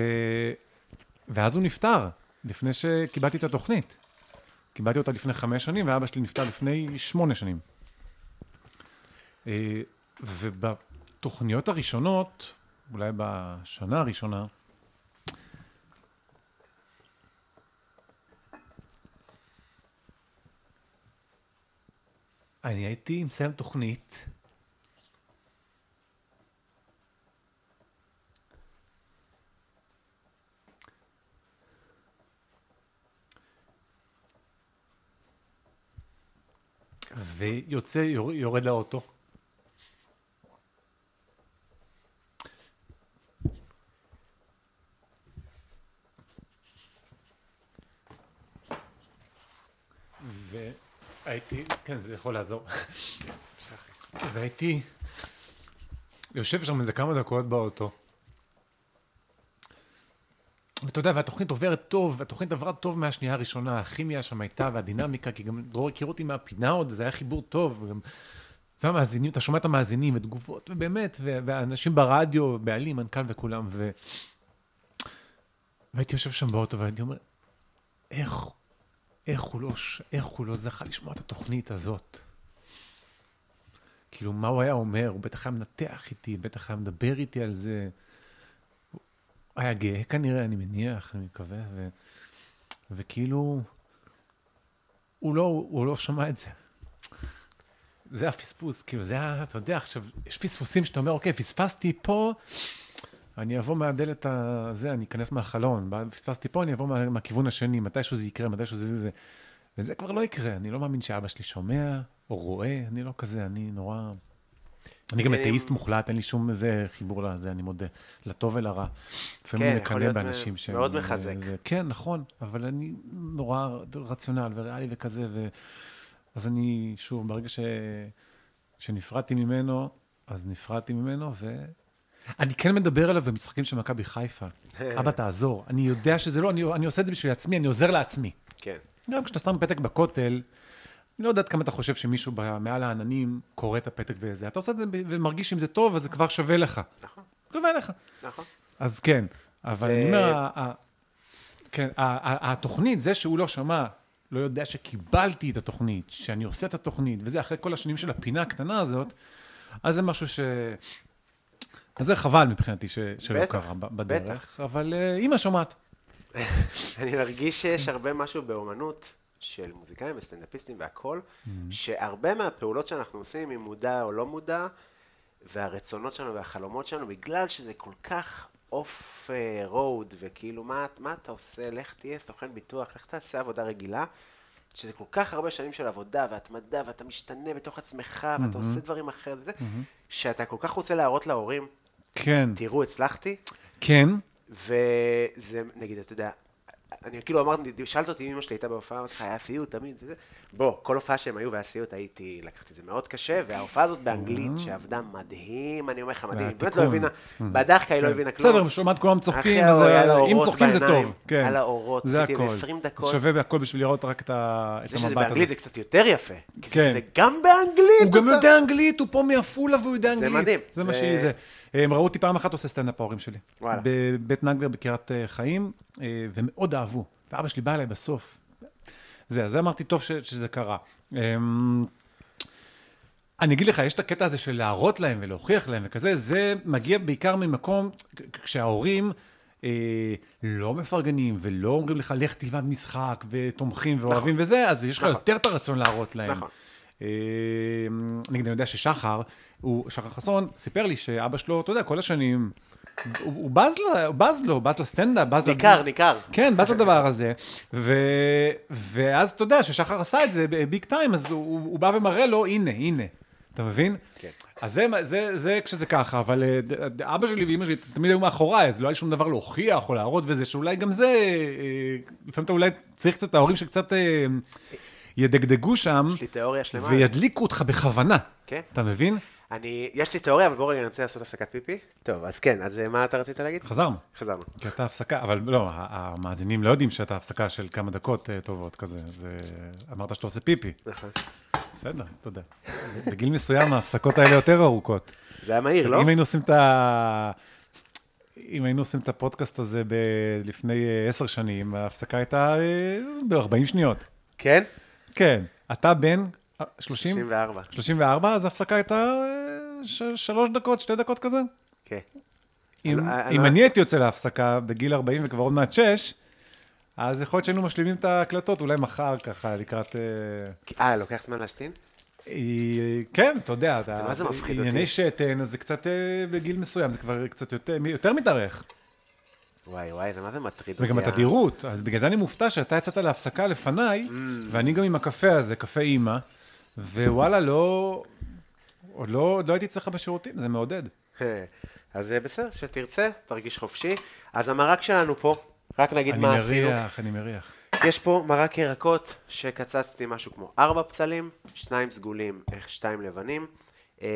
[SPEAKER 3] ואז הוא נפטר, לפני שקיבלתי את התוכנית. קיבלתי אותה לפני חמש שנים, ואבא שלי נפטר לפני שמונה שנים. אה, וב... בתוכניות הראשונות, אולי בשנה הראשונה, אני הייתי מסיים תוכנית, ויוצא, יור- יורד לאוטו. והייתי, כן, זה יכול לעזור. והייתי יושב שם איזה כמה דקות באוטו. ואתה יודע, והתוכנית עוברת טוב, והתוכנית עברה טוב מהשנייה הראשונה, הכימיה שם הייתה, והדינמיקה, כי גם דרור הכיר אותי מהפינה עוד, וזה היה חיבור טוב, וגם... והמאזינים, אתה שומע את המאזינים, ותגובות, ובאמת, ו- והאנשים ברדיו, בעלים, מנכ"ל וכולם, ו... והייתי יושב שם באוטו, והייתי אומר, איך, איך הוא לא, ש- איך הוא לא זכה לשמוע את התוכנית הזאת? כאילו, מה הוא היה אומר? הוא בטח היה מנתח איתי, בטח היה מדבר איתי על זה. היה גאה כנראה, אני מניח, אני מקווה, ו... וכאילו, הוא לא, הוא לא שמע את זה. זה הפספוס, כאילו, זה היה, אתה יודע, עכשיו, יש פספוסים שאתה אומר, אוקיי, פספסתי פה, אני אבוא מהדלת הזה, אני אכנס מהחלון, בא- פספסתי פה, אני אבוא מה, מהכיוון השני, מתישהו זה יקרה, מתישהו זה זה. וזה כבר לא יקרה, אני לא מאמין שאבא שלי שומע, או רואה, אני לא כזה, אני נורא... אני גם
[SPEAKER 2] אני-
[SPEAKER 3] אתאיסט מוחלט, אין לי שום איזה חיבור לזה, אני מודה, לטוב ולרע. לפעמים
[SPEAKER 2] כן,
[SPEAKER 3] אני
[SPEAKER 2] יכול
[SPEAKER 3] מקנא
[SPEAKER 2] להיות מ-
[SPEAKER 3] באנשים שהם...
[SPEAKER 2] מאוד מחזק.
[SPEAKER 3] זה, כן, נכון, אבל אני נורא רציונל וריאלי וכזה, ו... אז אני, שוב, ברגע ש... שנפרדתי ממנו, אז נפרדתי ממנו, ו... אני כן מדבר אליו במשחקים של מכבי חיפה. אבא, תעזור. אני יודע שזה לא, אני, אני עושה את זה בשביל עצמי, אני עוזר לעצמי.
[SPEAKER 2] כן.
[SPEAKER 3] גם כשאתה שם פתק בכותל, אני לא יודעת כמה אתה חושב שמישהו ב- מעל העננים קורא את הפתק וזה. אתה עושה את זה ב- ומרגיש אם זה טוב, אז זה כבר שווה לך.
[SPEAKER 2] נכון,
[SPEAKER 3] שווה לך.
[SPEAKER 2] נכון.
[SPEAKER 3] אז כן, אבל
[SPEAKER 2] זה-
[SPEAKER 3] אני אומר, ה- ה- כן, ה- ה- התוכנית, זה שהוא לא שמע, לא יודע שקיבלתי את התוכנית, שאני עושה את התוכנית, וזה אחרי כל השנים של הפינה הקטנה הזאת, אז זה משהו ש... אז זה חבל מבחינתי ש... שלא
[SPEAKER 2] בטח,
[SPEAKER 3] קרה ב- בדרך, אבל אה, אימא שומעת.
[SPEAKER 2] אני מרגיש שיש הרבה משהו באומנות של מוזיקאים וסטנדאפיסטים והכול, שהרבה מהפעולות שאנחנו עושים, אם מודע או לא מודע, והרצונות שלנו והחלומות שלנו, בגלל שזה כל כך אוף רוד, וכאילו, מה, מה אתה עושה? לך תהיה סוכן ביטוח, לך תעשה עבודה רגילה. שזה כל כך הרבה שנים של עבודה והתמדה, ואתה משתנה בתוך עצמך, ואתה עושה דברים אחרת, וזה, שאתה כל כך רוצה להראות להורים,
[SPEAKER 3] כן,
[SPEAKER 2] תראו, הצלחתי,
[SPEAKER 3] כן,
[SPEAKER 2] וזה, נגיד, אתה יודע, אני כאילו אמרתי, שאלת אותי אם אמא שלי הייתה בהופעה, אמרתי לך, היה סיוט תמיד, וזה. בוא, כל הופעה שהם היו והיה סיוט, הייתי, לקחתי את זה מאוד קשה, וההופעה הזאת באנגלית, שעבדה מדהים, אני אומר לך, מדהים, היא באמת לא
[SPEAKER 3] אה. והתיקון.
[SPEAKER 2] הבינה, בדחקה היא לא
[SPEAKER 3] כן.
[SPEAKER 2] הבינה כלום.
[SPEAKER 3] בסדר, שומעת כולם צוחקים,
[SPEAKER 2] אחי,
[SPEAKER 3] אז אה,
[SPEAKER 2] היה לה
[SPEAKER 3] אם
[SPEAKER 2] אורות
[SPEAKER 3] צוחקים זה
[SPEAKER 2] בעיניים,
[SPEAKER 3] טוב. כן.
[SPEAKER 2] היה לה אורות,
[SPEAKER 3] זה
[SPEAKER 2] עשיתי
[SPEAKER 3] הכל.
[SPEAKER 2] ב-20 דקות.
[SPEAKER 3] זה שווה והכל בשביל לראות רק את ה- את
[SPEAKER 2] זה שזה
[SPEAKER 3] המבט הזה.
[SPEAKER 2] באנגלית זה קצת יותר יפה. כי זה-
[SPEAKER 3] כן.
[SPEAKER 2] זה גם באנגלית.
[SPEAKER 3] הוא גם
[SPEAKER 2] אתה-
[SPEAKER 3] יודע אנגלית, הוא פה מעפולה והוא יודע אנגלית.
[SPEAKER 2] מדהים.
[SPEAKER 3] זה מה
[SPEAKER 2] זה-
[SPEAKER 3] שהיא זה. הם ראו אותי פעם אחת עושה סטנדאפ ההורים שלי.
[SPEAKER 2] וואלה.
[SPEAKER 3] בבית נגלר בקריית אה, חיים, אה, ומאוד אהבו. ואבא שלי בא אליי בסוף. זה, אז אמרתי, טוב ש- שזה קרה. אמ, אני אגיד לך, יש את הקטע הזה של להראות להם ולהוכיח להם וכזה, זה מגיע בעיקר ממקום כ- כשההורים אה, לא מפרגנים ולא אומרים לך, לך תלמד משחק ותומכים ואוהבים וזה, אז יש לך
[SPEAKER 2] נכון.
[SPEAKER 3] יותר את הרצון להראות להם.
[SPEAKER 2] נכון.
[SPEAKER 3] אה, אמ, נגיד, אני יודע ששחר, הוא, שחר חסון, סיפר לי שאבא שלו, אתה יודע, כל השנים, הוא, הוא בז, ל, הוא בז לו, בז לסטנדאפ, בז ל-
[SPEAKER 2] ניכר, ניכר.
[SPEAKER 3] כן, בז לדבר הזה. ו... ואז אתה יודע ששחר עשה את זה ביג טיים, אז הוא, הוא, הוא בא ומראה לו, הנה, הנה. אתה מבין?
[SPEAKER 2] כן.
[SPEAKER 3] אז זה, זה, זה כשזה ככה, אבל אה, ד- ד- אבא שלי ואימא שלי תמיד היו מאחוריי, אז לא היה לי שום דבר להוכיח או להראות וזה, שאולי גם זה, אה, לפעמים אתה אולי צריך קצת, ההורים שקצת אה, ידגדגו שם,
[SPEAKER 2] יש לי תיאוריה שלמה.
[SPEAKER 3] וידליקו אותך בכוונה.
[SPEAKER 2] כן.
[SPEAKER 3] אתה מבין?
[SPEAKER 2] אני, יש לי תיאוריה, אבל בואו רגע נרצה לעשות הפסקת פיפי. טוב, אז כן, אז אה, מה אתה רצית להגיד?
[SPEAKER 3] חזרנו.
[SPEAKER 2] חזרנו.
[SPEAKER 3] כי הייתה הפסקה, אבל לא, ה- המאזינים לא יודעים שהייתה הפסקה של כמה דקות אה, טובות כזה. זה... אמרת שאתה עושה פיפי.
[SPEAKER 2] נכון.
[SPEAKER 3] בסדר, אתה יודע. בגיל מסוים ההפסקות האלה יותר ארוכות.
[SPEAKER 2] זה היה מהיר, לא?
[SPEAKER 3] אם היינו עושים את ה... אם היינו עושים את הפודקאסט הזה ב... לפני אה, עשר שנים, ההפסקה הייתה ב-40 שניות.
[SPEAKER 2] כן?
[SPEAKER 3] כן. אתה בן אה, 30?
[SPEAKER 2] 94.
[SPEAKER 3] 34, אז ההפסקה הייתה אה, ש- שלוש דקות, שתי דקות כזה.
[SPEAKER 2] כן.
[SPEAKER 3] אם,
[SPEAKER 2] אני- לא- אני-
[SPEAKER 3] אם אני הייתי יוצא להפסקה בגיל 40 וכבר עוד מעט 6, אז יכול להיות שהיינו משלימים את ההקלטות אולי מחר ככה, לקראת... אה,
[SPEAKER 2] אה, לוקח זמן להשתין?
[SPEAKER 3] היא- כן, אתה יודע, אתה...
[SPEAKER 2] זה מה זה מפחיד אותי.
[SPEAKER 3] ענייני שתן, אז זה קצת אה, בגיל מסוים, זה כבר קצת יותר, מי- יותר מתארך.
[SPEAKER 2] וואי, וואי, זה מה זה מטריד אותי.
[SPEAKER 3] וגם
[SPEAKER 2] ה-
[SPEAKER 3] התדירות, אז בגלל זה אני מופתע שאתה יצאת להפסקה לפניי,
[SPEAKER 2] Mm.
[SPEAKER 3] ואני גם עם הקפה הזה, קפה אימא, ווואלה, לא... עוד לא, עוד לא הייתי אצלך בשירותים, זה מעודד.
[SPEAKER 2] אז אה, בסדר, שתרצה, תרגיש חופשי. אז המרק שלנו פה, רק נגיד
[SPEAKER 3] אני
[SPEAKER 2] מה עשינו.
[SPEAKER 3] מריח, אני מריח.
[SPEAKER 2] יש פה מרק ירקות שקצצתי משהו כמו ארבע פסלים, שניים סגולים, אה, שתיים לבנים, אה,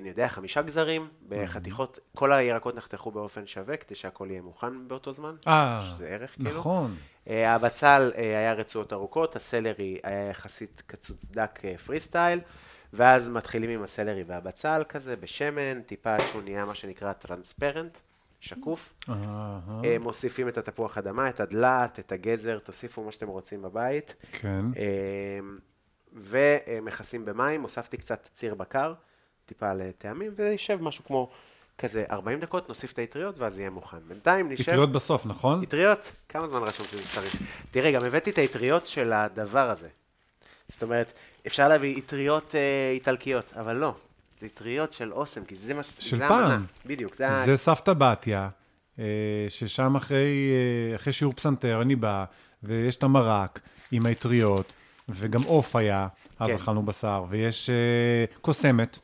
[SPEAKER 2] אני יודע, חמישה גזרים בחתיכות, כל הירקות נחתכו באופן שווה כדי שהכל יהיה מוכן באותו זמן,
[SPEAKER 3] אה,
[SPEAKER 2] שזה ערך כאילו.
[SPEAKER 3] נכון.
[SPEAKER 2] אה, הבצל אה, היה רצועות ארוכות, הסלרי היה יחסית קצוץ דק אה, פרי סטייל, ואז מתחילים עם הסלרי והבצל כזה, בשמן, טיפה שהוא נהיה מה שנקרא טרנספרנט, שקוף.
[SPEAKER 3] אהה,
[SPEAKER 2] אה, מוסיפים את התפוח אדמה, את הדלעת, את הגזר, תוסיפו מה שאתם רוצים בבית.
[SPEAKER 3] כן.
[SPEAKER 2] אה, ומכסים במים, הוספתי קצת ציר בקר, טיפה לטעמים, וישב משהו כמו כזה 40 דקות, נוסיף את האטריות ואז יהיה מוכן. בינתיים נשב...
[SPEAKER 3] פטריות בסוף, נכון?
[SPEAKER 2] אטריות? כמה זמן רשום שזה צריך? תראה, גם הבאתי את האטריות של הדבר הזה. זאת אומרת, אפשר להביא אטריות אה, איטלקיות, אבל לא. זה אטריות של אוסם, כי זה מה ש...
[SPEAKER 3] של
[SPEAKER 2] זה
[SPEAKER 3] פעם.
[SPEAKER 2] המנה. בדיוק, זה, ה-
[SPEAKER 3] זה סבתא בתיה, אה, ששם אחרי, אה, אחרי שיעור פסנתר אני בא, ויש את המרק עם האטריות, וגם עוף היה, אז
[SPEAKER 2] כן.
[SPEAKER 3] אכלנו בשר, ויש אה, קוסמת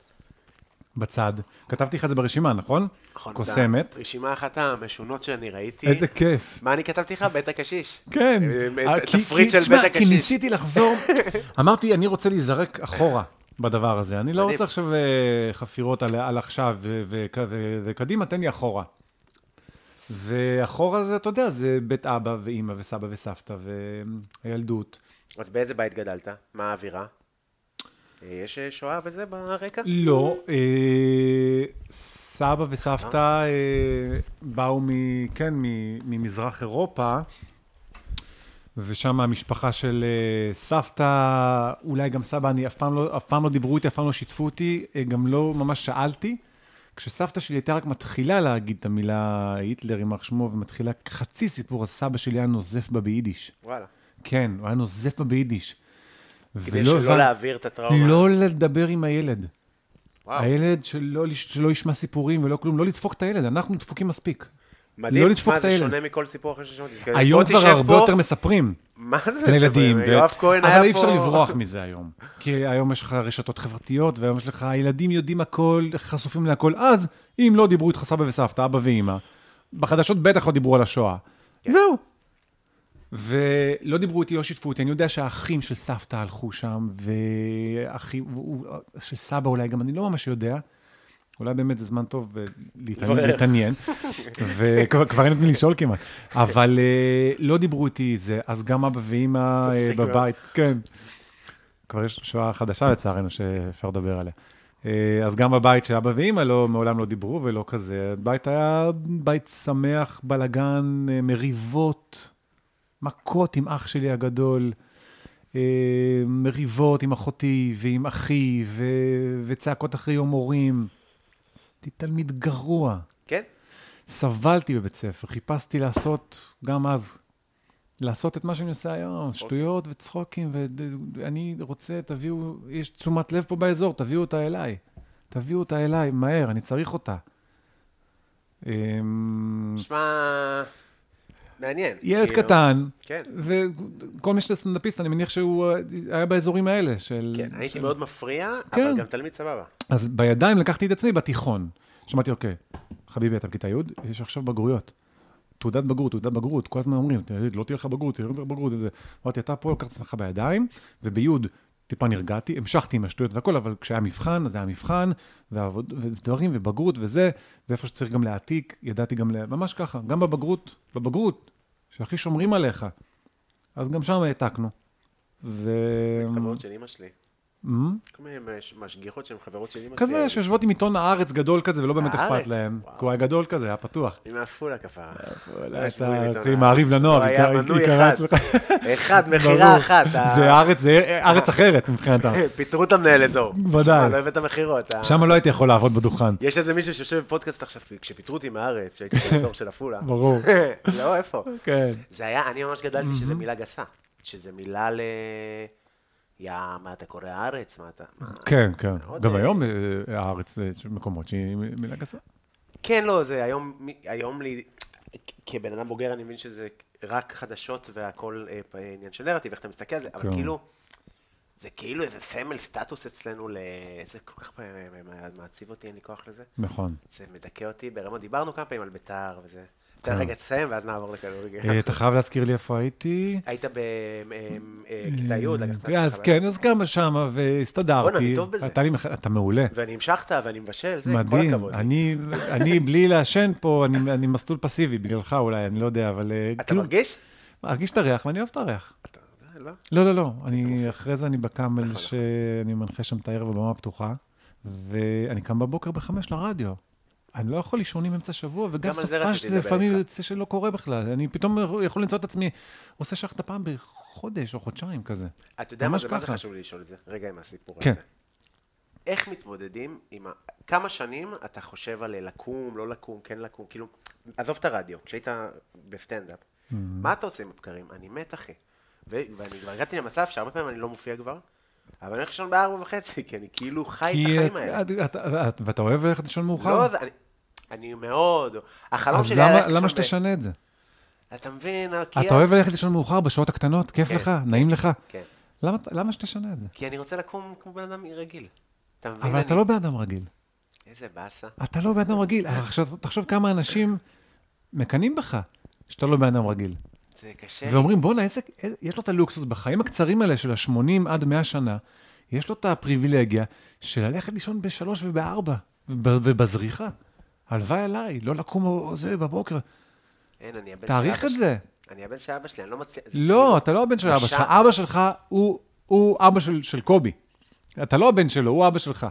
[SPEAKER 3] בצד. כתבתי לך את זה ברשימה, נכון?
[SPEAKER 2] נכון,
[SPEAKER 3] קוסמת.
[SPEAKER 2] אתה- רשימה אחת המשונות שאני ראיתי.
[SPEAKER 3] איזה כיף.
[SPEAKER 2] מה אני כתבתי לך? בית הקשיש.
[SPEAKER 3] כן,
[SPEAKER 2] אה,
[SPEAKER 3] אה,
[SPEAKER 2] ת-
[SPEAKER 3] כי-
[SPEAKER 2] תפריט
[SPEAKER 3] כי-
[SPEAKER 2] של
[SPEAKER 3] תשמע,
[SPEAKER 2] בית
[SPEAKER 3] כי
[SPEAKER 2] הקשיש.
[SPEAKER 3] ניסיתי לחזור, אמרתי, אני רוצה להיזרק אחורה בדבר הזה. אני לא
[SPEAKER 2] מדהים.
[SPEAKER 3] רוצה עכשיו אה, חפירות על, על עכשיו ו- וכ- ו- וקדימה, תן לי אחורה. ואחורה זה, אתה יודע, זה בית אבא ואימא וסבא וסבתא והילדות.
[SPEAKER 2] אז באיזה בית גדלת? מה האווירה? אה, יש אה, שואה וזה ברקע?
[SPEAKER 3] לא, אה, סבא וסבתא אה, באו, מ, כן, מ, ממזרח אירופה, ושם המשפחה של אה, סבתא, אולי גם סבא, אני אף פעם, לא, אף פעם לא דיברו איתי, אף פעם לא שיתפו אותי, אה, גם לא ממש שאלתי. כשסבתא שלי הייתה רק מתחילה להגיד את המילה היטלר, יימח שמו, ומתחילה חצי סיפור, אז סבא שלי היה נוזף בה ביידיש.
[SPEAKER 2] וואלה.
[SPEAKER 3] כן, הוא היה נוזף בה ביידיש.
[SPEAKER 2] כדי
[SPEAKER 3] ולא
[SPEAKER 2] שלא
[SPEAKER 3] הבנ-
[SPEAKER 2] להעביר את הטראומה.
[SPEAKER 3] לא לדבר עם הילד.
[SPEAKER 2] וואו.
[SPEAKER 3] הילד שלא, לש- שלא ישמע סיפורים ולא כלום, לא לדפוק את הילד, אנחנו דפוקים מספיק.
[SPEAKER 2] מדהים,
[SPEAKER 3] לא לדפוק
[SPEAKER 2] תשמע,
[SPEAKER 3] את הילד.
[SPEAKER 2] זה שונה מכל סיפור אחר ששמעתי. זה כזה,
[SPEAKER 3] היום
[SPEAKER 2] אה, בוא
[SPEAKER 3] כבר
[SPEAKER 2] תשב
[SPEAKER 3] הרבה
[SPEAKER 2] פה.
[SPEAKER 3] יותר מספרים
[SPEAKER 2] מה זה?
[SPEAKER 3] לילדים,
[SPEAKER 2] מספרים?
[SPEAKER 3] ו-
[SPEAKER 2] כן, יואב כהן היה פה...
[SPEAKER 3] אבל אי אפשר לברוח מזה היום. כי היום יש לך רשתות חברתיות, והיום יש לך, הילדים יודעים הכל, חשופים להכל. אז, אם לא דיברו איתך סבא וסבתא, אבא ואימא, בחדשות בטח לא דיברו על השואה.
[SPEAKER 2] כן.
[SPEAKER 3] זהו. ולא דיברו איתי, לא שיתפו אותי. אני יודע שהאחים של סבתא הלכו שם, ואחים, והוא- של סבא אולי גם, אני לא ממש יודע. אולי באמת זה זמן טוב אה, להתעניין-
[SPEAKER 2] לברר.
[SPEAKER 3] להתעניין, וכבר כבר אין את מי לשאול כמעט, אבל אה, לא דיברו איתי זה, אז גם אבא ואימא אה,
[SPEAKER 2] מצחיק מאוד.
[SPEAKER 3] בבית, כן. כבר יש שואה חדשה לצערנו שאפשר לדבר עליה. אה, אז גם בבית של אבא ואימא לא, מעולם לא דיברו ולא כזה. הבית היה בית שמח, בלגן, אה, מריבות, מכות עם אח שלי הגדול, אה, מריבות עם אחותי ועם אחי, ו... וצעקות אחרי יום הורים. הייתי תלמיד גרוע.
[SPEAKER 2] כן?
[SPEAKER 3] סבלתי בבית ספר, חיפשתי לעשות, גם אז, לעשות את מה שאני עושה היום, שטויות וצחוקים, ואני רוצה, תביאו, יש תשומת לב פה באזור, תביאו אותה אליי. תביאו אותה אליי, מהר, אני צריך אותה. אמ,
[SPEAKER 2] נשמע... מעניין.
[SPEAKER 3] ילד
[SPEAKER 2] כאילו.
[SPEAKER 3] קטן,
[SPEAKER 2] כן.
[SPEAKER 3] וכל מי שאתה סטנדאפיסט, אני מניח שהוא אה, היה באזורים האלה של...
[SPEAKER 2] כן, הייתי
[SPEAKER 3] של-
[SPEAKER 2] מאוד מפריע,
[SPEAKER 3] כן. Mm.
[SPEAKER 2] אבל גם תלמיד סבבה.
[SPEAKER 3] אז בידיים לקחתי את עצמי בתיכון. שמעתי, אוקיי, חביבי, אתה בכיתה י', יש עכשיו בגרויות. תעודת בגרות, תעודת בגרות, כל הזמן אומרים, "ת- לא תהיה לך בגרות, תהיה לך בגרות, וזה. אמרתי, אתה פה לוקח את עצמך בידיים, ובי' טיפה נרגעתי, המשכתי עם השטויות והכל, אבל כשהיה מבחן, אז היה מבחן, ועבוד, ודברים, ובגרות וזה, ואיפה שצריך גם להעתיק, ידעתי גם, לה- ממש ככה, גם בבגרות, בבגרות, שהכי שומרים עליך, אז גם שם העתקנו. ו...
[SPEAKER 2] חברות של אמא שלי. כל מיני מש- משגיחות שהן חברות של אמא
[SPEAKER 3] כזה שיושבות עם עיתון הארץ גדול כזה, ולא באמת
[SPEAKER 2] כן. הארץ?
[SPEAKER 3] אכפת להם.
[SPEAKER 2] וואו.
[SPEAKER 3] כי הוא היה גדול כזה, היה פתוח.
[SPEAKER 2] היא מעפולה כפרה. לא
[SPEAKER 3] אתה-
[SPEAKER 2] ישבו עם עיתון
[SPEAKER 3] אחי,
[SPEAKER 2] הארץ.
[SPEAKER 3] מעריב לנוער,
[SPEAKER 2] לא היה
[SPEAKER 3] עיקר-
[SPEAKER 2] מנוי
[SPEAKER 3] עיקרה
[SPEAKER 2] אחד.
[SPEAKER 3] אצלך.
[SPEAKER 2] אחד,
[SPEAKER 3] ברור.
[SPEAKER 2] מכירה אחת. ה- כן.
[SPEAKER 3] זה ארץ, זה ארץ אחרת מבחינת ה...
[SPEAKER 2] פיטרו את המנהל אזור.
[SPEAKER 3] ודאי.
[SPEAKER 2] שמע, לא הבאת מכירות. ה-
[SPEAKER 3] שם לא הייתי יכול לעבוד בדוכן.
[SPEAKER 2] יש איזה מישהו שיושב בפודקאסט עכשיו, כשפיטרו אותי מהארץ, שהייתי באזור של עפולה.
[SPEAKER 3] ברור.
[SPEAKER 2] לא, איפה?
[SPEAKER 3] כן.
[SPEAKER 2] זה היה, אני ממש גדלתי שזה מילה גסה. שזה מילה ל... יא, מה אתה קורא הארץ? מה אתה... מה-
[SPEAKER 3] כן, כן.
[SPEAKER 2] מאוד,
[SPEAKER 3] גם
[SPEAKER 2] אה,
[SPEAKER 3] היום אה, הארץ, אה, יש מקומות שהיא מ- מילה גסה.
[SPEAKER 2] כן, לא, זה היום, מי- היום לי, כבן אדם בוגר אני מבין שזה רק חדשות והכל אה, פ- אה, עניין של נרטיב, איך אתה מסתכל על זה, אבל
[SPEAKER 3] כן.
[SPEAKER 2] כאילו, זה כאילו איזה סמל סטטוס אצלנו ל... זה כל כך פעמים, אה, אה, מעציב אותי, אין לי כוח לזה.
[SPEAKER 3] נכון.
[SPEAKER 2] זה מדכא אותי ברמות, דיברנו כמה פעמים על בית"ר וזה. תן
[SPEAKER 3] כן.
[SPEAKER 2] רגע תסיים ואז נעבור לכדורגל.
[SPEAKER 3] אה, אתה חייב להזכיר לי איפה הייתי.
[SPEAKER 2] היית בכיתה אה, י', לקחת
[SPEAKER 3] אה, אז
[SPEAKER 2] חוויה.
[SPEAKER 3] כן, אז גם שמה, והסתדרתי.
[SPEAKER 2] בואנה, אני טוב בזה.
[SPEAKER 3] אתה לי מח- אתה מעולה.
[SPEAKER 2] ואני המשכת ואני מבשל, זה כל
[SPEAKER 3] מדהים.
[SPEAKER 2] הכבוד.
[SPEAKER 3] אני, אני בלי לעשן פה, אני, אני מסלול פסיבי, בגללך אולי, אני לא יודע, אבל אה,
[SPEAKER 2] אתה מרגיש?
[SPEAKER 3] מרגיש את הריח, ואני אוהב את הריח.
[SPEAKER 2] אה, לא.
[SPEAKER 3] לא, לא, לא. אני, אחרי זה אני בקאמל,
[SPEAKER 2] נכון.
[SPEAKER 3] שאני מנחה שם את הערב בבמה הפתוחה, ואני קם בבוקר בחמש לרדיו. אני לא יכול לישון עם אמצע שבוע, וגם
[SPEAKER 2] גם על זה
[SPEAKER 3] סופה
[SPEAKER 2] רציתי
[SPEAKER 3] שזה
[SPEAKER 2] לדבר
[SPEAKER 3] לפעמים
[SPEAKER 2] איתך.
[SPEAKER 3] יוצא שלא קורה בכלל. אני פתאום יכול למצוא את עצמי עושה שחטה פעם בחודש או חודשיים כזה.
[SPEAKER 2] אתה יודע מה
[SPEAKER 3] ממש
[SPEAKER 2] זה, מה זה
[SPEAKER 3] ככה.
[SPEAKER 2] חשוב לי לשאול את זה? רגע עם הסיפור
[SPEAKER 3] כן.
[SPEAKER 2] הזה. איך מתמודדים עם ה... כמה שנים אתה חושב על לקום, לא לקום, כן לקום, כאילו, עזוב את הרדיו, כשהיית בסטנדאפ,
[SPEAKER 3] Mm-hmm.
[SPEAKER 2] מה אתה עושה עם הבקרים? אני מת, אחי. ו- ואני כבר הגעתי למצב שהרבה פעמים אני לא מופיע כבר, אבל אני הולך לישון בארבע וחצי, כי אני כאילו חי את
[SPEAKER 3] כי
[SPEAKER 2] החיים
[SPEAKER 3] את-
[SPEAKER 2] האלה.
[SPEAKER 3] את- את- את- ואתה אוהב ללכת לישון מאוחר?
[SPEAKER 2] לא, זה- אני- אני מאוד, החלום
[SPEAKER 3] אז
[SPEAKER 2] שלי היה
[SPEAKER 3] למה-
[SPEAKER 2] ללכת
[SPEAKER 3] למה
[SPEAKER 2] לישון ב-
[SPEAKER 3] שתשנה את זה?
[SPEAKER 2] אתה מבין, כי
[SPEAKER 3] אתה אוהב ללכת לישון מאוחר בשעות הקטנות? כיף
[SPEAKER 2] כן,
[SPEAKER 3] לך?
[SPEAKER 2] כן.
[SPEAKER 3] נעים לך?
[SPEAKER 2] כן.
[SPEAKER 3] למה- למה שתשנה את זה?
[SPEAKER 2] כי אני רוצה לקום כמו בן אדם רגיל. אתה מבין?
[SPEAKER 3] אבל אתה
[SPEAKER 2] אני-
[SPEAKER 3] לא באדם רגיל.
[SPEAKER 2] איזה באסה.
[SPEAKER 3] אתה לא באדם רגיל. אבל עכשיו, תחשוב כמה אנשים מקנאים בך שאתה לא באדם רגיל.
[SPEAKER 2] זה קשה.
[SPEAKER 3] ואומרים, בואנה, איזה- איזה- יש לו את הלוקסוס בחיים הקצרים האלה של ה-80 עד 100 שנה, יש לו את הפריבילגיה של ללכת לישון בשלוש ובארבע, וב- ובזריחה. הלוואי עליי, לא לקום או זה בבוקר.
[SPEAKER 2] אין, אני הבן של
[SPEAKER 3] תעריך
[SPEAKER 2] אבא
[SPEAKER 3] את
[SPEAKER 2] שלי.
[SPEAKER 3] זה.
[SPEAKER 2] אני הבן של אבא שלי, אני לא מצליח... זה כאילו-
[SPEAKER 3] לא, אתה לא הבן של אבא
[SPEAKER 2] בשע-
[SPEAKER 3] שלך. אבא שלך הוא- הוא אבא של של קובי. אתה לא הבן שלו, הוא אבא שלך.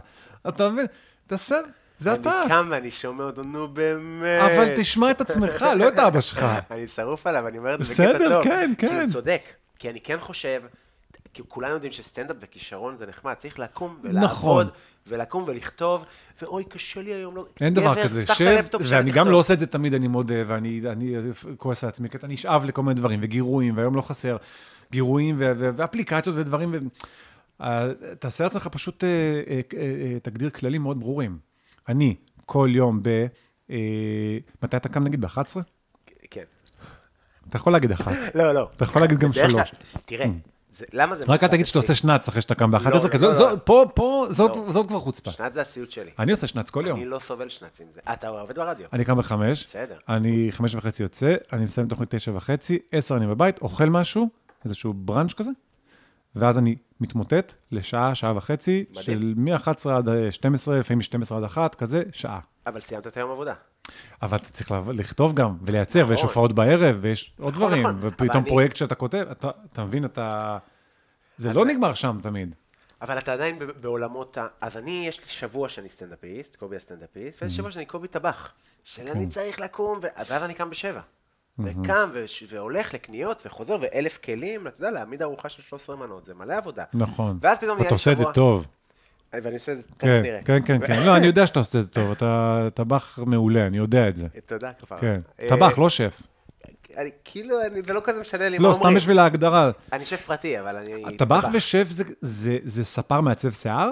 [SPEAKER 3] אתה מבין? תעשה, זה אתה.
[SPEAKER 2] אני קם ואני שומע אותו, נו באמת.
[SPEAKER 3] אבל תשמע את עצמך, לא את אבא שלך.
[SPEAKER 2] אני שרוף עליו, אני אומר את זה בקטע
[SPEAKER 3] בסדר,
[SPEAKER 2] טוב.
[SPEAKER 3] כן,
[SPEAKER 2] כי הוא
[SPEAKER 3] כן.
[SPEAKER 2] צודק, כי אני כן חושב, כי כולנו יודעים שסטנדאפ וכישרון זה נחמד, צריך לקום
[SPEAKER 3] נכון.
[SPEAKER 2] ולעבוד, ולקום ולכתוב, ואוי, קשה לי היום, לא...
[SPEAKER 3] אין דבר
[SPEAKER 2] גבר,
[SPEAKER 3] כזה,
[SPEAKER 2] פתח את
[SPEAKER 3] שב,
[SPEAKER 2] הלפטופ שלה,
[SPEAKER 3] ואני גם
[SPEAKER 2] תכתוב.
[SPEAKER 3] לא עושה את זה תמיד, אני מודה, ואני אני כועס על עצמי, כי אתה נשאב לכל מיני דברים, וגירויים, והיום לא חסר, גירויים ו- ו- ואפליקציות ודברים, ו... אה, תעשה לעצמך פשוט, אה, אה, אה, אה, תגדיר כללים מאוד ברורים. אני, כל יום ב... אה, מתי אתה קם נגיד? ב-11? לא-
[SPEAKER 2] כן.
[SPEAKER 3] אתה יכול להגיד אחת.
[SPEAKER 2] לא, לא.
[SPEAKER 3] אתה יכול להגיד גם
[SPEAKER 2] בדרך כלל-
[SPEAKER 3] שלוש. Mm.
[SPEAKER 2] תראה, זה- למה זה...
[SPEAKER 3] רק אל
[SPEAKER 2] מוצלח
[SPEAKER 3] תגיד שאתה
[SPEAKER 2] אצלי?
[SPEAKER 3] עושה שנץ אחרי שאתה קם
[SPEAKER 2] לא,
[SPEAKER 3] ב-11,
[SPEAKER 2] לא,
[SPEAKER 3] כי
[SPEAKER 2] לא,
[SPEAKER 3] זו,
[SPEAKER 2] לא.
[SPEAKER 3] זו, פה, פה, זאת,
[SPEAKER 2] לא.
[SPEAKER 3] זאת כבר חוצפה.
[SPEAKER 2] שנת זה הסיוט שלי.
[SPEAKER 3] אני עושה שנץ כל יום.
[SPEAKER 2] אני לא סובל שנצים. זה- אתה עובד ברדיו.
[SPEAKER 3] אני קם בחמש,
[SPEAKER 2] בסדר.
[SPEAKER 3] אני חמש וחצי יוצא, אני מסיים תוכנית תשע וחצי, עשר אני בבית, אוכל משהו, איזשהו בראנץ' כזה, ואז אני מתמוטט לשעה, שעה וחצי,
[SPEAKER 2] מדהים.
[SPEAKER 3] של מ-11 עד אה, 12, לפעמים מ-12 עד 1, כזה, שעה.
[SPEAKER 2] אבל סיימת את היום עבודה.
[SPEAKER 3] אבל אתה צריך לב- לכתוב גם ולייצר, ויש
[SPEAKER 2] נכון.
[SPEAKER 3] הופעות בערב, ויש עוד
[SPEAKER 2] נכון,
[SPEAKER 3] דברים,
[SPEAKER 2] נכון, אבל
[SPEAKER 3] ופתאום
[SPEAKER 2] אני-
[SPEAKER 3] פרויקט שאתה כותב, אתה- אתה מבין, אתה... זה
[SPEAKER 2] אז
[SPEAKER 3] לא
[SPEAKER 2] זה-
[SPEAKER 3] נגמר שם תמיד.
[SPEAKER 2] אבל אתה עדיין ב- בעולמות ה... אז אני, יש לי שבוע שאני סטנדאפיסט, קובי הסטנדאפיסט,
[SPEAKER 3] Mm.
[SPEAKER 2] ויש שבוע שאני קובי טבח. של אני
[SPEAKER 3] כן.
[SPEAKER 2] צריך לקום, ו- ואז אני קם בשבע.
[SPEAKER 3] Mm-hmm.
[SPEAKER 2] וקם וש- והולך לקניות וחוזר, ואלף כלים, אתה יודע, להעמיד ארוחה של 13 מנות, זה מלא עבודה.
[SPEAKER 3] נכון.
[SPEAKER 2] ואז פתאום נהיה
[SPEAKER 3] אתה
[SPEAKER 2] לי
[SPEAKER 3] עושה את זה
[SPEAKER 2] שבוע-
[SPEAKER 3] טוב.
[SPEAKER 2] ואני עושה את זה, תכף
[SPEAKER 3] כן,
[SPEAKER 2] נראה.
[SPEAKER 3] כן, כן, כן. לא, אני יודע שאתה עושה את זה טוב, אתה טבח מעולה, אני יודע את זה.
[SPEAKER 2] תודה אה, כבר.
[SPEAKER 3] כן, טבח, לא שף.
[SPEAKER 2] אני, כאילו, אני, זה לא כזה משנה לי מה
[SPEAKER 3] לא,
[SPEAKER 2] אומרים. אה,
[SPEAKER 3] סתם בשביל ההגדרה.
[SPEAKER 2] אני שף פרטי, אבל אני...
[SPEAKER 3] טבח ושף זה- זה- זה ספר מעצב שיער?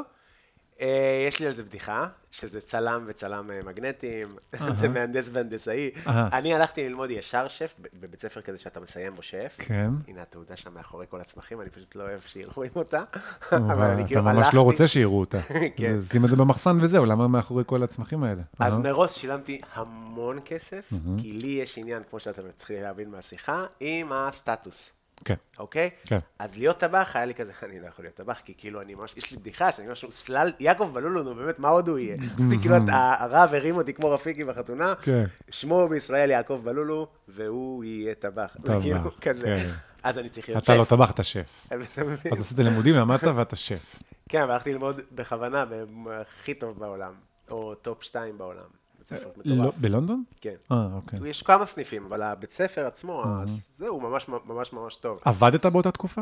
[SPEAKER 2] אה, יש לי על זה בדיחה, שזה צלם וצלם אה, מגנטים, זה מהנדס והנדסאי.
[SPEAKER 3] אהה.
[SPEAKER 2] אני הלכתי ללמוד ישר שף, ב- בבית ספר כזה שאתה מסיים בו שף.
[SPEAKER 3] כן.
[SPEAKER 2] הנה התעודה שם מאחורי כל הצמחים, אני פשוט לא אוהב שיראו עם אותה. אבל אני
[SPEAKER 3] אתה
[SPEAKER 2] כאילו
[SPEAKER 3] ממש
[SPEAKER 2] הלכתי,
[SPEAKER 3] לא רוצה שיראו אותה.
[SPEAKER 2] כן.
[SPEAKER 3] זה- שים את זה במחסן וזהו, למה מאחורי כל הצמחים האלה?
[SPEAKER 2] אז
[SPEAKER 3] אה?
[SPEAKER 2] מראש שילמתי המון כסף, כי לי יש עניין, כמו שאתה מתחיל להבין מהשיחה, עם הסטטוס.
[SPEAKER 3] כן.
[SPEAKER 2] אוקיי?
[SPEAKER 3] כן.
[SPEAKER 2] אז להיות טבח, היה לי כזה, אני לא יכול להיות טבח, כי כאילו אני ממש, יש לי בדיחה שאני משהו סלל, יעקב בלולו, נו באמת, מה עוד הוא יהיה? זה כאילו, את- הרב הרים אותי כמו רפיקי בחתונה,
[SPEAKER 3] כן.
[SPEAKER 2] שמו בישראל יעקב בלולו, והוא יהיה טבח. זה
[SPEAKER 3] טבח,
[SPEAKER 2] כאילו כזה.
[SPEAKER 3] כן.
[SPEAKER 2] אז אני צריך להיות
[SPEAKER 3] אתה לא
[SPEAKER 2] שף.
[SPEAKER 3] טבח, אתה שף.
[SPEAKER 2] אתה מבין?
[SPEAKER 3] אז עשית לימודים, למדת ואתה שף.
[SPEAKER 2] כן, אבל הלכתי ללמוד בכוונה בהכי טוב בעולם, או טופ 2 בעולם. בית ספר
[SPEAKER 3] לא,
[SPEAKER 2] מטורף.
[SPEAKER 3] בלונדון?
[SPEAKER 2] כן.
[SPEAKER 3] אה, אוקיי.
[SPEAKER 2] יש כמה סניפים, אבל הבית ספר עצמו,
[SPEAKER 3] אה.
[SPEAKER 2] אז זה הוא ממש ממש ממש טוב.
[SPEAKER 3] עבדת באותה תקופה?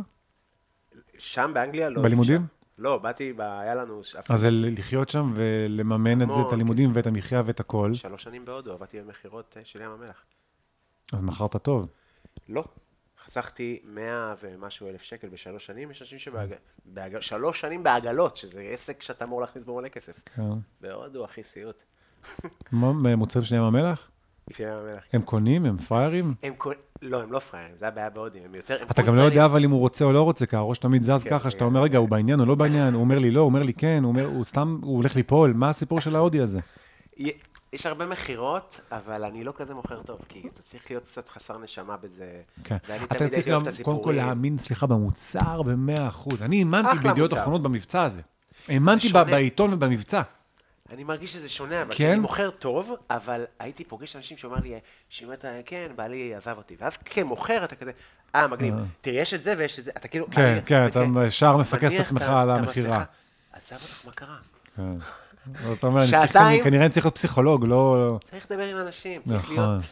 [SPEAKER 2] שם באנגליה לא...
[SPEAKER 3] בלימודים?
[SPEAKER 2] שם. לא, באתי, ב- היה לנו ש-
[SPEAKER 3] אז זה לחיות שם ולממן את זה, את
[SPEAKER 2] המון,
[SPEAKER 3] הלימודים ואת המחיה ואת הכל,
[SPEAKER 2] שלוש שנים בהודו, עבדתי במכירות אה, של ים המלח.
[SPEAKER 3] אז מכרת טוב.
[SPEAKER 2] לא. חסכתי 100 ומשהו אלף שקל בשלוש שנים, יש אנשים שבעגלות, שלוש שנים בעגלות, שזה עסק שאתה אמור להכניס בו מלא כסף.
[SPEAKER 3] כן.
[SPEAKER 2] בהודו, אחי, סיוט.
[SPEAKER 3] מה, מוצרים של ים המלח?
[SPEAKER 2] של ים המלח.
[SPEAKER 3] הם קונים, הם פראיירים?
[SPEAKER 2] הם כל... לא, הם לא פראיירים, זה הבעיה בהודים, הם יותר... הם
[SPEAKER 3] אתה גם לא
[SPEAKER 2] פולסרים.
[SPEAKER 3] יודע אבל אם הוא רוצה או לא רוצה, כי הראש תמיד זז
[SPEAKER 2] כן,
[SPEAKER 3] ככה, שאתה
[SPEAKER 2] כן.
[SPEAKER 3] אומר, רגע, הוא בעניין או לא בעניין, הוא אומר לי לא, הוא אומר לי כן, הוא אומר, הוא סתם, הוא הולך ליפול, מה הסיפור של ההודי הזה?
[SPEAKER 2] י- יש הרבה מכירות, אבל אני לא כזה מוכר טוב, כי אתה צריך להיות קצת חסר נשמה בזה.
[SPEAKER 3] כן.
[SPEAKER 2] ואני
[SPEAKER 3] אתה
[SPEAKER 2] תמיד
[SPEAKER 3] צריך
[SPEAKER 2] הייתי אוהב
[SPEAKER 3] גם,
[SPEAKER 2] את
[SPEAKER 3] קודם כל
[SPEAKER 2] הסיפורים.
[SPEAKER 3] להאמין, סליחה, במוצר ב-100%. אני האמנתי
[SPEAKER 2] אחלה
[SPEAKER 3] בידיעות
[SPEAKER 2] מוצר.
[SPEAKER 3] אחרונות במבצע הזה. האמנתי ב-
[SPEAKER 2] שונה.
[SPEAKER 3] בעיתון ובמבצע.
[SPEAKER 2] אני מרגיש שזה שונה, אבל
[SPEAKER 3] כן?
[SPEAKER 2] כן? אני מוכר טוב, אבל הייתי פוגש אנשים שאומר לי, שאומר אתה, כן, בעלי עזב אותי, ואז כמוכר אתה כזה, אה, מגניב,
[SPEAKER 3] אה.
[SPEAKER 2] תראה, יש את זה ויש את זה, אתה כאילו...
[SPEAKER 3] כן,
[SPEAKER 2] אה,
[SPEAKER 3] כן, אתה
[SPEAKER 2] וכן,
[SPEAKER 3] ישר מפקס את
[SPEAKER 2] מניח
[SPEAKER 3] עצמך
[SPEAKER 2] ה-
[SPEAKER 3] על
[SPEAKER 2] את
[SPEAKER 3] המכירה.
[SPEAKER 2] המסכה, עזב אותך, מה קרה?
[SPEAKER 3] כן. אז אתה אומר, אני צריך-
[SPEAKER 2] שעתיים?
[SPEAKER 3] אני- כנראה אני צריך להיות פסיכולוג, לא...
[SPEAKER 2] צריך לדבר עם אנשים, צריך
[SPEAKER 3] נכון.
[SPEAKER 2] להיות...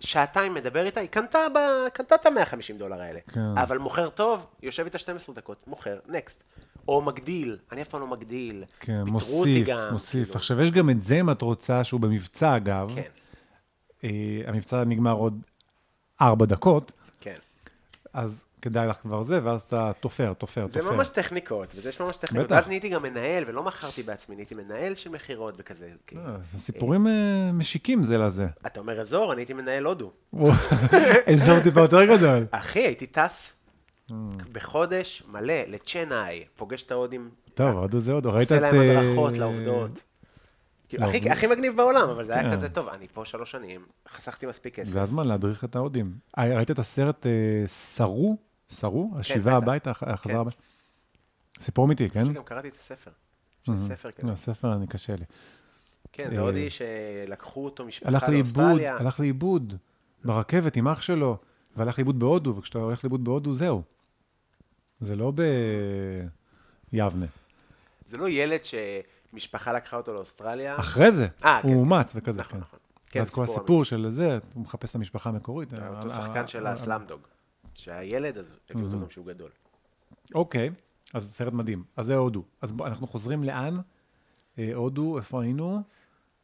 [SPEAKER 2] שעתיים מדבר איתה, היא קנתה, ב... קנתה את ה-150 דולר האלה.
[SPEAKER 3] כן.
[SPEAKER 2] אבל מוכר טוב, יושב איתה 12 דקות, מוכר, נקסט. או מגדיל, אני אף פעם לא מגדיל.
[SPEAKER 3] כן,
[SPEAKER 2] פיטרו אותי
[SPEAKER 3] מוסיף,
[SPEAKER 2] גם,
[SPEAKER 3] מוסיף.
[SPEAKER 2] כאילו.
[SPEAKER 3] עכשיו, יש גם את זה, אם את רוצה, שהוא במבצע, אגב.
[SPEAKER 2] כן,
[SPEAKER 3] אה, המבצע נגמר עוד ארבע דקות,
[SPEAKER 2] כן.
[SPEAKER 3] אז כדאי לך כבר זה, ואז אתה תופר, תופר,
[SPEAKER 2] זה
[SPEAKER 3] תופר.
[SPEAKER 2] ממש טכניקות, וזה יש ממש טכניקות.
[SPEAKER 3] בטח.
[SPEAKER 2] ואז נהייתי גם מנהל, ולא מכרתי בעצמי, נהייתי מנהל של מכירות וכזה. כאילו.
[SPEAKER 3] אה, הסיפורים אה, משיקים זה לזה.
[SPEAKER 2] אתה אומר אזור, אני הייתי מנהל הודו.
[SPEAKER 3] וואו, אזור טיפה יותר גדול.
[SPEAKER 2] אחי, הייתי טס
[SPEAKER 3] אה.
[SPEAKER 2] בחודש מלא לצ'נאי, פוגש את ההודים,
[SPEAKER 3] טוב, עוד זה עוד, ראית את...
[SPEAKER 2] עושה להם
[SPEAKER 3] אה, לא,
[SPEAKER 2] הדרכות לעובדות. כאילו, הכי- הכי מגניב בעולם, אבל זה
[SPEAKER 3] כן.
[SPEAKER 2] היה כזה טוב, אני פה שלוש שנים, חסכתי מספיק כסף.
[SPEAKER 3] זה הזמן להדריך את ההודים. אה, ראית את הסרט אה, סרו? סרו?
[SPEAKER 2] ראית.
[SPEAKER 3] השיבה הביתה, הח-
[SPEAKER 2] כן.
[SPEAKER 3] החזרה הביתה. סיפור אמיתי, כן?
[SPEAKER 2] גם קראתי את הספר. יש לי ספר כזה.
[SPEAKER 3] לא, הספר, אני קשה לי.
[SPEAKER 2] כן, זה
[SPEAKER 3] אה,
[SPEAKER 2] הודי שלקחו אותו
[SPEAKER 3] הלך
[SPEAKER 2] משפחה
[SPEAKER 3] לאיבוד,
[SPEAKER 2] לאוסטרליה.
[SPEAKER 3] הלך לאיבוד ברכבת עם אח שלו, והלך לאיבוד בהודו, וכשאתה הולך לאיבוד בהודו, זהו. זה לא ביבנה.
[SPEAKER 2] זה לא ילד שמשפחה לקחה אותו לאוסטרליה.
[SPEAKER 3] אחרי זה,
[SPEAKER 2] אה, כן.
[SPEAKER 3] הוא אומץ וכזה,
[SPEAKER 2] נכון,
[SPEAKER 3] כן.
[SPEAKER 2] נכון. כן,
[SPEAKER 3] ואז כל
[SPEAKER 2] סיפור
[SPEAKER 3] הסיפור של זה, הוא מחפש את המשפחה המקורית. אה,
[SPEAKER 2] זה
[SPEAKER 3] ה-
[SPEAKER 2] אותו
[SPEAKER 3] ה-
[SPEAKER 2] שחקן
[SPEAKER 3] ה-
[SPEAKER 2] של
[SPEAKER 3] ה-
[SPEAKER 2] הסלאמדוג. שהילד, אז הביאו אותו גם שהוא גדול.
[SPEAKER 3] אוקיי, אז זה סרט מדהים. אז זה הודו. אז בוא, אנחנו חוזרים לאן? אה, הודו, איפה היינו?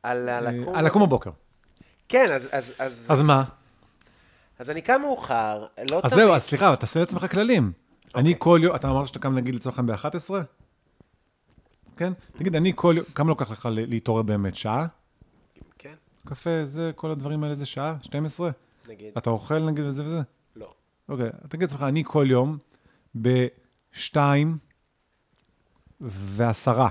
[SPEAKER 2] על
[SPEAKER 3] אה,
[SPEAKER 2] הלקום.
[SPEAKER 3] אה, לקום בבוקר.
[SPEAKER 2] כן, אז- אז- אז-
[SPEAKER 3] אז מה?
[SPEAKER 2] אז אני קם מאוחר, לא
[SPEAKER 3] אז
[SPEAKER 2] תמיד. אוקיי.
[SPEAKER 3] זהו, אז סליחה, אבל תעשה לעצמך כללים. אני כל יום, אתה אמרת שאתה קם נגיד לצורך העניין ב-11? כן? תגיד, אני כל יום, כמה לוקח לך ל- להתעורר באמת? שעה?
[SPEAKER 2] כן,
[SPEAKER 3] קפה, זה, כל הדברים האלה זה שעה? 12?
[SPEAKER 2] נגיד.
[SPEAKER 3] אתה אוכל נגיד וזה וזה?
[SPEAKER 2] לא.
[SPEAKER 3] אוקיי, תגיד לעצמך, אני כל יום ב-2 ועשרה.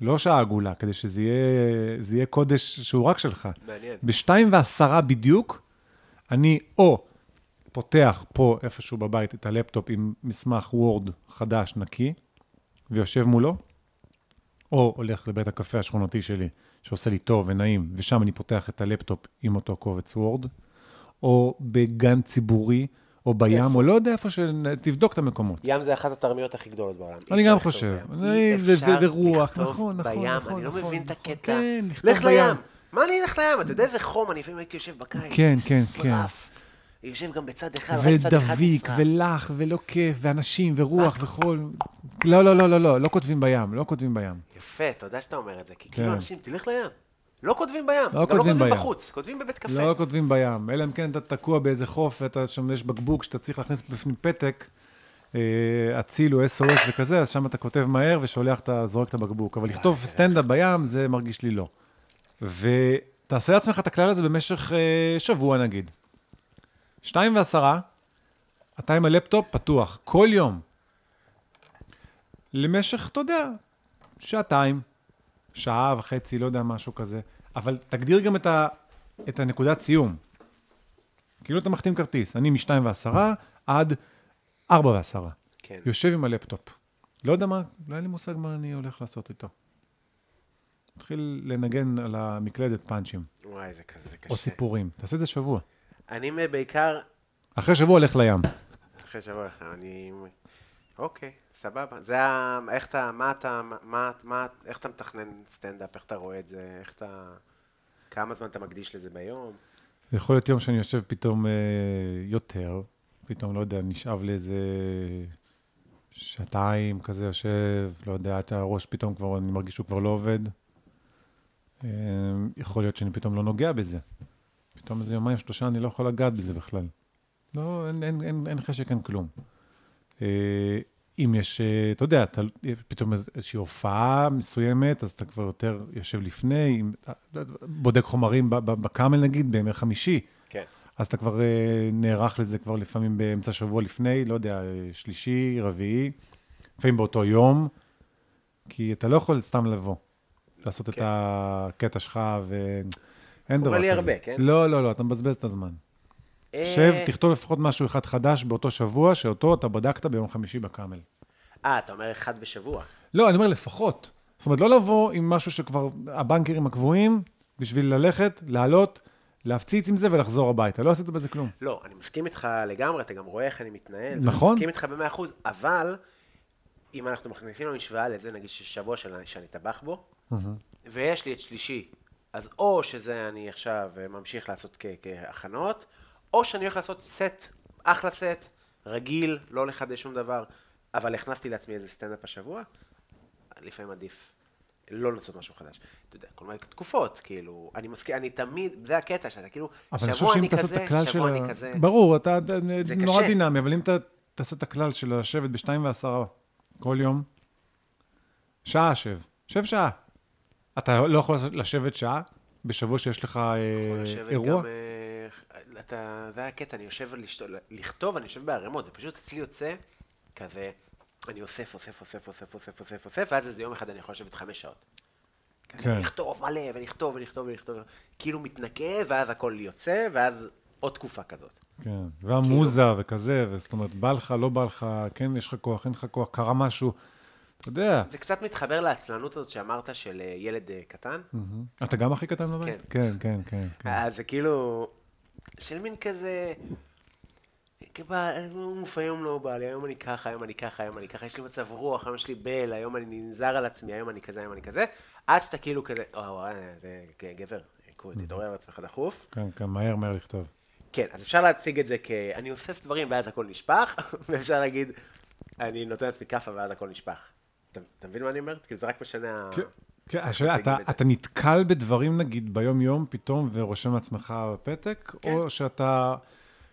[SPEAKER 3] לא שעה עגולה, כדי שזה יהיה, זה יהיה קודש שהוא רק שלך.
[SPEAKER 2] מעניין.
[SPEAKER 3] ב-2 ועשרה בדיוק, אני או פותח פה איפשהו בבית את הלפטופ עם מסמך וורד חדש, נקי, ויושב מולו, או הולך לבית הקפה השכונתי שלי, שעושה לי טוב ונעים, ושם אני פותח את הלפטופ עם אותו קובץ וורד, או בגן ציבורי, או בים, או לא יודע איפה ש... תבדוק את המקומות.
[SPEAKER 2] ים זה אחת התרמיות הכי גדולות בעולם.
[SPEAKER 3] אני
[SPEAKER 2] אי אפשר
[SPEAKER 3] גם
[SPEAKER 2] לכתוב
[SPEAKER 3] חושב.
[SPEAKER 2] בים.
[SPEAKER 3] אני-
[SPEAKER 2] אי
[SPEAKER 3] זה-
[SPEAKER 2] אפשר
[SPEAKER 3] זה רוח,
[SPEAKER 2] לכתוב
[SPEAKER 3] נכון, נכון,
[SPEAKER 2] בים,
[SPEAKER 3] נכון,
[SPEAKER 2] אני לא
[SPEAKER 3] נכון,
[SPEAKER 2] מבין את
[SPEAKER 3] נכון.
[SPEAKER 2] הקטע.
[SPEAKER 3] כן, לכתוב
[SPEAKER 2] לך לים.
[SPEAKER 3] בים.
[SPEAKER 2] מה אני אלך לים? אתה יודע איזה חום, אני לפעמים הייתי יושב בקיץ.
[SPEAKER 3] כן, כן,
[SPEAKER 2] נשרף. יושב גם בצד אחד, רק צד אחד
[SPEAKER 3] ודביק,
[SPEAKER 2] נשרף. אה.
[SPEAKER 3] ולח, ולא כיף, ואנשים, ורוח, וחול. לא, לא, לא, לא, לא, לא כותבים בים, לא כותבים בים.
[SPEAKER 2] יפה, תודה שאתה אומר את זה, כי
[SPEAKER 3] כן.
[SPEAKER 2] כאילו אנשים, תלך לים. לא כותבים בים, גם לא
[SPEAKER 3] כותבים
[SPEAKER 2] כותבים
[SPEAKER 3] בים.
[SPEAKER 2] בחוץ, כותבים בבית קפה.
[SPEAKER 3] לא כותבים בים, אלא אם כן אתה תקוע באיזה חוף ואתה שם, יש בקבוק שאתה צריך להכניס בפנים פתק, אה, אציל או SOS וכזה, אז שם אתה כותב מהר ושולח, אתה זורק את הבקבוק. אבל לכתוב סטנדאפ בים, זה מרגיש לי לא. ותעשה לעצמך את הכלל הזה במשך אה, שבוע נגיד. שתיים ועשרה, אתה עם הלפטופ פתוח, כל יום. למשך, אתה יודע, שעתיים, שעה וחצי, לא יודע, משהו כזה. אבל תגדיר גם את, ה, את הנקודת סיום. כאילו אתה מחתים כרטיס, אני משתיים ועשרה עד ארבע ועשרה.
[SPEAKER 2] כן.
[SPEAKER 3] יושב עם הלפטופ. לא יודע מה, לא היה לי מושג מה אני הולך לעשות איתו. מתחיל לנגן על המקלדת פאנצ'ים,
[SPEAKER 2] וואי, זה כזה קשה.
[SPEAKER 3] או סיפורים. תעשה את זה שבוע.
[SPEAKER 2] אני מ- בעיקר,
[SPEAKER 3] אחרי שבוע הולך לים.
[SPEAKER 2] אחרי שבוע, אני... אוקיי. סבבה. זה ה... איך אתה, מה אתה, מה, מה, איך אתה מתכנן סטנדאפ, איך אתה רואה את זה, איך אתה... כמה זמן אתה מקדיש לזה ביום?
[SPEAKER 3] זה יכול להיות יום שאני יושב פתאום אה, יותר, פתאום, לא יודע, נשאב לאיזה שעתיים כזה יושב, לא יודע, עד שהראש פתאום כבר, אני מרגיש שהוא כבר לא עובד. אה, יכול להיות שאני פתאום לא נוגע בזה. פתאום איזה יומיים, שלושה, אני לא יכול לגעת בזה בכלל. לא, אין, אין, אין, אין חשק, אין כלום. אה, אם יש, אה, אתה יודע, אתה, פתאום איז- איזושהי הופעה מסוימת, אז אתה כבר יותר יושב לפני, אם, אה, בודק חומרים ב- ב- בקאמל נגיד, בימי חמישי,
[SPEAKER 2] כן.
[SPEAKER 3] אז אתה כבר אה, נערך לזה כבר לפעמים באמצע שבוע לפני, לא יודע, אה, שלישי, רביעי, לפעמים באותו יום, כי אתה לא יכול סתם לבוא, לעשות את
[SPEAKER 2] כן.
[SPEAKER 3] הקטע שלך, ואין דבר כזה.
[SPEAKER 2] קורה לי הרבה, כן?
[SPEAKER 3] לא, לא, לא, אתה מבזבז את הזמן.
[SPEAKER 2] אה,
[SPEAKER 3] שב, תכתוב לפחות משהו אחד חדש באותו שבוע, שאותו אתה בדקת ביום חמישי בקאמל.
[SPEAKER 2] אה, אתה אומר אחד בשבוע.
[SPEAKER 3] לא, אני אומר לפחות. זאת אומרת, לא לבוא עם משהו שכבר הבנקרים הקבועים, בשביל ללכת, לעלות, להפציץ עם זה ולחזור הביתה. לא עשית בזה כלום.
[SPEAKER 2] לא, אני מסכים איתך לגמרי, אתה גם רואה איך אני מתנהל.
[SPEAKER 3] נכון.
[SPEAKER 2] אני מסכים איתך במאה אחוז, אבל אם אנחנו מכניסים למשוואה לזה, נגיד ששבוע שאני, שאני טבח בו, ויש לי את שלישי, אז או שזה אני עכשיו אה, ממשיך לעשות כ- כהכנות, או שאני הולך לעשות סט, אחלה סט, רגיל, לא לחדש שום דבר, אבל הכנסתי לעצמי איזה סטנדאפ השבוע, לפעמים עדיף לא לנסות משהו חדש. אתה יודע, כל מיני תקופות, כאילו, אני מסכים, אני תמיד, זה הקטע שאתה כאילו,
[SPEAKER 3] אבל אני חושב
[SPEAKER 2] שבוע
[SPEAKER 3] שאם
[SPEAKER 2] אני
[SPEAKER 3] תעשה את
[SPEAKER 2] כזה,
[SPEAKER 3] הכלל של
[SPEAKER 2] שבוע אני
[SPEAKER 3] ה-
[SPEAKER 2] כזה.
[SPEAKER 3] ברור, אתה אתה
[SPEAKER 2] זה
[SPEAKER 3] נורא
[SPEAKER 2] קשה.
[SPEAKER 3] דינמי, אבל אם אתה תעשה את הכלל של לשבת בשתיים ועשרה כל יום, שעה שב, שב שעה. אתה לא יכול לשבת שעה בשבוע שיש לך אה,
[SPEAKER 2] יכול לשבת
[SPEAKER 3] אירוע?
[SPEAKER 2] גם, אה, אתה, זה הקטע, אני יושב לשתו- לכתוב, אני יושב בערימות, זה פשוט אצלי יוצא כזה, אני אוסף, אוסף, אוסף, אוסף, אוסף, אוסף, אוסף, ואז איזה יום אחד אני יכול לשבת חמש שעות. כזה,
[SPEAKER 3] כן.
[SPEAKER 2] לכתוב מלא, ולכתוב, ולכתוב, ולכתוב, כאילו מתנקה, ואז הכל יוצא, ואז עוד תקופה כזאת.
[SPEAKER 3] כן, והמוזה
[SPEAKER 2] כאילו-
[SPEAKER 3] וכזה, וזאת אומרת, בא לך, לא בא לך, כן, יש לך כוח, אין לך כוח, קרה משהו, אתה יודע.
[SPEAKER 2] זה קצת מתחבר לעצלנות הזאת שאמרת של אה, ילד אה, קטן.
[SPEAKER 3] מהמם. אתה גם הכי קטן בבית?
[SPEAKER 2] כן.
[SPEAKER 3] כן, כן, כן. כן.
[SPEAKER 2] אז זה כאילו, של מין כזה, כבא- אוף, היום לא בא לי, היום אני ככה, היום אני ככה, היום אני ככה, יש לי מצב רוח, היום יש לי בל, היום אני ננזר על עצמי, היום אני כזה, היום אני כזה, עד שאתה כאילו כזה, וואו, וואו, זה ג- גבר, כאילו, תתעורר על עצמך דחוף.
[SPEAKER 3] כן, כן, מהר, מהר לכתוב.
[SPEAKER 2] כן, אז אפשר להציג את זה כ... אני אוסף דברים ואז הכל נשפך, ואפשר להגיד, אני נותן לעצמי כאפה ואז הכל נשפך. אתה- אתה מבין מה אני אומר? כי זה רק משנה ה...
[SPEAKER 3] כן, כן, השאלה,
[SPEAKER 2] מציגים
[SPEAKER 3] אתה,
[SPEAKER 2] אה, את זה.
[SPEAKER 3] אתה נתקל בדברים, נגיד, ביום-יום פתאום, ורושם לעצמך בפתק,
[SPEAKER 2] כן.
[SPEAKER 3] או שאתה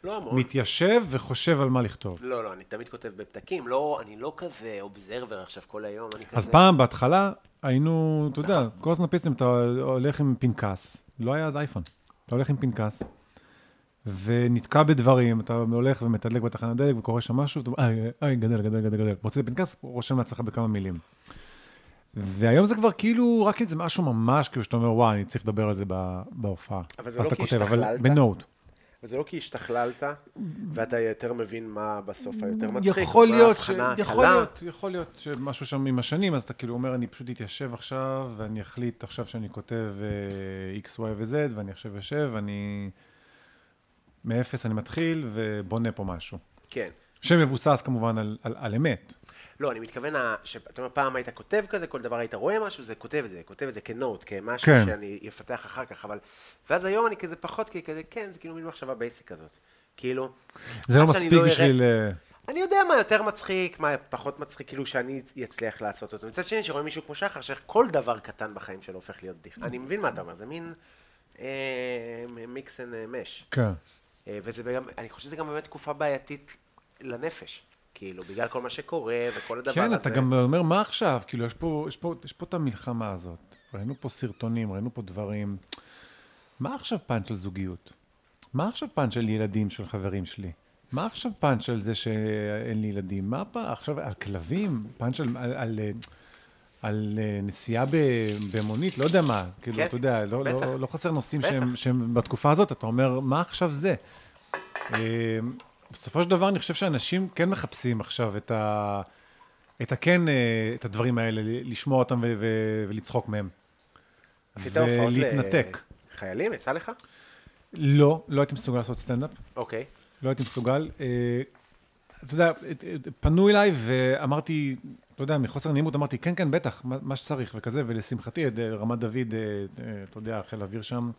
[SPEAKER 2] לא המון.
[SPEAKER 3] מתיישב וחושב על מה לכתוב?
[SPEAKER 2] לא, לא, אני תמיד כותב בפתקים, לא, אני לא כזה אובזרבר עכשיו כל היום, אני כזה...
[SPEAKER 3] אז פעם, בהתחלה, היינו, אתה יודע, כל הסנאפיסטים, אתה הולך עם פנקס, לא היה אז אייפון, אתה הולך עם פנקס, ונתקע בדברים, אתה הולך ומתדלק בתחנת דלק וקורא שם משהו, ואתה אומר, "איי, איי, גדל, גדל, גדל, גדל, מוצא את הפנקס, רושם לעצמך בכמה מילים. והיום זה כבר כאילו, רק אם זה משהו ממש, כאילו שאתה אומר, וואי, אני צריך לדבר על זה ב- בהופעה.
[SPEAKER 2] אבל זה
[SPEAKER 3] אז
[SPEAKER 2] לא
[SPEAKER 3] אתה
[SPEAKER 2] כי
[SPEAKER 3] כותב, אבל
[SPEAKER 2] השתכללת.
[SPEAKER 3] בנוט.
[SPEAKER 2] אבל זה לא כי השתכללת, ואתה יותר מבין מה בסוף היותר מצחיק.
[SPEAKER 3] יכול
[SPEAKER 2] מה
[SPEAKER 3] להיות, ש...
[SPEAKER 2] ההבחנה
[SPEAKER 3] יכול
[SPEAKER 2] הקלה.
[SPEAKER 3] להיות, יכול להיות שמשהו שם עם השנים, אז אתה כאילו אומר, אני פשוט אתיישב עכשיו, ואני אחליט עכשיו שאני כותב uh, X, Y ו-Z, ואני עכשיו יושב, ואני מאפס אני מתחיל, ובונה פה משהו.
[SPEAKER 2] כן.
[SPEAKER 3] שמבוסס כמובן על, על, על אמת.
[SPEAKER 2] לא, אני מתכוון, ה- ש- אתה אומר, פעם היית כותב כזה, כל דבר היית רואה משהו, זה כותב את זה, כותב את זה כנוט, כמשהו
[SPEAKER 3] כן.
[SPEAKER 2] שאני אפתח אחר כך, אבל... ואז היום אני כזה פחות, כי כזה, כן, זה כאילו מין מחשבה בייסיק כזאת. כאילו...
[SPEAKER 3] זה לא
[SPEAKER 2] עד שאני
[SPEAKER 3] מספיק
[SPEAKER 2] אראה-
[SPEAKER 3] בשביל... אה,
[SPEAKER 2] אני יודע מה יותר מצחיק, מה פחות מצחיק, כאילו שאני אצליח לעשות אותו. מצד שני, שרואה מישהו כמו שחר, שכל דבר קטן בחיים שלו הופך להיות בדיחה. אני מבין מה אתה אומר, זה מין אה, מיקס אנד מש.
[SPEAKER 3] כן.
[SPEAKER 2] אה, וזה גם, אני חושב שזה גם באמת תקופה בעייתית לנפש. כאילו, בגלל כל מה שקורה וכל הדבר
[SPEAKER 3] כן,
[SPEAKER 2] הזה.
[SPEAKER 3] אתה גם אומר, מה עכשיו? כאילו, יש פה, יש, פה, יש פה את המלחמה הזאת. ראינו פה סרטונים, ראינו פה דברים. מה עכשיו פאנץ' של זוגיות? מה עכשיו פאנץ' של ילדים של חברים שלי? מה עכשיו פאנץ' על זה שאין לי ילדים? מה פ... עכשיו, על כלבים? פאנץ' על, על, על, אה, על אה, נסיעה ב- במונית? לא יודע מה. כאילו,
[SPEAKER 2] כן,
[SPEAKER 3] אתה יודע, לא,
[SPEAKER 2] בטח.
[SPEAKER 3] לא, לא חסר נושאים
[SPEAKER 2] בטח.
[SPEAKER 3] שהם, שהם בתקופה הזאת, אתה אומר, מה עכשיו זה? אה, בסופו של דבר, אני חושב שאנשים כן מחפשים עכשיו את ה... את הכן, אה, את הדברים האלה, ל- לשמוע אותם ו- ו- ולצחוק מהם.
[SPEAKER 2] עשית הופעות ל-
[SPEAKER 3] ולהתנתק.
[SPEAKER 2] חיילים, יצא לך?
[SPEAKER 3] לא, לא הייתי מסוגל לעשות סטנדאפ,
[SPEAKER 2] אוקיי.
[SPEAKER 3] לא הייתי מסוגל. אה, אתה יודע, את- את- פנו אליי ואמרתי, לא יודע, מחוסר נעימות, אמרתי, כן, כן, בטח, מה מה שצריך וכזה, ולשמחתי, את אה, רמת דוד, אה, אה, אתה יודע, חיל האוויר שם,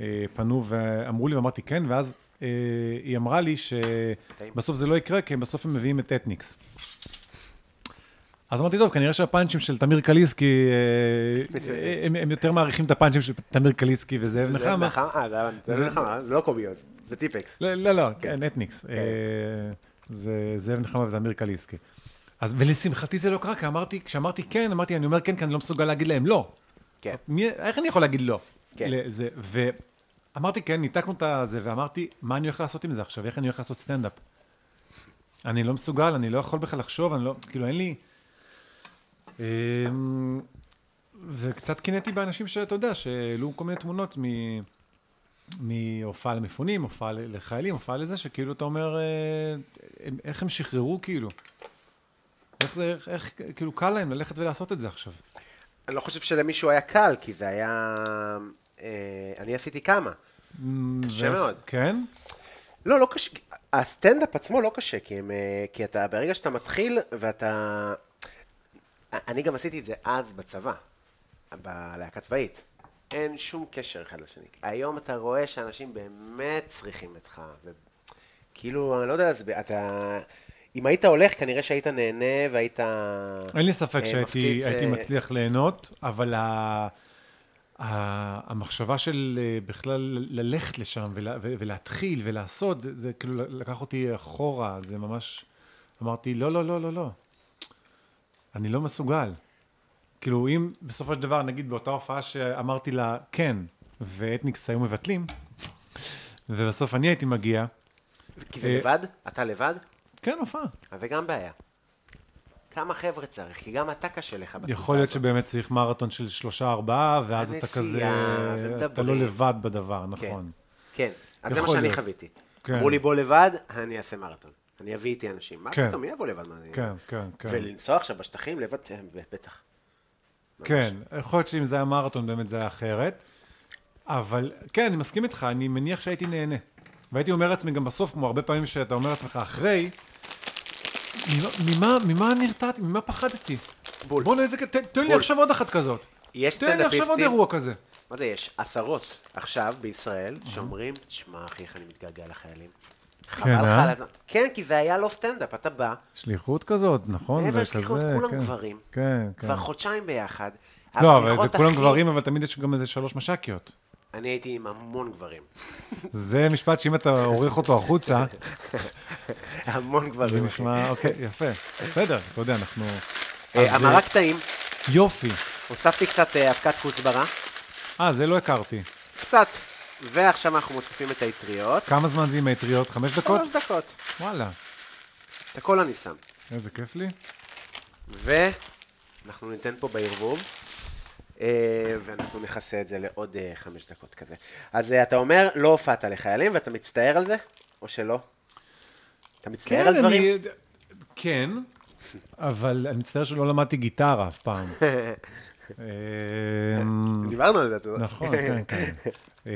[SPEAKER 3] אה, פנו ואמרו לי, ואמרתי, כן, ואז אה, היא אמרה לי שבסוף זה לא יקרה, כי בסוף הם מביאים את אתניקס. אז אמרתי, טוב, כנראה שהפאנצ'ים של תמיר קליסקי, אה, אה, הם, הם יותר מעריכים את הפאנצ'ים של תמיר קליסקי וזאב
[SPEAKER 2] זה
[SPEAKER 3] נחמה.
[SPEAKER 2] נחמה? אה, זה זה
[SPEAKER 3] זה-
[SPEAKER 2] נחמה, זה לא קוביות, זה טיפקס.
[SPEAKER 3] לא, לא, לא, כן, נטניקס. אה, זה זאב נחמה ואמיר קליסקי. אז ולשמחתי זה לא קרה, כי אמרתי, כשאמרתי כן, אמרתי, אני אומר כן, כי אני לא מסוגל להגיד להם לא.
[SPEAKER 2] כן.
[SPEAKER 3] מי, איך אני יכול להגיד לא?
[SPEAKER 2] כן.
[SPEAKER 3] לזה, ואמרתי כן, ניתקנו את הזה, ואמרתי, מה אני הולך לעשות עם זה עכשיו? איך אני הולך לעשות סטנדאפ? אני לא מסוגל, אני לא יכול בכלל לחשוב, אני לא, כאילו, אין לי... אמ, וקצת קינאתי באנשים שאתה יודע, שהעלו כל מיני תמונות מ... מהופעה למפונים, הופעה ל- לחיילים, הופעה לזה, שכאילו אתה אומר, אה, הם- איך הם שחררו כאילו? איך, זה- איך, איך כאילו קל להם ללכת ולעשות את זה עכשיו?
[SPEAKER 2] אני לא חושב שלמישהו היה קל, כי זה היה... אה, אני עשיתי כמה. קשה
[SPEAKER 3] ואיך-
[SPEAKER 2] מאוד.
[SPEAKER 3] כן?
[SPEAKER 2] לא, לא קשה. הסטנדאפ עצמו לא קשה, כי, הם, אה, כי אתה, ברגע שאתה מתחיל ואתה... אני גם עשיתי את זה אז בצבא, בלהקה צבאית. אין שום קשר אחד לשני. היום אתה רואה שאנשים באמת צריכים אותך, וכאילו, אני לא יודע, אז אתה... אם היית הולך, כנראה שהיית נהנה והיית...
[SPEAKER 3] אין לי ספק
[SPEAKER 2] אה, מפציץ,
[SPEAKER 3] שהייתי הייתי
[SPEAKER 2] אה,
[SPEAKER 3] מצליח ליהנות, אבל ה- ה- המחשבה של אה, בכלל ל- ללכת לשם ולה- ו- ולהתחיל ולעשות, זה- זה כאילו לקח אותי אחורה, זה ממש... אמרתי, לא, לא, לא, לא, לא. אני לא מסוגל. כאילו, אם בסופו של דבר, נגיד באותה הופעה שאמרתי לה כן, ואתניקס היו מבטלים, ובסוף אני הייתי מגיע,
[SPEAKER 2] כי זה
[SPEAKER 3] אה,
[SPEAKER 2] לבד? אתה לבד?
[SPEAKER 3] כן, הופעה.
[SPEAKER 2] אז זה גם בעיה. כמה חבר'ה צריך? כי גם אתה קשה לך בתקופה
[SPEAKER 3] יכול להיות
[SPEAKER 2] הזאת.
[SPEAKER 3] שבאמת צריך מרתון של שלושה ארבעה, ואז אתה
[SPEAKER 2] הנסיעה,
[SPEAKER 3] כזה, אתה
[SPEAKER 2] ומדברים.
[SPEAKER 3] לא לבד בדבר, נכון.
[SPEAKER 2] כן, אז זה מה
[SPEAKER 3] יכול
[SPEAKER 2] שאני
[SPEAKER 3] להיות.
[SPEAKER 2] חוויתי.
[SPEAKER 3] כן.
[SPEAKER 2] אמרו לי בוא לבד, אני אעשה מרתון. אני אביא איתי אנשים. מה
[SPEAKER 3] כן.
[SPEAKER 2] פתאום, מי יבוא לבד? מה, אני-
[SPEAKER 3] כן, כן, כן.
[SPEAKER 2] ולנסוע עכשיו בשטחים לבד, אה, בטח.
[SPEAKER 3] כן, יכול להיות שאם זה היה מרתון באמת זה היה אחרת, אבל כן, אני מסכים איתך, אני מניח שהייתי נהנה. והייתי אומר לעצמי גם בסוף, כמו הרבה פעמים שאתה אומר לעצמך אחרי, ממה, ממה, ממה נרתעתי, ממה פחדתי?
[SPEAKER 2] בול.
[SPEAKER 3] בוא לאיזה, תן, תן לי
[SPEAKER 2] בול.
[SPEAKER 3] עכשיו עוד אחת כזאת.
[SPEAKER 2] יש
[SPEAKER 3] תן לי עכשיו עוד
[SPEAKER 2] סטנדאפיסטים-
[SPEAKER 3] אירוע כזה.
[SPEAKER 2] מה זה יש? עשרות עכשיו בישראל שאומרים, תשמע אחי, איך אני מתגעגע לחיילים. חבל לך
[SPEAKER 3] אה?
[SPEAKER 2] על הזמן. כן, כי זה היה לא סטנדאפ, אתה בא,
[SPEAKER 3] שליחות כזאת, נכון?
[SPEAKER 2] מעבר
[SPEAKER 3] וכזה,
[SPEAKER 2] לשליחות, כולם
[SPEAKER 3] כן.
[SPEAKER 2] גברים.
[SPEAKER 3] כן, כן.
[SPEAKER 2] כבר חודשיים ביחד.
[SPEAKER 3] לא, אבל זה
[SPEAKER 2] הבדיחות
[SPEAKER 3] כולם
[SPEAKER 2] הכי-
[SPEAKER 3] גברים, אבל תמיד יש גם איזה שלוש מש"קיות.
[SPEAKER 2] אני הייתי עם המון גברים.
[SPEAKER 3] זה משפט שאם אתה עורך אותו החוצה,
[SPEAKER 2] המון
[SPEAKER 3] זה
[SPEAKER 2] גברים. אחי.
[SPEAKER 3] נשמע, אוקיי, יפה. בסדר, אתה יודע, אנחנו... אז,
[SPEAKER 2] אה,
[SPEAKER 3] אה,
[SPEAKER 2] המרק טעים,
[SPEAKER 3] יופי.
[SPEAKER 2] הוספתי קצת אה, אבקת כוסברה.
[SPEAKER 3] אה, זה לא הכרתי.
[SPEAKER 2] קצת. ועכשיו אנחנו מוסיפים את האטריות.
[SPEAKER 3] כמה זמן זה עם האטריות? חמש דקות?
[SPEAKER 2] שלוש דקות.
[SPEAKER 3] וואלה,
[SPEAKER 2] את הכל אני שם.
[SPEAKER 3] איזה כיף לי.
[SPEAKER 2] ואנחנו ניתן פה בערבוב, אה, ואנחנו נכסה את זה לעוד אה, חמש דקות כזה. אז אה, אתה אומר, לא הופעת לחיילים, ואתה מצטער על זה? או שלא? אתה מצטער על דברים?
[SPEAKER 3] כן, אני... כן, אבל אני מצטער שלא למדתי גיטרה אף פעם. אמ,
[SPEAKER 2] דיברנו על זה, אתה יודע.
[SPEAKER 3] נכון, כן, כן. אה,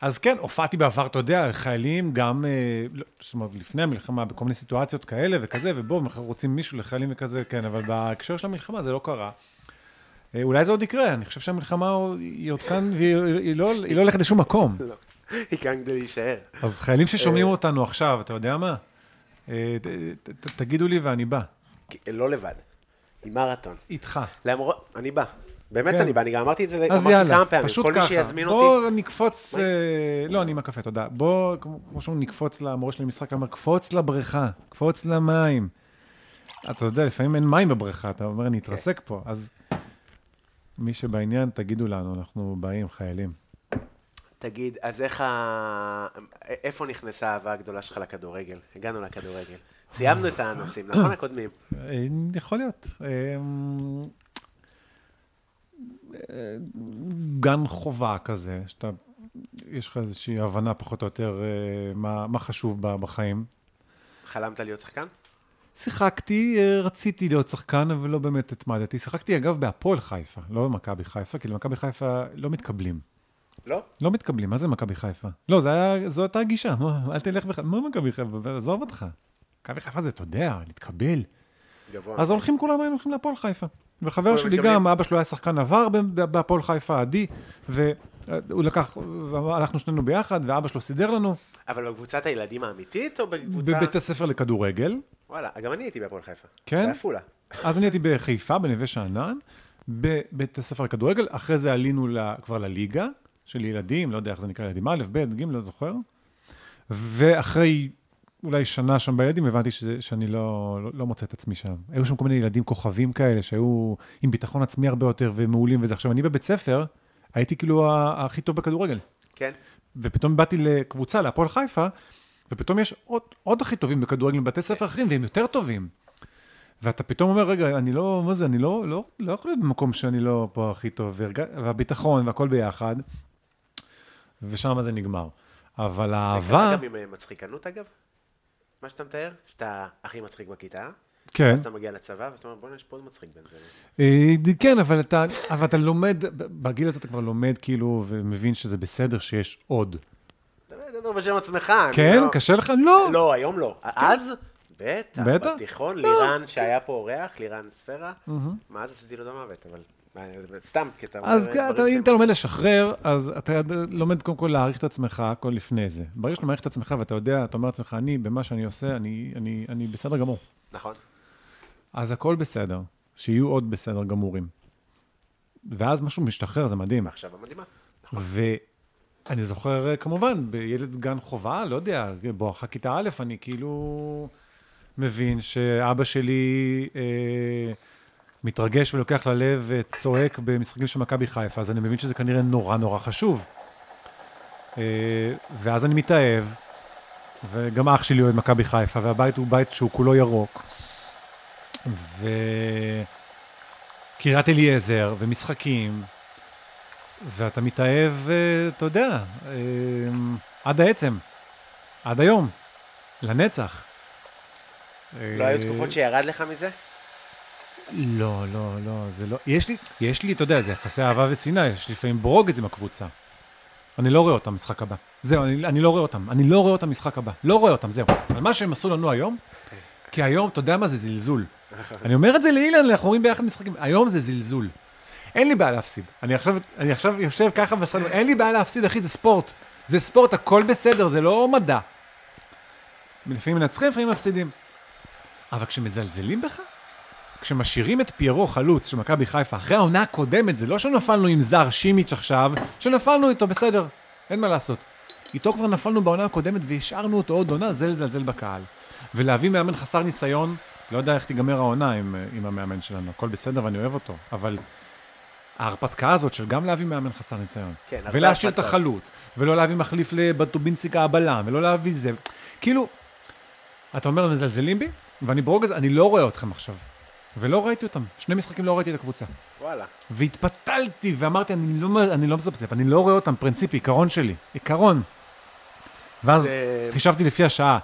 [SPEAKER 3] אז כן, הופעתי בעבר, אתה יודע, חיילים גם, אה, לא, זאת אומרת, לפני המלחמה, בכל מיני סיטואציות כאלה וכזה, ובואו, מחר רוצים מישהו לחיילים וכזה, כן, אבל בהקשר של המלחמה זה לא קרה. אה, אולי זה עוד יקרה, אני חושב שהמלחמה הוא- היא עוד כאן, והיא היא לא, היא לא הולכת לשום מקום.
[SPEAKER 2] לא. היא כאן כדי להישאר.
[SPEAKER 3] אז חיילים ששומעים אותנו עכשיו, אתה יודע מה? אה, ת- ת- ת- תגידו לי ואני בא.
[SPEAKER 2] כי- לא לבד. עם מרתון.
[SPEAKER 3] איתך.
[SPEAKER 2] למרות, אני בא. באמת
[SPEAKER 3] כן.
[SPEAKER 2] אני בא, אני גם אמרתי את זה,
[SPEAKER 3] אז
[SPEAKER 2] אמרתי
[SPEAKER 3] יאללה,
[SPEAKER 2] כמה פעמים.
[SPEAKER 3] פשוט
[SPEAKER 2] כל מי
[SPEAKER 3] ככה.
[SPEAKER 2] שיזמין אותי,
[SPEAKER 3] בוא נקפוץ, אה, לא, אני עם הקפה, תודה. בוא, כמו כמו שאומרים, נקפוץ למורה שלי למשחק, אמר, קפוץ לבריכה, קפוץ למים. אתה יודע, לפעמים אין מים בבריכה, אתה אומר, אני אתרסק פה. אז מי שבעניין, תגידו לנו, אנחנו באים, חיילים.
[SPEAKER 2] תגיד, אז איך ה... איפה נכנסה האהבה הגדולה שלך לכדורגל? הגענו לכדורגל. סיימנו את הנושאים, נכון? הקודמים.
[SPEAKER 3] אה, יכול להיות. אה, אה, גן חובה כזה, שאתה, יש לך איזושהי הבנה פחות או יותר אה, מה, מה חשוב ב- בחיים.
[SPEAKER 2] חלמת להיות שחקן?
[SPEAKER 3] שיחקתי, אה, רציתי להיות שחקן, אבל לא באמת התמדתי. שיחקתי, אגב, בהפועל חיפה, לא במכבי חיפה, כי למכבי חיפה לא מתקבלים.
[SPEAKER 2] לא?
[SPEAKER 3] לא מתקבלים, מה זה מכבי חיפה? לא, זה היה, זו הייתה הגישה, מה, אל תלך בכלל, מה מכבי חיפה, עזוב אותך. מכבי חיפה זה, אתה יודע, להתקבל.
[SPEAKER 2] גבוה.
[SPEAKER 3] אז הולכים כולם, היינו הולכים להפועל חיפה. וחבר
[SPEAKER 2] הם
[SPEAKER 3] שלי
[SPEAKER 2] מקבלים-
[SPEAKER 3] גם, אבא שלו היה שחקן עבר ב- ב- בהפועל חיפה, עדי, והוא לקח, הלכנו שנינו ביחד, ואבא שלו סידר לנו
[SPEAKER 2] אבל בקבוצת הילדים האמיתית או בקבוצה...
[SPEAKER 3] בבית הספר לכדורגל.
[SPEAKER 2] וואלה, גם אני הייתי בהפועל חיפה.
[SPEAKER 3] כן?
[SPEAKER 2] בעפולה.
[SPEAKER 3] אז אני הייתי בחיפה, בנווה שאנן, בבית הספר לכדורגל, אחרי זה עלינו ל- כבר לליגה של ילדים, לא יודע איך זה נקרא, ילדים א', ב', ג', לא זוכר. ואחרי אולי שנה שם בילדים, הבנתי שזה, שאני לא, לא, לא מוצא את עצמי שם. היו שם כל מיני ילדים כוכבים כאלה, שהיו עם ביטחון עצמי הרבה יותר ומעולים וזה. עכשיו, אני בבית ספר, הייתי כאילו ה- הכי טוב בכדורגל.
[SPEAKER 2] כן?
[SPEAKER 3] ופתאום באתי לקבוצה, להפועל חיפה, ופתאום יש עוד, עוד הכי טובים בכדורגל מבתי
[SPEAKER 2] כן.
[SPEAKER 3] ספר אחרים, והם יותר טובים. ואתה פתאום אומר, רגע, אני לא, מה זה, אני לא, לא, לא יכול להיות במקום שאני לא פה הכי טוב, והרג... והביטחון והכל ביחד, ושם זה נגמר. אבל
[SPEAKER 2] זה קרה
[SPEAKER 3] האהבה,
[SPEAKER 2] גם עם אה, מצחיקנות, אגב? מה שאתה מתאר? שאתה הכי מצחיק בכיתה,
[SPEAKER 3] כן,
[SPEAKER 2] אז אתה מגיע לצבא, ואז אתה אומר, בוא'נה, יש פה עוד מצחיק בן זמן.
[SPEAKER 3] אה, כן, אבל אתה, אבל אתה לומד, בגיל הזה אתה כבר לומד כאילו, ומבין שזה בסדר שיש עוד.
[SPEAKER 2] אתה מדבר בשם עצמך. אני
[SPEAKER 3] כן,
[SPEAKER 2] לא-
[SPEAKER 3] קשה לך? לא.
[SPEAKER 2] לא, היום לא. אז? בטח.
[SPEAKER 3] בטח.
[SPEAKER 2] בתיכון, לירן שהיה פה אורח, לירן ספירה, מה אז עשיתי לו את המוות, אבל... מה, סתם, כי אתה אומר...
[SPEAKER 3] אז
[SPEAKER 2] דברים
[SPEAKER 3] אתה- אם
[SPEAKER 2] שהם-
[SPEAKER 3] אתה לומד לשחרר, אז אתה לומד קודם כל להעריך את עצמך, הכל לפני זה. ברגע שאתה מעריך את עצמך ואתה יודע, אתה אומר לעצמך, אני, במה שאני עושה, אני- אני אני בסדר גמור.
[SPEAKER 2] נכון.
[SPEAKER 3] אז הכל בסדר, שיהיו עוד בסדר גמורים. ואז משהו משתחרר, זה מדהים.
[SPEAKER 2] עכשיו המדהימה.
[SPEAKER 3] אה, ואני זוכר, כמובן, בילד גן חובה, לא יודע, בואכה כיתה א', אני כאילו מבין שאבא שלי אה, מתרגש ולוקח ללב וצועק במשחקים של מכבי חיפה, אז אני מבין שזה כנראה נורא נורא חשוב. אה, ואז אני מתאהב, וגם אח שלי אוהד מכבי חיפה, והבית הוא בית שהוא כולו ירוק. וקריית אליעזר, ומשחקים, ואתה מתאהב, אה, אתה יודע, אה, עד העצם, עד היום, לנצח. אה,
[SPEAKER 2] לא היו תקופות שירד לך מזה?
[SPEAKER 3] לא, לא, לא, זה לא... יש לי, יש לי, אתה יודע, זה יחסי אהבה ושנאה, יש לי לפעמים ברוגז עם הקבוצה. אני לא רואה אותם משחק הבא. זהו, אני, אני לא רואה אותם. אני לא רואה אותם משחק הבא. לא רואה אותם, זהו. על מה שהם עשו לנו היום, כי היום, אתה יודע מה, זה זלזול. אני אומר את זה לאילן, אנחנו רואים ביחד משחקים. היום זה זלזול. אין לי בעיה להפסיד. אני עכשיו, אני עכשיו יושב ככה בסדר, אין לי בעיה להפסיד, אחי, זה ספורט. זה ספורט, הכל בסדר, זה לא מדע. לפעמים מנצחים, לפעמים מפסידים. אבל כשמזלזלים בך, כשמשאירים את פיירו חלוץ של מכבי חיפה אחרי העונה הקודמת, זה לא שנפלנו עם זר שימיץ' עכשיו, שנפלנו איתו, בסדר, אין מה לעשות. איתו כבר נפלנו בעונה הקודמת והשארנו אותו עוד עונה, זה לזלזל בקהל. ולהביא מאמן חסר ניסיון, לא יודע איך תיגמר העונה עם, עם המאמן שלנו, הכל בסדר ואני אוהב אותו, אבל ההרפתקה הזאת של גם להביא מאמן חסר ניסיון,
[SPEAKER 2] כן, הרבה
[SPEAKER 3] ולהשאיר את
[SPEAKER 2] הרפתקאות.
[SPEAKER 3] החלוץ, ולא להביא מחליף לבטובינסיקה הבלם, ולא להביא זה, כאילו, אתה אומר, מזלזלים בי, ואני ברוגז, אני לא רואה אתכם עכשיו. ולא ראיתי אותם. שני משחקים לא ראיתי את הקבוצה.
[SPEAKER 2] וואלה.
[SPEAKER 3] והתפתלתי ואמרתי, אני לא, אני לא מזפזפ, אני לא רואה אותם, פרינציפ, עיקרון שלי, עיקרון. ואז
[SPEAKER 2] זה-
[SPEAKER 3] חישבתי לפי השעה,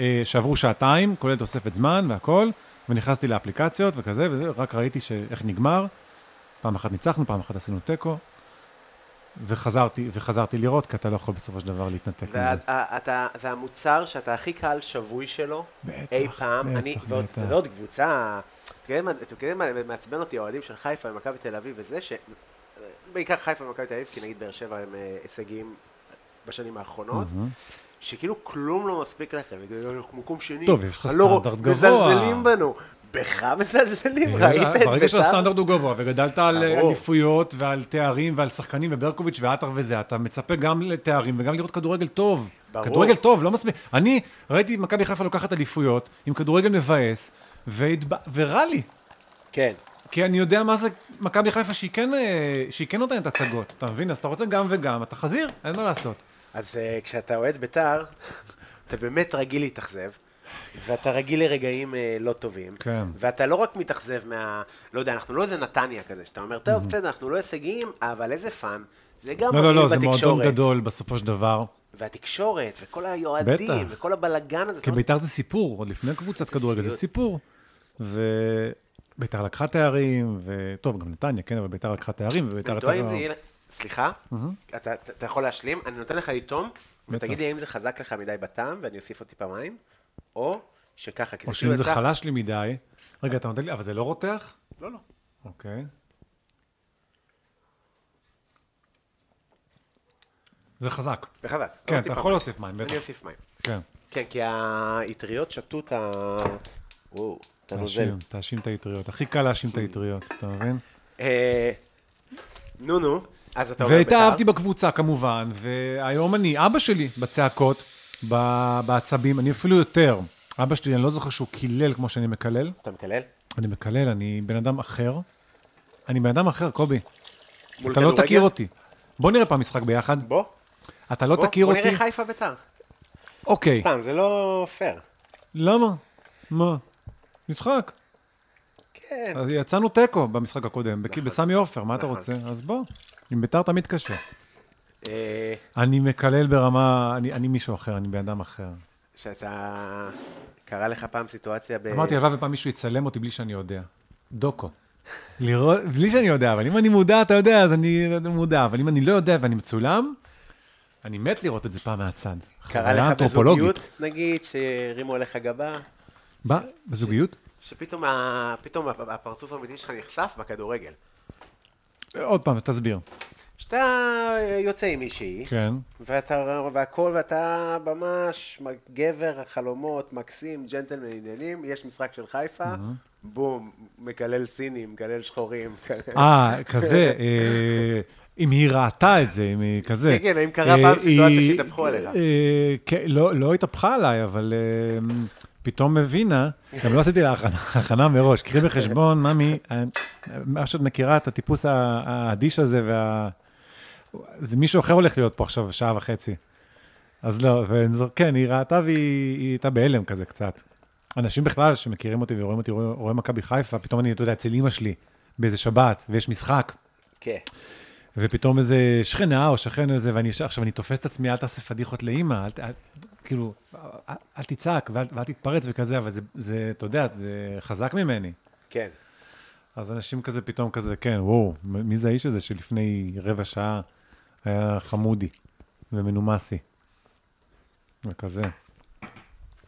[SPEAKER 3] אה, שעברו שעתיים, כולל תוספת זמן והכל, ונכנסתי לאפליקציות וכזה, ורק ראיתי ש... איך נגמר. פעם אחת ניצחנו, פעם אחת עשינו תיקו, וחזרתי, וחזרתי לראות, כי אתה לא יכול בסופו של דבר להתנתק
[SPEAKER 2] זה
[SPEAKER 3] מזה.
[SPEAKER 2] ה- ה- אתה- זה המוצר שאתה הכי קהל שבוי שלו,
[SPEAKER 3] בטח,
[SPEAKER 2] אי פעם.
[SPEAKER 3] בטח,
[SPEAKER 2] אני, ועוד
[SPEAKER 3] בטח.
[SPEAKER 2] אתה יודע, עוד קבוצה, אתה יודע מה- אתה יודע מה מעצבן אותי, האוהדים של חיפה ומכבי תל אביב וזה, ש- בעיקר חיפה ומכבי תל אביב, כי נגיד באר שבע הם אה, הישגיים בשנים האחרונות,
[SPEAKER 3] מהמם.
[SPEAKER 2] שכאילו כלום לא מספיק לכם, אנחנו מקום שני.
[SPEAKER 3] טוב, יש לך
[SPEAKER 2] אני לא רוא-
[SPEAKER 3] סטנדרט גבוה.
[SPEAKER 2] מזלזלים בנו. בך מזלזלים, ראית את
[SPEAKER 3] ברגע
[SPEAKER 2] בית"ר?
[SPEAKER 3] שהסטנדרט הוא גבוה, וגדלת על
[SPEAKER 2] ברור.
[SPEAKER 3] אליפויות ועל תארים ועל שחקנים וברקוביץ' ועטר וזה, אתה מצפה גם לתארים וגם לראות כדורגל טוב.
[SPEAKER 2] ברור.
[SPEAKER 3] כדורגל טוב, לא מספיק. אני ראיתי את מכבי חיפה לוקחת אליפויות עם כדורגל מבאס, והתבא- ורע לי.
[SPEAKER 2] כן.
[SPEAKER 3] כי אני יודע מה זה מכבי חיפה שהיא כן, אה, שהיא כן נותנת הצגות, אתה מבין? אז אתה רוצה גם וגם, אתה חזיר, אין מה לעשות.
[SPEAKER 2] אז אה, כשאתה אוהד בית"ר, אתה באמת רגיל להתאכזב, ואתה רגיל לרגעים אה, לא טובים.
[SPEAKER 3] כן.
[SPEAKER 2] ואתה לא רק מתאכזב מה... לא יודע, אנחנו לא איזה נתניה כזה, שאתה אומר, טוב, בסדר, אנחנו לא הישגיים, אבל איזה פאן. זה גם
[SPEAKER 3] Mm-hmm. לא, לא, לא,
[SPEAKER 2] מגניב
[SPEAKER 3] זה מועדון
[SPEAKER 2] בתקשורת.
[SPEAKER 3] גדול בסופו של דבר.
[SPEAKER 2] והתקשורת, וכל היועדים,
[SPEAKER 3] בטח.
[SPEAKER 2] וכל הבלגן הזה.
[SPEAKER 3] כי
[SPEAKER 2] אתה אומר,
[SPEAKER 3] ביתר זה סיפור, עוד לפני קבוצת כדורגל זה
[SPEAKER 2] סיוט.
[SPEAKER 3] סיפור. וביתר לקחה תארים, וטוב, גם נתניה, כן, אבל ביתר לא- לקחה תארים, וביתר...
[SPEAKER 2] אני טועה אם
[SPEAKER 3] הייתה-
[SPEAKER 2] זה יהיה... סליחה? אתה אתה- אתה יכול להשלים? אני נותן לך לטעום,
[SPEAKER 3] בטח.
[SPEAKER 2] ותגיד לי האם זה חזק לך מדי בטעם, ואני אוסיף עוד טיפה מים, או שככה, כי
[SPEAKER 3] או
[SPEAKER 2] זה
[SPEAKER 3] שאם
[SPEAKER 2] כאילו
[SPEAKER 3] זה
[SPEAKER 2] יצא...
[SPEAKER 3] חלש לי מדי... רגע, אתה נותן לי... אבל זה לא רותח?
[SPEAKER 2] לא, לא.
[SPEAKER 3] אוקיי. זה חזק.
[SPEAKER 2] זה חזק.
[SPEAKER 3] כן,
[SPEAKER 2] עוד
[SPEAKER 3] אתה
[SPEAKER 2] טיפה
[SPEAKER 3] יכול
[SPEAKER 2] מים.
[SPEAKER 3] להוסיף מים, בטח.
[SPEAKER 2] אני אוסיף מים.
[SPEAKER 3] כן.
[SPEAKER 2] כן, כי האטריות שתו את ה... וואו, אתה נוזל.
[SPEAKER 3] תאשים, תאשים את האטריות. הכי קל להאשים את האטריות, אתה מבין?
[SPEAKER 2] אה, נו, נו, אז אתה אומר
[SPEAKER 3] והתאהבתי בקבוצה כמובן, והיום אני, אבא שלי בצעקות, ב- בעצבים, אני אפילו יותר. אבא שלי, אני לא זוכר שהוא קילל כמו שאני מקלל.
[SPEAKER 2] אתה מקלל?
[SPEAKER 3] אני מקלל, אני בן אדם אחר. אני בן אדם אחר, קובי.
[SPEAKER 2] מול
[SPEAKER 3] אתה לא
[SPEAKER 2] כדורגל?
[SPEAKER 3] תכיר אותי. בוא נראה פעם משחק ביחד.
[SPEAKER 2] בוא,
[SPEAKER 3] אתה לא
[SPEAKER 2] בוא,
[SPEAKER 3] תכיר
[SPEAKER 2] בוא
[SPEAKER 3] אותי.
[SPEAKER 2] נראה חיפה ביתר.
[SPEAKER 3] אוקיי.
[SPEAKER 2] סתם, זה לא פייר.
[SPEAKER 3] למה? מה? משחק.
[SPEAKER 2] כן.
[SPEAKER 3] אז יצאנו תיקו במשחק הקודם, בק- בסמי עופר, מה אתה
[SPEAKER 2] נכון.
[SPEAKER 3] רוצה? אז בוא. עם ביתר תמיד קשה.
[SPEAKER 2] אה,
[SPEAKER 3] אני מקלל ברמה, אני, אני מישהו אחר, אני בן אדם אחר.
[SPEAKER 2] שאתה... קרה לך פעם סיטואציה ב...
[SPEAKER 3] אמרתי, הלוואי ופעם מישהו יצלם אותי בלי שאני יודע. דוקו. לראות, בלי שאני יודע, אבל אם אני מודע, אתה יודע, אז אני מודע, אבל אם אני לא יודע ואני מצולם, אני מת לראות את זה פעם מהצד.
[SPEAKER 2] קרה
[SPEAKER 3] חוויה
[SPEAKER 2] לך
[SPEAKER 3] אנתרופולוגית.
[SPEAKER 2] בזוגיות, נגיד, שהרימו עליך גבה,
[SPEAKER 3] מה? בזוגיות?
[SPEAKER 2] שפתאום ה- פתאום הפ- הפרצוף האמיתי שלך נחשף בכדורגל.
[SPEAKER 3] עוד פעם, תסביר.
[SPEAKER 2] שאתה יוצא עם מישהי,
[SPEAKER 3] כן.
[SPEAKER 2] ואתה, והכל, ואתה ממש גבר, חלומות, מקסים, ג'נטלמן עניינים, יש משחק של חיפה, בום, מקלל סינים, מקלל שחורים. מקלל-
[SPEAKER 3] אה, כזה, אה, אם היא ראתה את זה, אם היא כזה.
[SPEAKER 2] כן, כן, האם קרה פעם
[SPEAKER 3] אה,
[SPEAKER 2] סיטואציה
[SPEAKER 3] היא-
[SPEAKER 2] שהתהפכו עליך?
[SPEAKER 3] אה, כן, לא לא התהפכה עליי, אבל אה, פתאום הבינה, גם לא עשיתי לה הכנה- הכנה מראש. קחי בחשבון, ממי, אה, מה שאת מכירה, את הטיפוס ה- האדיש הזה, וה... זה מישהו אחר הולך להיות פה עכשיו שעה וחצי. אז לא, ונזור, כן, היא ראתה והיא היא הייתה בהלם כזה קצת. אנשים בכלל שמכירים אותי ורואים אותי, רואים רואים מכבי חיפה, פתאום אני, אתה יודע, אצל אימא שלי, באיזה שבת, ויש משחק,
[SPEAKER 2] כן.
[SPEAKER 3] ופתאום איזה שכנה או שכן או איזה, ואני ישר, עכשיו אני תופס את עצמי, אל תעשה פדיחות לאימא, אל, ת- אל, כאילו, אל, אל תצעק ואל, ואל תתפרץ וכזה, אבל זה, זה, אתה יודע, זה חזק ממני.
[SPEAKER 2] כן.
[SPEAKER 3] אז אנשים כזה פתאום כזה, כן, וואו, מ- מי זה האיש הזה שלפני רבע שעה היה חמודי ומנומסי? וכזה.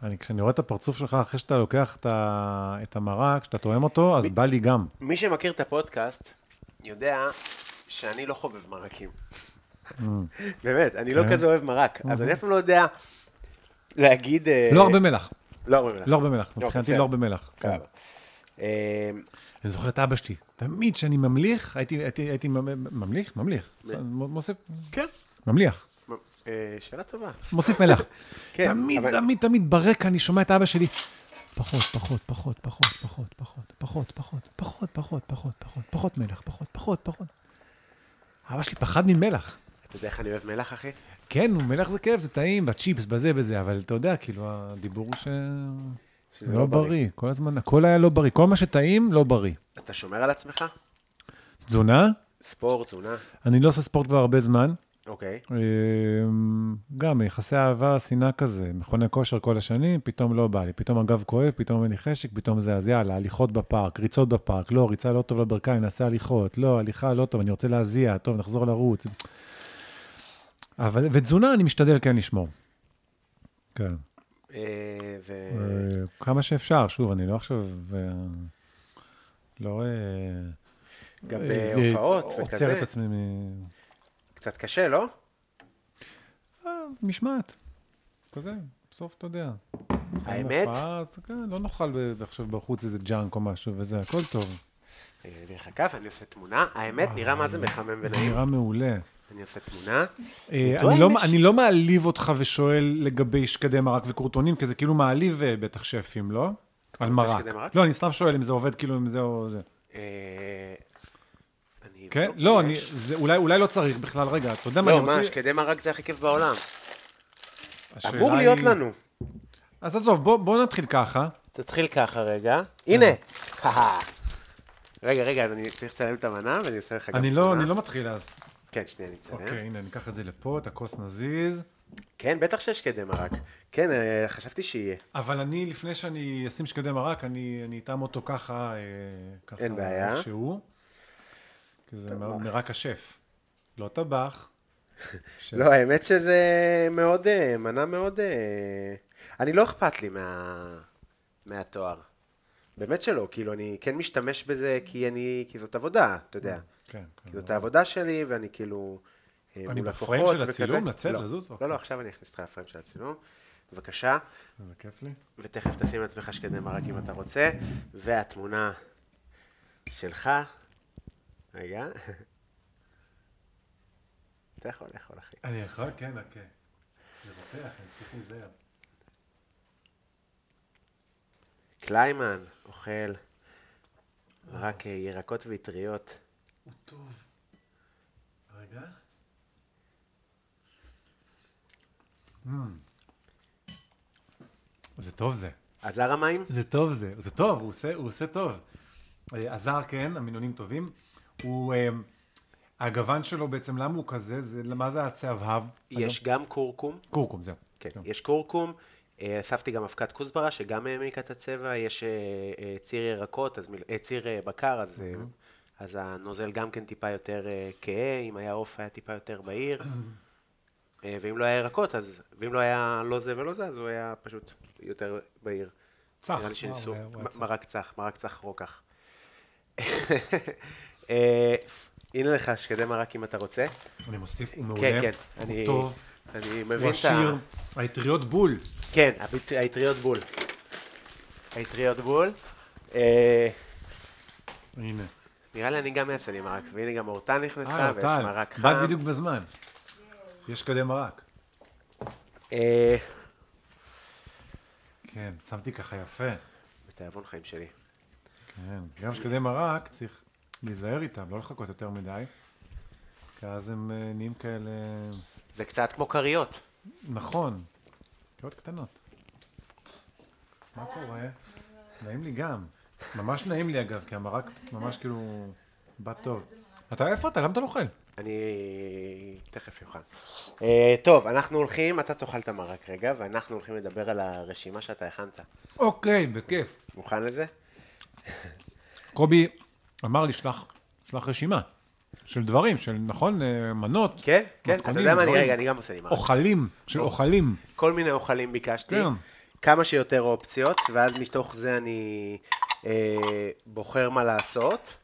[SPEAKER 3] אני, כשאני רואה את הפרצוף שלך אחרי שאתה לוקח את, ה, את המרק, כשאתה תואם אותו, אז בא לי גם.
[SPEAKER 2] מי שמכיר את הפודקאסט, יודע שאני לא חובב מרקים. באמת, אני לא
[SPEAKER 3] אה. כן.
[SPEAKER 2] כזה אוהב מרק, אז אני אף פעם לא יודע להגיד... אה,
[SPEAKER 3] לא הרבה מלח,
[SPEAKER 2] לא הרבה מלח.
[SPEAKER 3] לא הרבה מלח.
[SPEAKER 2] אוקיי,
[SPEAKER 3] מבחינתי
[SPEAKER 2] בסדר.
[SPEAKER 3] לא הרבה מלח. כן.
[SPEAKER 2] סבבה. אה,
[SPEAKER 3] אני זוכר את אבא שלי, תמיד כשאני ממליך, הייתי, הייתי, הייתי ממ- ממליך? ממליך. מוסיף,
[SPEAKER 2] כן.
[SPEAKER 3] ממליח.
[SPEAKER 2] אה, שאלה טובה.
[SPEAKER 3] מוסיף מלח.
[SPEAKER 2] כן,
[SPEAKER 3] תמיד,
[SPEAKER 2] אבל-
[SPEAKER 3] תמיד, תמיד ברקע אני שומע את אבא שלי, פחות, פחות, פחות, פחות, פחות, פחות, פחות, פחות, פחות, פחות, פחות, פחות, פחות מלח, פחות, פחות, פחות. אבא שלי פחד ממלח.
[SPEAKER 2] אתה יודע איך אני אוהב מלח, אחי?
[SPEAKER 3] כן, נו, מלח זה כיף, זה טעים, בצ'יפס, בזה, בזה, אבל אתה יודע, כאילו, הדיבור הוא ש...
[SPEAKER 2] שזה
[SPEAKER 3] זה לא בריא. כל הזמן, הכל היה לא בריא. כל מה שטעים, לא בריא.
[SPEAKER 2] אתה שומר על עצמך?
[SPEAKER 3] תזונה,
[SPEAKER 2] ספורט, תזונה,
[SPEAKER 3] אני לא עושה ספורט כבר הרבה זמן.
[SPEAKER 2] אוקיי.
[SPEAKER 3] אמ, גם יחסי אהבה, שנאה כזה, מכוני כושר כל השנים, פתאום לא בא לי, פתאום הגב כואב, פתאום אין לי חשק, פתאום זה, אז יאללה, הליכות בפארק, ריצות בפארק, לא, ריצה לא טוב לברכיים, נעשה הליכות, לא, הליכה לא טוב, אני רוצה להזיע, טוב, נחזור לרוץ. אבל, ותזונה אני משתדל כן לשמור. כן.
[SPEAKER 2] אה, ו...
[SPEAKER 3] אה, כמה שאפשר, שוב, אני לא עכשיו... אה, לא... אה,
[SPEAKER 2] גם
[SPEAKER 3] אה,
[SPEAKER 2] בהופעות
[SPEAKER 3] אה,
[SPEAKER 2] וכזה.
[SPEAKER 3] עוצר את עצמי מ...
[SPEAKER 2] קצת קשה, לא?
[SPEAKER 3] משמעת. כזה, בסוף אתה יודע. מסיים
[SPEAKER 2] האמת?
[SPEAKER 3] הופעה, אז כן, לא נאכל ב- עכשיו בחוץ איזה ג'אנק או משהו וזה, הכל טוב.
[SPEAKER 2] אה, אני אביא לך כף, אני עושה תמונה. האמת, נראה מה זה מחמם
[SPEAKER 3] זה
[SPEAKER 2] ונעים.
[SPEAKER 3] נראה מעולה.
[SPEAKER 2] אני עושה תמונה.
[SPEAKER 3] אה,
[SPEAKER 2] טוען
[SPEAKER 3] אני לא-
[SPEAKER 2] יש-
[SPEAKER 3] אני לא מעליב אותך ושואל לגבי שקדי מרק וקורטונים, כי זה כאילו מעליב אה, בטח שפים, לא? על
[SPEAKER 2] רוצה
[SPEAKER 3] מרק.
[SPEAKER 2] שקדי מרק?
[SPEAKER 3] לא, אני סתם שואל אם זה עובד כאילו אם זה או זה.
[SPEAKER 2] אה, אני
[SPEAKER 3] כן?
[SPEAKER 2] אבדוק,
[SPEAKER 3] לא,
[SPEAKER 2] יש.
[SPEAKER 3] אני, זה- אולי אולי לא צריך בכלל, רגע, אתה יודע מה, אני
[SPEAKER 2] אה, לא,
[SPEAKER 3] רוצה...
[SPEAKER 2] מה, שקדי מרק זה הכי כיף בעולם.
[SPEAKER 3] השאלה
[SPEAKER 2] אמור להיות
[SPEAKER 3] היא-
[SPEAKER 2] לנו.
[SPEAKER 3] אז עזוב, בוא- בוא נתחיל ככה.
[SPEAKER 2] תתחיל ככה רגע. הנה. רגע, רגע, אז אני צריך לצלם את המנה ואני עושה לך גם
[SPEAKER 3] אני לא
[SPEAKER 2] תמונה.
[SPEAKER 3] אני לא מתחיל אז.
[SPEAKER 2] כן, שנייה, אני אצלם.
[SPEAKER 3] אוקיי, הנה, ניקח את זה לפה, את הכוס נזיז.
[SPEAKER 2] כן, בטח שיש שקדי מרק. כן, אה, חשבתי שיהיה.
[SPEAKER 3] אבל אני, לפני שאני אשים שקדי מרק, אני אני אטעם אותו ככה, אה, ככה,
[SPEAKER 2] אין בעיה. אוקיי.
[SPEAKER 3] איך שהוא. כי זה מאוד מרק השף. לא טבח. שף.
[SPEAKER 2] לא, האמת שזה מאוד, אה, מנה מאוד... אה, אני לא אכפת לי מה... מהתואר. באמת שלא, כאילו אני כן משתמש בזה כי אני, כי זאת עבודה, אתה יודע.
[SPEAKER 3] כן, כן.
[SPEAKER 2] כי זאת העבודה שלי ואני כאילו... אה,
[SPEAKER 3] אני
[SPEAKER 2] מול
[SPEAKER 3] בפריים
[SPEAKER 2] לקוחות
[SPEAKER 3] של
[SPEAKER 2] וכזה.
[SPEAKER 3] הצילום? לצאת,
[SPEAKER 2] לא.
[SPEAKER 3] לזוז?
[SPEAKER 2] לא,
[SPEAKER 3] אוקיי.
[SPEAKER 2] לא, עכשיו אני אכניס אותך לפריים של הצילום. בבקשה,
[SPEAKER 3] איזה כיף לי.
[SPEAKER 2] ותכף תשים לעצמך שקדי מרק אם אתה רוצה, והתמונה שלך, רגע. אתה יכול לאכול, אחי.
[SPEAKER 3] אני יכול, כן, כן. זה רותח, אני צריך להיזהר.
[SPEAKER 2] קליימן אוכל רק אה, ירקות וטריות.
[SPEAKER 3] הוא טוב. רגע. Mm. זה טוב זה.
[SPEAKER 2] עזר המים?
[SPEAKER 3] זה טוב זה. זה טוב, הוא עושה, הוא עושה טוב. אה, הזר כן, המינונים טובים. הוא, אה, הגוון שלו בעצם, למה הוא כזה? זה, מה זה הצהבהב?
[SPEAKER 2] יש
[SPEAKER 3] אגב?
[SPEAKER 2] גם קורקום.
[SPEAKER 3] קורקום, זהו.
[SPEAKER 2] כן,
[SPEAKER 3] זהו.
[SPEAKER 2] יש קורקום, אה, אספתי גם אבקת כוסברה שגם העמיקה את הצבע, יש אה, אה, ציר ירקות, אז, מיל- אה, ציר אה, בקר, אז, אה, אז הנוזל גם כן טיפה יותר אה, כהה, אם היה עוף היה טיפה יותר בהיר, אה, ואם לא היה ירקות, אז, ואם לא היה לא זה ולא זה, אז הוא היה פשוט יותר בהיר.
[SPEAKER 3] צח.
[SPEAKER 2] נראה לי שניסו,
[SPEAKER 3] וואו, הוא היה
[SPEAKER 2] מ-
[SPEAKER 3] צח.
[SPEAKER 2] מרק צח, מרק צח רוקח. אה, הנה לך שקדי מרק אם אתה רוצה.
[SPEAKER 3] אני מוסיף, הוא מעולה.
[SPEAKER 2] כן, כן.
[SPEAKER 3] הוא
[SPEAKER 2] אני-
[SPEAKER 3] טוב.
[SPEAKER 2] אני
[SPEAKER 3] הוא
[SPEAKER 2] מבין את ה...
[SPEAKER 3] עשיר. האטריות בול.
[SPEAKER 2] כן, הביט- האטריות בול. האטריות בול. אה,
[SPEAKER 3] הנה.
[SPEAKER 2] נראה לי אני גם אעשה לי מרק, והנה גם אורטל נכנסה,
[SPEAKER 3] אה,
[SPEAKER 2] ויש
[SPEAKER 3] טל,
[SPEAKER 2] מרק חם.
[SPEAKER 3] באת בדיוק בזמן. יש כדי מרק.
[SPEAKER 2] אה,
[SPEAKER 3] כן, שמתי ככה יפה.
[SPEAKER 2] בתיאבון חיים שלי.
[SPEAKER 3] כן, גם שקדי מרק צריך להיזהר איתם, לא לחכות יותר מדי. כי אז הם אה, נהיים כאלה...
[SPEAKER 2] זה קצת כמו כריות.
[SPEAKER 3] נכון, קריאות קטנות. מה קורה? נעים לי גם. ממש נעים לי אגב, כי המרק ממש כאילו בא טוב. אתה איפה אתה? למה אתה לא אוכל?
[SPEAKER 2] אני תכף אוכל. אה, טוב, אנחנו הולכים, אתה תאכל את המרק רגע, ואנחנו הולכים לדבר על הרשימה שאתה הכנת.
[SPEAKER 3] אוקיי, בכיף.
[SPEAKER 2] מוכן לזה?
[SPEAKER 3] קובי אמר לי, שלח, שלח רשימה של דברים, של נכון, אה, מנות.
[SPEAKER 2] כן, כן, אתה
[SPEAKER 3] מתכונים,
[SPEAKER 2] יודע מה, אני
[SPEAKER 3] דברים.
[SPEAKER 2] רגע, אני גם עושה לי מרק.
[SPEAKER 3] אוכלים, של אוכלים.
[SPEAKER 2] כל מיני אוכלים ביקשתי,
[SPEAKER 3] כן.
[SPEAKER 2] כמה שיותר אופציות, ואז מתוך זה אני אה, בוחר מה לעשות.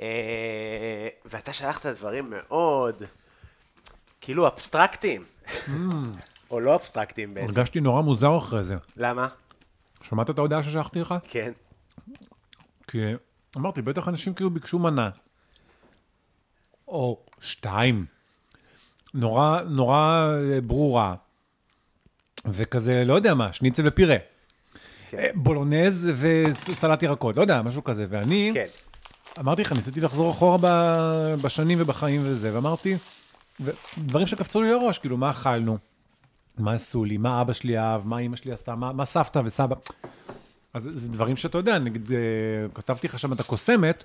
[SPEAKER 2] אה, ואתה שלחת דברים מאוד, כאילו אבסטרקטיים,
[SPEAKER 3] Mm.
[SPEAKER 2] או לא אבסטרקטיים בעצם.
[SPEAKER 3] הרגשתי נורא מוזר אחרי זה.
[SPEAKER 2] למה?
[SPEAKER 3] שמעת את ההודעה ששלחתי לך?
[SPEAKER 2] כן.
[SPEAKER 3] כי אמרתי, בטח אנשים כאילו ביקשו מנה. או שתיים. נורא, נורא אה, ברורה. וכזה, לא יודע מה, שניצל ופירה.
[SPEAKER 2] כן.
[SPEAKER 3] אה, בולונז וסלט ירקות, לא יודע, משהו כזה. ואני,
[SPEAKER 2] כן,
[SPEAKER 3] אמרתי לך, ניסיתי לחזור אחורה ב- בשנים ובחיים וזה, ואמרתי, ו- דברים שקפצו לי לראש, כאילו, מה אכלנו? מה עשו לי? מה אבא שלי אהב? מה אימא שלי עשתה? מה, מה סבתא וסבא? אז זה דברים שאתה יודע, נגיד, אה, כתבתי לך שם את הקוסמת,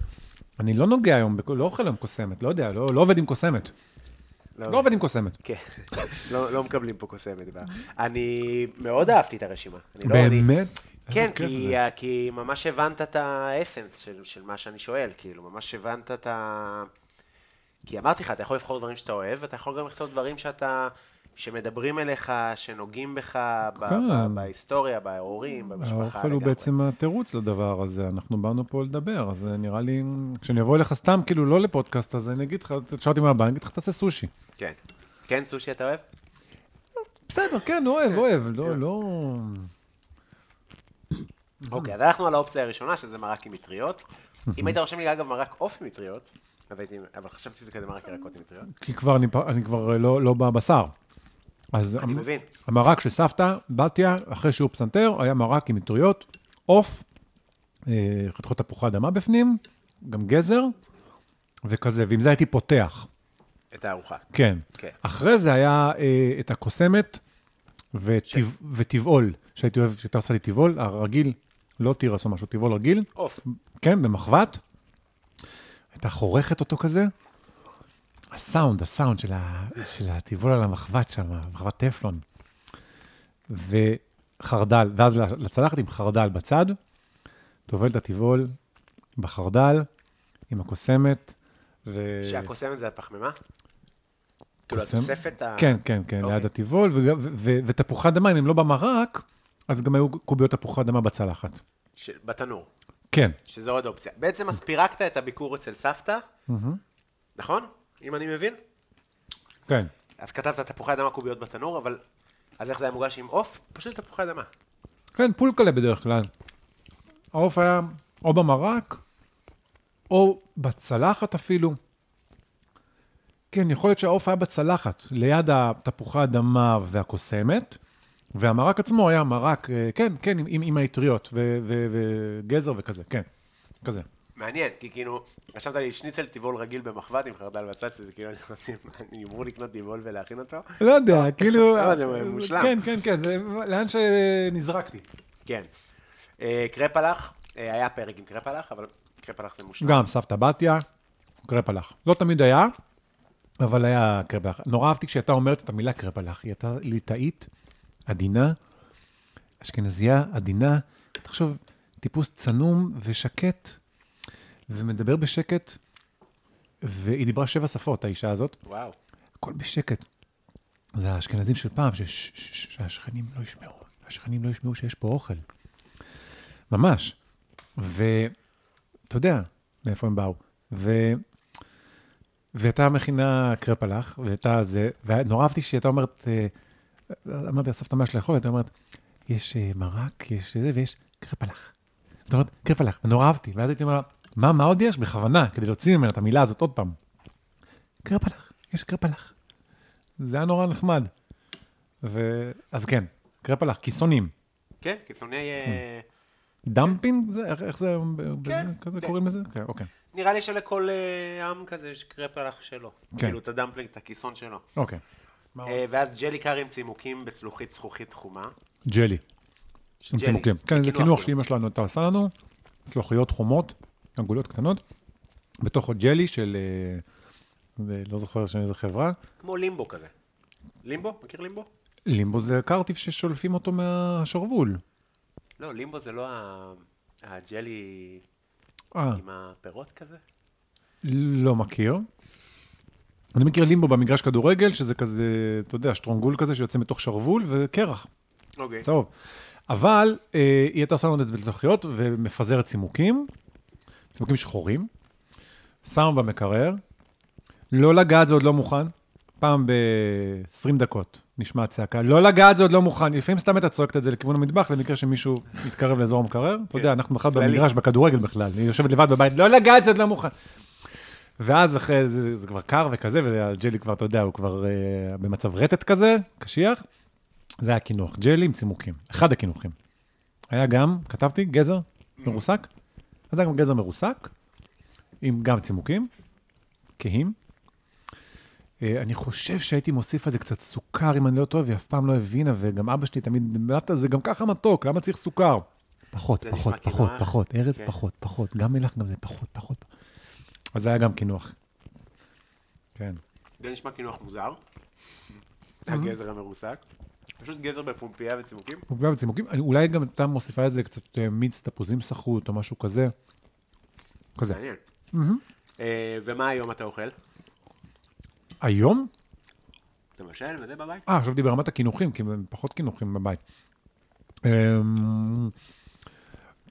[SPEAKER 3] אני לא נוגע היום, בכ- לא אוכל היום קוסמת, לא יודע, לא, לא עובד עם קוסמת. לא עובד עם קוסמת.
[SPEAKER 2] כן. לא לא מקבלים פה קוסמת. בה. אני מאוד אהבתי את הרשימה. אני לא- אני-
[SPEAKER 3] באמת? איזה
[SPEAKER 2] כן,
[SPEAKER 3] כיף
[SPEAKER 2] כי,
[SPEAKER 3] זה.
[SPEAKER 2] ה- כי ממש הבנת את האסנס של, של מה שאני שואל, כאילו, ממש הבנת את ה... כי אמרתי לך, אתה יכול לבחור דברים שאתה אוהב, ואתה יכול גם לכתוב דברים שאתה... שמדברים אליך, שנוגעים בך, ב-
[SPEAKER 3] כן.
[SPEAKER 2] ב- בהיסטוריה, בהורים, במשפחה.
[SPEAKER 3] האוכל הוא
[SPEAKER 2] לגמרי.
[SPEAKER 3] בעצם התירוץ לדבר הזה, אנחנו באנו פה לדבר, אז אה, נראה לי, כשאני אבוא אליך סתם, כאילו לא לפודקאסט, אז אני אגיד לך, תשאל אותי מהבנק, אני אגיד לך, תעשה סושי.
[SPEAKER 2] כן. כן, סושי אתה אוהב?
[SPEAKER 3] בסדר, כן, אוהב, אוהב, לא, לא...
[SPEAKER 2] אוקיי, אז הלכנו על האופציה הראשונה, שזה מרק עם מטריות. אם היית רושם לי, אגב, מרק עוף עם מטריות, אז הייתי... אבל חשבתי שזה כזה מרק ירקות עם מטריות.
[SPEAKER 3] כי כבר אני, פ- אני כבר אה, לא, לא בבשר. אז
[SPEAKER 2] אני מבין.
[SPEAKER 3] המרק של סבתא, בתיה, אחרי שיעור פסנתר, היה מרק עם מטריות, עוף, אה, חתיכות תפוחי אדמה בפנים, גם גזר, וכזה, ועם זה הייתי פותח.
[SPEAKER 2] את הארוחה.
[SPEAKER 3] כן.
[SPEAKER 2] כן.
[SPEAKER 3] אחרי זה היה אה, את הקוסמת וטבע- וטבעול, שהייתי אוהב, שהייתה עושה לי טבעול, הרגיל, לא תירס או משהו, טבעול רגיל,
[SPEAKER 2] עוף.
[SPEAKER 3] כן, במחבת. הייתה חורכת אותו כזה. הסאונד, הסאונד של, ה... של הטבעול על המחבת שם, מחבת טפלון. וחרדל, ואז לצלחת עם חרדל בצד, טובל את הטבעול בחרדל, עם הקוסמת, ו...
[SPEAKER 2] שהקוסמת זה הפחמימה? כאילו
[SPEAKER 3] קוסם-
[SPEAKER 2] התוספת ה...
[SPEAKER 3] כן, כן, כן,
[SPEAKER 2] אוקיי.
[SPEAKER 3] ליד הטבעול, וג- ו- ו- ותפוחי אדמה, אם הם לא במרק, אז גם היו קוביות תפוחי אדמה בצלחת.
[SPEAKER 2] ש... בתנור,
[SPEAKER 3] כן.
[SPEAKER 2] שזה עוד אופציה. בעצם אז פירקת את הביקור אצל סבתא, נכון? אם אני מבין?
[SPEAKER 3] כן.
[SPEAKER 2] אז כתבת תפוחי אדמה קוביות בתנור, אבל אז איך זה היה מוגש עם עוף? פשוט תפוחי אדמה.
[SPEAKER 3] כן, פולקלה בדרך כלל. העוף היה או במרק, או בצלחת אפילו. כן, יכול להיות שהעוף היה בצלחת, ליד התפוחי אדמה והקוסמת, והמרק עצמו היה מרק, אה, כן, כן, עם, עם, עם האטריות ו- ו- וגזר וכזה, כן, כזה.
[SPEAKER 2] מעניין, כי כאילו, חשבת לי שניצל טבעול רגיל במחבת עם חרדל וצץ, זה כאילו, אני חושב, אני אמור לקנות טבעול ולהכין אותו.
[SPEAKER 3] לא יודע, כאילו...
[SPEAKER 2] לא, זה מושלם.
[SPEAKER 3] כן, כן, כן, זה לאן שנזרקתי.
[SPEAKER 2] כן. אה, קרפלח, אה, היה פרק עם קרפלח, אבל קרפלח זה מושלם.
[SPEAKER 3] גם סבתא בתיה, קרפלח. לא תמיד היה, אבל היה קרפלח. נורא אהבתי כשהייתה אומרת את המילה קרפלח. היא הייתה ליטאית, עדינה, אשכנזייה, עדינה. תחשוב, טיפוס צנום ושקט, ומדבר בשקט, והיא דיברה שבע שפות, האישה הזאת.
[SPEAKER 2] וואו.
[SPEAKER 3] הכל בשקט. זה האשכנזים של פעם, ש- ש- ש- שהשכנים לא ישמעו, השכנים לא ישמעו שיש פה אוכל. ממש. ואתה יודע מאיפה הם באו. ו... והייתה מכינה קרפלח, והייתה זה, ונורא אהבתי שהיא הייתה אומרת, אה, אמרתי לה, סבתא מה יש לאכול? הייתה אומרת, יש אה, מרק, יש זה ויש קרפלח. זאת אומרת, קרפלח, ונורא אהבתי, ואז הייתי אומר לה, מה, מה עוד יש? בכוונה, כדי להוציא ממנה את המילה הזאת עוד פעם. קרפלח, יש קרפלח. זה היה נורא נחמד. ו... אז כן, קרפלח, כיסונים.
[SPEAKER 2] כן, קיצוני... אה,
[SPEAKER 3] דמפינג? זה, איך, איך זה,
[SPEAKER 2] כן,
[SPEAKER 3] כזה
[SPEAKER 2] כן.
[SPEAKER 3] קוראים לזה? כן, אוקיי.
[SPEAKER 2] נראה לי שלכל אה, עם כזה יש קרפלח שלו.
[SPEAKER 3] כן.
[SPEAKER 2] כאילו, את הדמפלינג, את הכיסון שלו.
[SPEAKER 3] אוקיי.
[SPEAKER 2] אה, ואז ג'לי קאר עם צימוקים בצלוחית זכוכית תחומה.
[SPEAKER 3] ג'לי, עם
[SPEAKER 2] ג'לי,
[SPEAKER 3] צימוקים. כן, זה
[SPEAKER 2] כאילו
[SPEAKER 3] קינוח
[SPEAKER 2] אחי.
[SPEAKER 3] שאימא שלנו הייתה עושה לנו, צלוחיות חומות, עגולות קטנות, בתוכו ג'לי של, אה, זה- לא זוכר של איזה חברה.
[SPEAKER 2] כמו לימבו כזה. לימבו? מכיר לימבו?
[SPEAKER 3] לימבו זה קרטיב ששולפים אותו מהשרוול.
[SPEAKER 2] לא, לימבו זה לא ה- הג'לי
[SPEAKER 3] אה,
[SPEAKER 2] עם הפירות כזה?
[SPEAKER 3] לא מכיר. אני מכיר לימבו במגרש כדורגל, שזה כזה, אתה יודע, שטרונגול כזה שיוצא מתוך שרוול וקרח.
[SPEAKER 2] אוקיי.
[SPEAKER 3] צהוב. אבל אה, היא הייתה עושה לנו את זה בזכוכיות ומפזרת צימוקים, צימוקים שחורים, שמה במקרר, לא לגעת זה עוד לא מוכן, פעם ב-20 דקות נשמעת צעקה, לא לגעת זה עוד לא מוכן, לפעמים סתם הייתה צועקת את זה לכיוון המטבח, למקרה שמישהו יתקרב לאזור המקרר, אתה יודע, אנחנו בכלל
[SPEAKER 2] כן. כללי.
[SPEAKER 3] במגרש, בכדורגל בכלל, היא יושבת לבד בבית, לא לגעת זה עוד לא מוכן. ואז אחרי זה, זה כבר קר וכזה, והג'לי כבר, אתה יודע, הוא כבר אה, במצב רטט כזה, קשיח. זה היה קינוח, ג'לי עם צימוקים, אחד הקינוחים. היה גם, כתבתי, גזר מרוסק, אז היה גם גזר מרוסק, עם גם צימוקים, כהים. אה, אני חושב שהייתי מוסיף על זה קצת סוכר, אם אני לא טועה, והיא אף פעם לא הבינה, וגם אבא שלי תמיד, "למה- זה גם ככה מתוק, למה צריך סוכר? פחות,
[SPEAKER 2] זה נשמע
[SPEAKER 3] פחות,
[SPEAKER 2] קינוח.
[SPEAKER 3] פחות, פחות, ארז,
[SPEAKER 2] כן.
[SPEAKER 3] פחות, פחות, גם מלח, גם זה, פחות, פחות. אז זה היה גם קינוח. כן.
[SPEAKER 2] זה נשמע קינוח מוזר. הגזר המרוסק. פשוט גזר בפומפייה וצימוקים.
[SPEAKER 3] פוגע בצימוקים, אני- אולי גם אתה מוסיפה לזה קצת אה, מיץ תפוזים סחוט או משהו כזה. כזה.
[SPEAKER 2] מעניין. אה, ומה היום אתה אוכל?
[SPEAKER 3] היום?
[SPEAKER 2] אתה מבשל וזה בבית?
[SPEAKER 3] אה, חשבתי ברמת הקינוחים, כי הם פחות קינוחים בבית. אמ,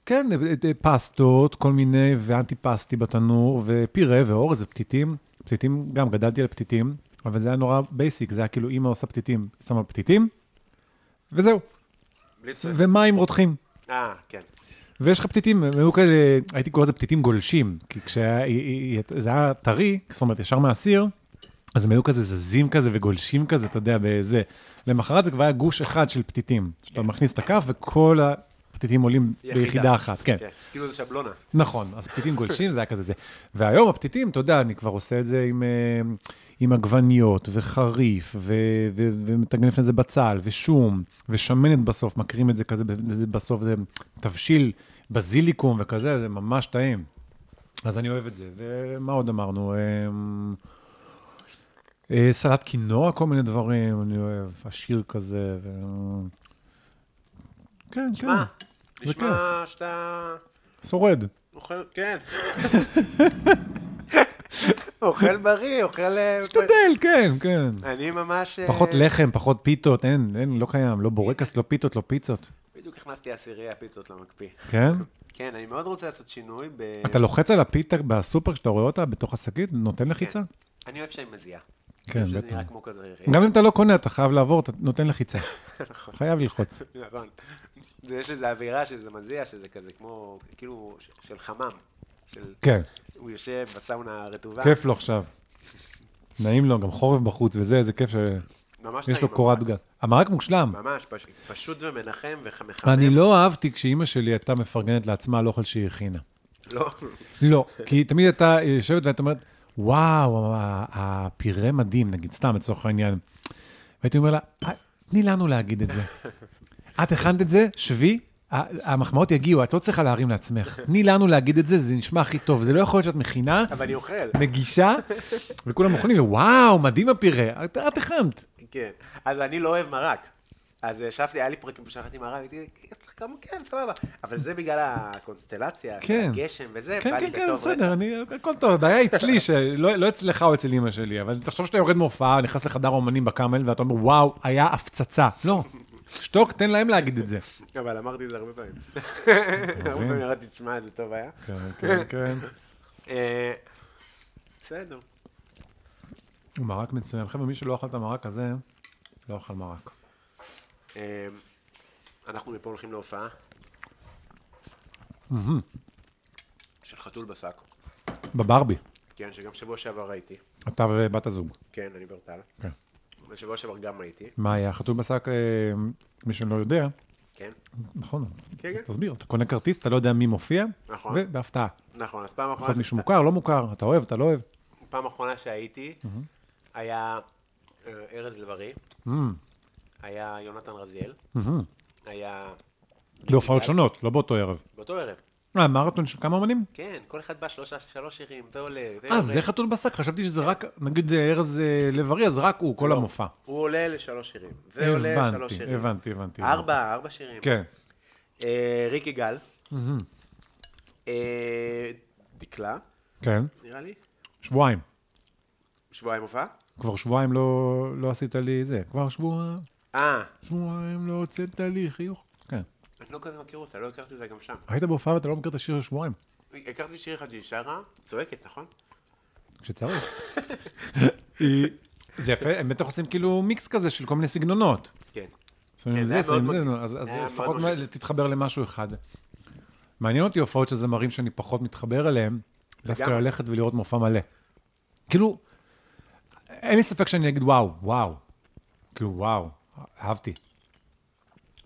[SPEAKER 3] כן, אה, אה, פסטות, כל מיני, ואנטי פסטי בתנור, ופירה ואורז ופתיתים. פתיתים, גם גדלתי על פתיתים, אבל זה היה נורא בייסיק, זה היה כאילו אימא עושה פתיתים, שמה פתיתים, וזהו,
[SPEAKER 2] בלי פסל.
[SPEAKER 3] ומים רותחים.
[SPEAKER 2] אה, כן.
[SPEAKER 3] ויש לך פתיתים, הם היו כאלה, הייתי קורא לזה פתיתים גולשים, כי כשזה היה טרי, זאת אומרת, ישר מהסיר, אז הם היו כזה זזים כזה וגולשים כזה, אתה יודע, בזה. למחרת זה כבר היה גוש אחד של פתיתים, שאתה מכניס את הכף וכל הפתיתים עולים ביחידה אחת, כן.
[SPEAKER 2] כן. כאילו זה שבלונה.
[SPEAKER 3] נכון, אז פתיתים גולשים, זה היה כזה זה. והיום הפתיתים, אתה יודע, אני כבר עושה את זה עם, אה, עם עגבניות וחריף, ו- ו- ומטגן לפני זה בצל, ושום, ושמנת בסוף, מקרים את זה כזה, ב- זה בסוף זה תבשיל בזיליקום וכזה, זה ממש טעים. אז אני אוהב את זה. ומה עוד אמרנו? אה, אה, סלט קינוע, כל מיני דברים, אני אוהב, עשיר כזה, ו... כן, כן,
[SPEAKER 2] מה?
[SPEAKER 3] זה
[SPEAKER 2] נשמע שאתה
[SPEAKER 3] שורד.
[SPEAKER 2] אוכל, כן. אוכל בריא, אוכל... אה,
[SPEAKER 3] תדל, כן, כן.
[SPEAKER 2] אני ממש... אה,
[SPEAKER 3] פחות לחם, פחות פיתות, אין, אין, לא קיים, לא בורקס, לא פיתות, לא פיצות.
[SPEAKER 2] בדיוק הכנסתי עשירי הפיצות למקפיא.
[SPEAKER 3] כן?
[SPEAKER 2] כן, אני מאוד רוצה לעשות שינוי ב...
[SPEAKER 3] אתה לא- לוחץ על הפיתה בסופר כשאתה רואה אותה בתוך השקית, נותן לחיצה?
[SPEAKER 2] אני אוהב שהיא מזיעה.
[SPEAKER 3] כן,
[SPEAKER 2] אני חושב שזה
[SPEAKER 3] בטח.
[SPEAKER 2] נראה כמו כזה...
[SPEAKER 3] גם אם אתה לא קונה, אתה חייב לעבור, אתה נותן לחיצה. חייב ללחוץ.
[SPEAKER 2] נכון. זה- יש איזו אווירה שזה מזיע, שזה כזה כמו, כאילו, ש- של חמם. של...
[SPEAKER 3] כן,
[SPEAKER 2] הוא יושב בסאונה הרטובה.
[SPEAKER 3] כיף לו עכשיו. נעים לו, גם חורף בחוץ וזה, איזה כיף שיש
[SPEAKER 2] ממש
[SPEAKER 3] לו
[SPEAKER 2] טעים,
[SPEAKER 3] קורת
[SPEAKER 2] המרק.
[SPEAKER 3] גג. המרק מושלם.
[SPEAKER 2] ממש, פש... פשוט ומנחם ומחמם.
[SPEAKER 3] אני לא אהבתי כשאימא שלי הייתה מפרגנת לעצמה על אוכל שהיא הכינה.
[SPEAKER 2] לא.
[SPEAKER 3] לא, כי תמיד הייתה יושבת והייתה אומרת, וואו, ה- הפירה מדהים, נגיד, סתם לצורך העניין. והייתי אומר לה, "אה, תני לנו להגיד את זה. את הכנת את זה, שבי, ה- המחמאות יגיעו, את לא צריכה להרים לעצמך. תני לנו להגיד את זה, זה נשמע הכי טוב. זה לא יכול להיות שאת מכינה,
[SPEAKER 2] אבל אני אוכל.
[SPEAKER 3] מגישה, וכולם אוכלים, וואו, מדהים הפירה, את את הכנת.
[SPEAKER 2] כן. אז אני לא אוהב מרק. אז ישבתי, היה לי פרקים שאכלתי מרק, הייתי, כמה כן, סבבה. אבל זה בגלל הקונסטלציה,
[SPEAKER 3] כן.
[SPEAKER 2] הגשם וזה,
[SPEAKER 3] כן,
[SPEAKER 2] בא לי
[SPEAKER 3] כן, כן,
[SPEAKER 2] בטוב,
[SPEAKER 3] בסדר, אני, הכל טוב, הבעיה אצלי, שלא לא אצלך או אצל אמא שלי, אבל תחשוב שאתה יורד מהופעה, נכנס לחדר האומנים בקאמל, ואתה אומר, וואו, היה הפצצה. לא, שתוק, תן להם להגיד את זה.
[SPEAKER 2] אה, אבל אמרתי את זה הרבה פעמים. הרבה פעמים אמרתי, תשמע, איזה טוב היה.
[SPEAKER 3] כן, כן, כן.
[SPEAKER 2] אה, בסדר.
[SPEAKER 3] הוא מרק מצוין. חבר'ה, מי שלא אכל את המרק הזה, לא אכל מרק.
[SPEAKER 2] אה, אנחנו מפה הולכים להופעה. של חתול בשק.
[SPEAKER 3] בברבי,
[SPEAKER 2] כן, שגם שבוע שעבר ראיתי.
[SPEAKER 3] אתה ובת הזוג.
[SPEAKER 2] כן, אני ברטל.
[SPEAKER 3] כן.
[SPEAKER 2] בשבוע שעבר גם הייתי.
[SPEAKER 3] מה היה? חתול בשק, אה, מי שלא יודע,
[SPEAKER 2] כן.
[SPEAKER 3] נכון, אז
[SPEAKER 2] כן, כן.
[SPEAKER 3] תסביר, אתה קונה כרטיס, אתה לא יודע מי מופיע,
[SPEAKER 2] נכון.
[SPEAKER 3] ובהפתעה.
[SPEAKER 2] נכון, אז פעם
[SPEAKER 3] יכול להיות
[SPEAKER 2] אחרונה,
[SPEAKER 3] מישהו מוכר, לא מוכר, אתה אוהב, אתה לא אוהב.
[SPEAKER 2] פעם אחרונה שהייתי, היה אה, ארז לב-ארי, Mm-hmm. היה יונתן רזיאל, היה
[SPEAKER 3] בהופעות שונות, לא באותו ערב.
[SPEAKER 2] באותו ערב.
[SPEAKER 3] אה, מרתון של כמה אומנים?
[SPEAKER 2] כן, כל אחד בא שלושה, שלוש שירים, זה עולה.
[SPEAKER 3] אה,
[SPEAKER 2] עולה.
[SPEAKER 3] זה חתול בשק, חשבתי שזה רק, נגיד אה, ארז אה, לב-ארי, אז רק הוא, כל המופע.
[SPEAKER 2] הוא עולה לשלוש שירים. לא. זה עולה לשלוש
[SPEAKER 3] הבנתי,
[SPEAKER 2] שירים.
[SPEAKER 3] הבנתי, הבנתי.
[SPEAKER 2] ארבע, ארבע שירים.
[SPEAKER 3] כן.
[SPEAKER 2] אה, ריק גל. אה, דקלה,
[SPEAKER 3] כן,
[SPEAKER 2] נראה לי.
[SPEAKER 3] שבועיים.
[SPEAKER 2] שבועיים הופעה.
[SPEAKER 3] כבר שבועיים לא לא עשית לי זה. כבר שבועיים,
[SPEAKER 2] אה,
[SPEAKER 3] שבועיים לא הוצאת לי חיוך. כן.
[SPEAKER 2] אני לא כזה מכיר אותה, לא הכרתי אותה גם שם.
[SPEAKER 3] היית בהופעה ואתה לא מכיר את השיר של שבועיים,
[SPEAKER 2] הכרתי שיר אחד שהיא שרה, צועקת, נכון?
[SPEAKER 3] כשצריך. היא- זה יפה, הם בטח עושים כאילו מיקס כזה של כל מיני סגנונות.
[SPEAKER 2] כן.
[SPEAKER 3] שמים
[SPEAKER 2] כן, זה
[SPEAKER 3] זה,
[SPEAKER 2] היה מאוד
[SPEAKER 3] שמים זה,
[SPEAKER 2] מגניב.
[SPEAKER 3] נו, אז אז
[SPEAKER 2] זה היה מאוד
[SPEAKER 3] לפחות
[SPEAKER 2] מגניב.
[SPEAKER 3] מה- תתחבר למשהו אחד. מעניין אותי הופעות של זמרים שאני פחות מתחבר אליהם, דווקא
[SPEAKER 2] לגמרי.
[SPEAKER 3] ללכת ולראות מופע מלא. כאילו, אין לי ספק שאני אגיד וואו, וואו. כאילו, וואו, אהבתי.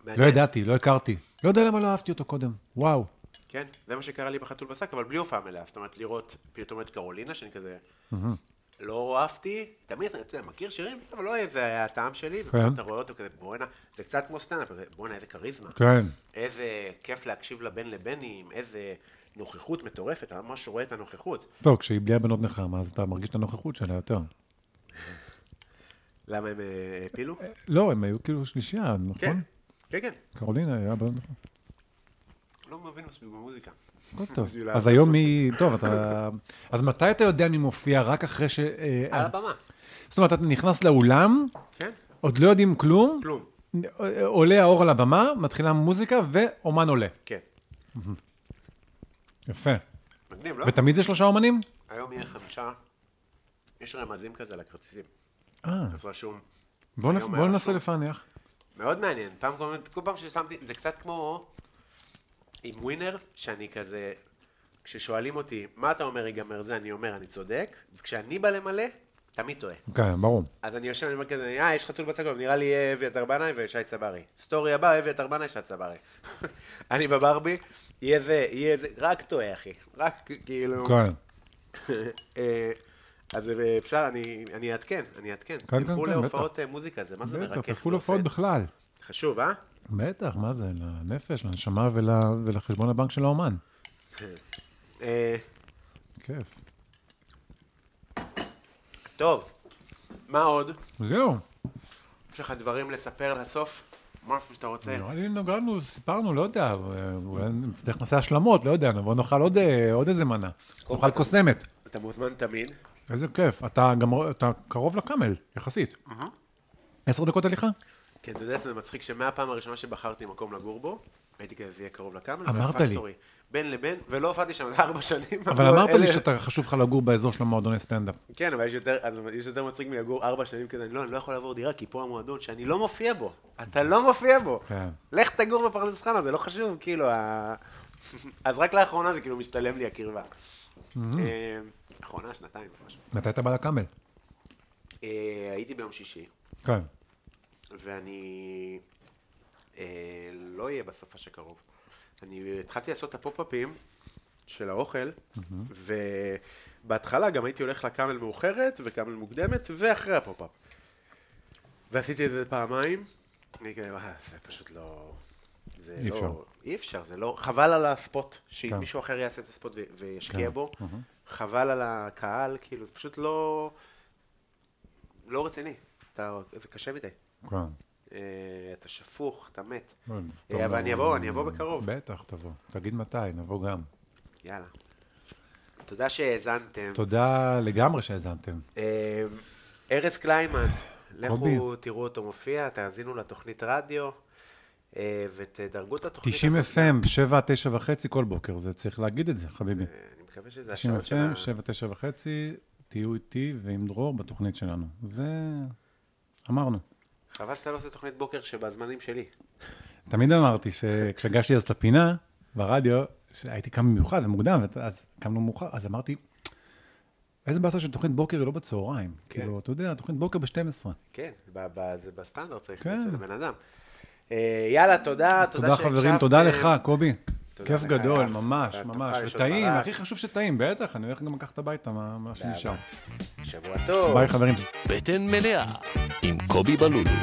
[SPEAKER 3] לא
[SPEAKER 2] מעניין.
[SPEAKER 3] ידעתי, לא הכרתי. לא יודע למה לא אהבתי אותו קודם. וואו.
[SPEAKER 2] כן, זה מה שקרה לי בחתול בשק, אבל בלי הופעה מלאה. זאת אומרת, לראות פתאום את קרולינה, שאני כזה לא אהבתי, תמיד, אתה יודע, מכיר שירים, אבל לא איזה היה הטעם שלי,
[SPEAKER 3] כן.
[SPEAKER 2] ופתאום אתה רואה אותו כזה, בואנה, זה קצת כמו סטנדאפ, כזה, בואנה, איזה כריזמה.
[SPEAKER 3] כן.
[SPEAKER 2] איזה כיף להקשיב לבן לבנים, איזה נוכחות מטורפת, אתה ממש רואה את הנוכחות.
[SPEAKER 3] טוב, כשהיא בלי הבנות נחמה, אז אתה מרגיש את הנוכחות שלה יותר.
[SPEAKER 2] למה הם אה, הפילו?
[SPEAKER 3] לא, הם היו כאילו שלישייה,
[SPEAKER 2] כן,
[SPEAKER 3] נכון?
[SPEAKER 2] כן, כן.
[SPEAKER 3] קרולינה היה בנות נחמה.
[SPEAKER 2] לא מבין מספיק במוזיקה.
[SPEAKER 3] הכל טוב.
[SPEAKER 2] בשביל
[SPEAKER 3] אז
[SPEAKER 2] ה-
[SPEAKER 3] היום היא... טוב, אתה... אז מתי אתה יודע מי מופיע? רק אחרי ש... אה,
[SPEAKER 2] על הבמה,
[SPEAKER 3] זאת אומרת, אתה נכנס לאולם,
[SPEAKER 2] כן?
[SPEAKER 3] עוד לא יודעים כלום,
[SPEAKER 2] כלום,
[SPEAKER 3] עולה האור על הבמה, מתחילה מוזיקה, ואומן עולה.
[SPEAKER 2] כן.
[SPEAKER 3] יפה.
[SPEAKER 2] מגניב, לא?
[SPEAKER 3] ותמיד זה שלושה אומנים?
[SPEAKER 2] היום יהיה חמישה, יש רמזים כזה לכרטיסים.
[SPEAKER 3] אה,
[SPEAKER 2] אז רשום.
[SPEAKER 3] בוא נפ-
[SPEAKER 2] היום
[SPEAKER 3] בוא
[SPEAKER 2] היה
[SPEAKER 3] ננסה
[SPEAKER 2] רשום.
[SPEAKER 3] לפענח.
[SPEAKER 2] מאוד מעניין, פעם כל, כל פעם ששמתי, זה קצת כמו עם ווינר, שאני כזה, כששואלים אותי, מה אתה אומר ייגמר זה, אני אומר, אני צודק, וכשאני בא למלא, תמיד טועה.
[SPEAKER 3] כן, ברור.
[SPEAKER 2] אז אני יושב, אני אומר כזה, אה, יש חתול בצגון, נראה לי אה, אביתר בנאי ושי צברי. סטורי הבא, אביתר בנאי, שי צברי. אני בברבי, יהיה זה, יהיה זה, רק טועה, אחי. רק כאילו...
[SPEAKER 3] כן.
[SPEAKER 2] אה, אז אה, אפשר, אני אני אעדכן, אני אעדכן.
[SPEAKER 3] כן,
[SPEAKER 2] תלכו
[SPEAKER 3] כן,
[SPEAKER 2] להופעות אה, מוזיקה, זה מה זה
[SPEAKER 3] בטח,
[SPEAKER 2] מרכך.
[SPEAKER 3] תלכו
[SPEAKER 2] זה
[SPEAKER 3] להופעות
[SPEAKER 2] עושה.
[SPEAKER 3] בכלל.
[SPEAKER 2] חשוב, אה?
[SPEAKER 3] בטח, מה זה, לנפש, לנשמה ול- ולחשבון הבנק של האומן.
[SPEAKER 2] אה,
[SPEAKER 3] כיף.
[SPEAKER 2] טוב, מה עוד?
[SPEAKER 3] זהו,
[SPEAKER 2] יש לך דברים לספר לסוף? משהו שאתה רוצה?
[SPEAKER 3] נראה לי נגענו, לא, סיפרנו, לא יודע, אה, אולי נצטרך נעשה השלמות, לא יודע, נבוא נאכל עוד, אה, עוד איזה מנה. נאכל קוסמת.
[SPEAKER 2] אתה מוזמן תמיד.
[SPEAKER 3] איזה כיף. אתה גם, אתה קרוב לקאמל, יחסית. עשר דקות הליכה?
[SPEAKER 2] כן, אתה יודע שזה מצחיק שמהפעם הראשונה שבחרתי מקום לגור בו, הייתי כזה, זה יהיה קרוב לקאמל.
[SPEAKER 3] אמרת לי.
[SPEAKER 2] והפקטורי. בין לבין, ולא הופעתי שם ארבע שנים.
[SPEAKER 3] אבל אמרת לי
[SPEAKER 2] אלה-
[SPEAKER 3] שאתה חשוב לך לגור באזור של המועדוני סטנדאפ.
[SPEAKER 2] כן, אבל יש יותר, אז יש יותר מצחיק מלגור ארבע שנים כזה, אני לא, אני לא יכול לעבור דירה, כי פה המועדון שאני לא מופיע בו. אתה לא מופיע בו.
[SPEAKER 3] כן.
[SPEAKER 2] לך תגור בפרדס חנה, זה לא חשוב, כאילו, ה... אז רק לאחרונה זה כאילו משתלם לי הקרבה. אה, אחרונה, שנתיים, משהו.
[SPEAKER 3] מתי אתה בא לקאמל?
[SPEAKER 2] אה, הייתי ביום שישי,
[SPEAKER 3] כן.
[SPEAKER 2] ואני אה, לא אהיה בסוף שקרוב. אני התחלתי לעשות את הפופ-אפים של האוכל, ובהתחלה גם הייתי הולך לקאמל מאוחרת וקאמל מוקדמת, ואחרי הפופ-אפ. ועשיתי את זה פעמיים, אני כאילו, "אה, זה פשוט לא... זה
[SPEAKER 3] אי אפשר.
[SPEAKER 2] לא... אי אפשר, זה לא... חבל על הספוט,
[SPEAKER 3] כן.
[SPEAKER 2] שמישהו אחר יעשה את הספוט ו- וישקיע
[SPEAKER 3] כן,
[SPEAKER 2] בו,
[SPEAKER 3] אהה.
[SPEAKER 2] חבל על הקהל, כאילו, זה פשוט לא... לא רציני. אתה... זה קשה מדי.
[SPEAKER 3] כן.
[SPEAKER 2] אה, אתה שפוך, אתה מת.
[SPEAKER 3] לא, אז אתה
[SPEAKER 2] אה, אבל
[SPEAKER 3] אומר,
[SPEAKER 2] אני אבוא, אני אבוא בקרוב.
[SPEAKER 3] בטח, תבוא. תגיד מתי, נבוא גם.
[SPEAKER 2] יאללה. תודה שהאזנתם.
[SPEAKER 3] תודה לגמרי שהאזנתם.
[SPEAKER 2] אה, ארז קליימן, לכו
[SPEAKER 3] קובי.
[SPEAKER 2] תראו אותו מופיע, תאזינו לתוכנית רדיו, אה, ותדרגו את התוכנית
[SPEAKER 3] 90
[SPEAKER 2] הזאת.
[SPEAKER 3] FM, 7, 9 וחצי כל בוקר, זה צריך להגיד את זה, חביבי.
[SPEAKER 2] אה, אני מקווה שזה
[SPEAKER 3] 90
[SPEAKER 2] השעות של ה...
[SPEAKER 3] FM, 7, 9 וחצי, תהיו איתי ועם דרור בתוכנית שלנו. זה... אמרנו.
[SPEAKER 2] חבל שאתה לא עושה תוכנית בוקר שבזמנים שלי.
[SPEAKER 3] תמיד אמרתי שכשהגשתי אז את הפינה ברדיו, שהייתי קם במיוחד ומוקדם, ואת- אז קמנו מאוחר, אז אמרתי, איזה באסה של תוכנית בוקר היא לא בצהריים. כאילו, אתה יודע, תוכנית בוקר ב-12.
[SPEAKER 2] כן, ב- ב- זה בסטנדרט צריך
[SPEAKER 3] כן.
[SPEAKER 2] להיות של הבן אדם. אה, יאללה, תודה, תודה
[SPEAKER 3] תודה חברים, תודה
[SPEAKER 2] שהקשבתם.
[SPEAKER 3] לך, קובי.
[SPEAKER 2] תודה
[SPEAKER 3] כיף
[SPEAKER 2] לך,
[SPEAKER 3] גדול,
[SPEAKER 2] אח.
[SPEAKER 3] ממש,
[SPEAKER 2] אתה
[SPEAKER 3] ממש.
[SPEAKER 2] תאכל, שתאכל.
[SPEAKER 3] וטעים, הכי חשוב שטעים, בטח, אני הולך גם לקחת הביתה מה מה שנשאר.
[SPEAKER 2] שבוע טוב.
[SPEAKER 3] ביי חברים.
[SPEAKER 1] בטן מלאה עם קובי בלולו.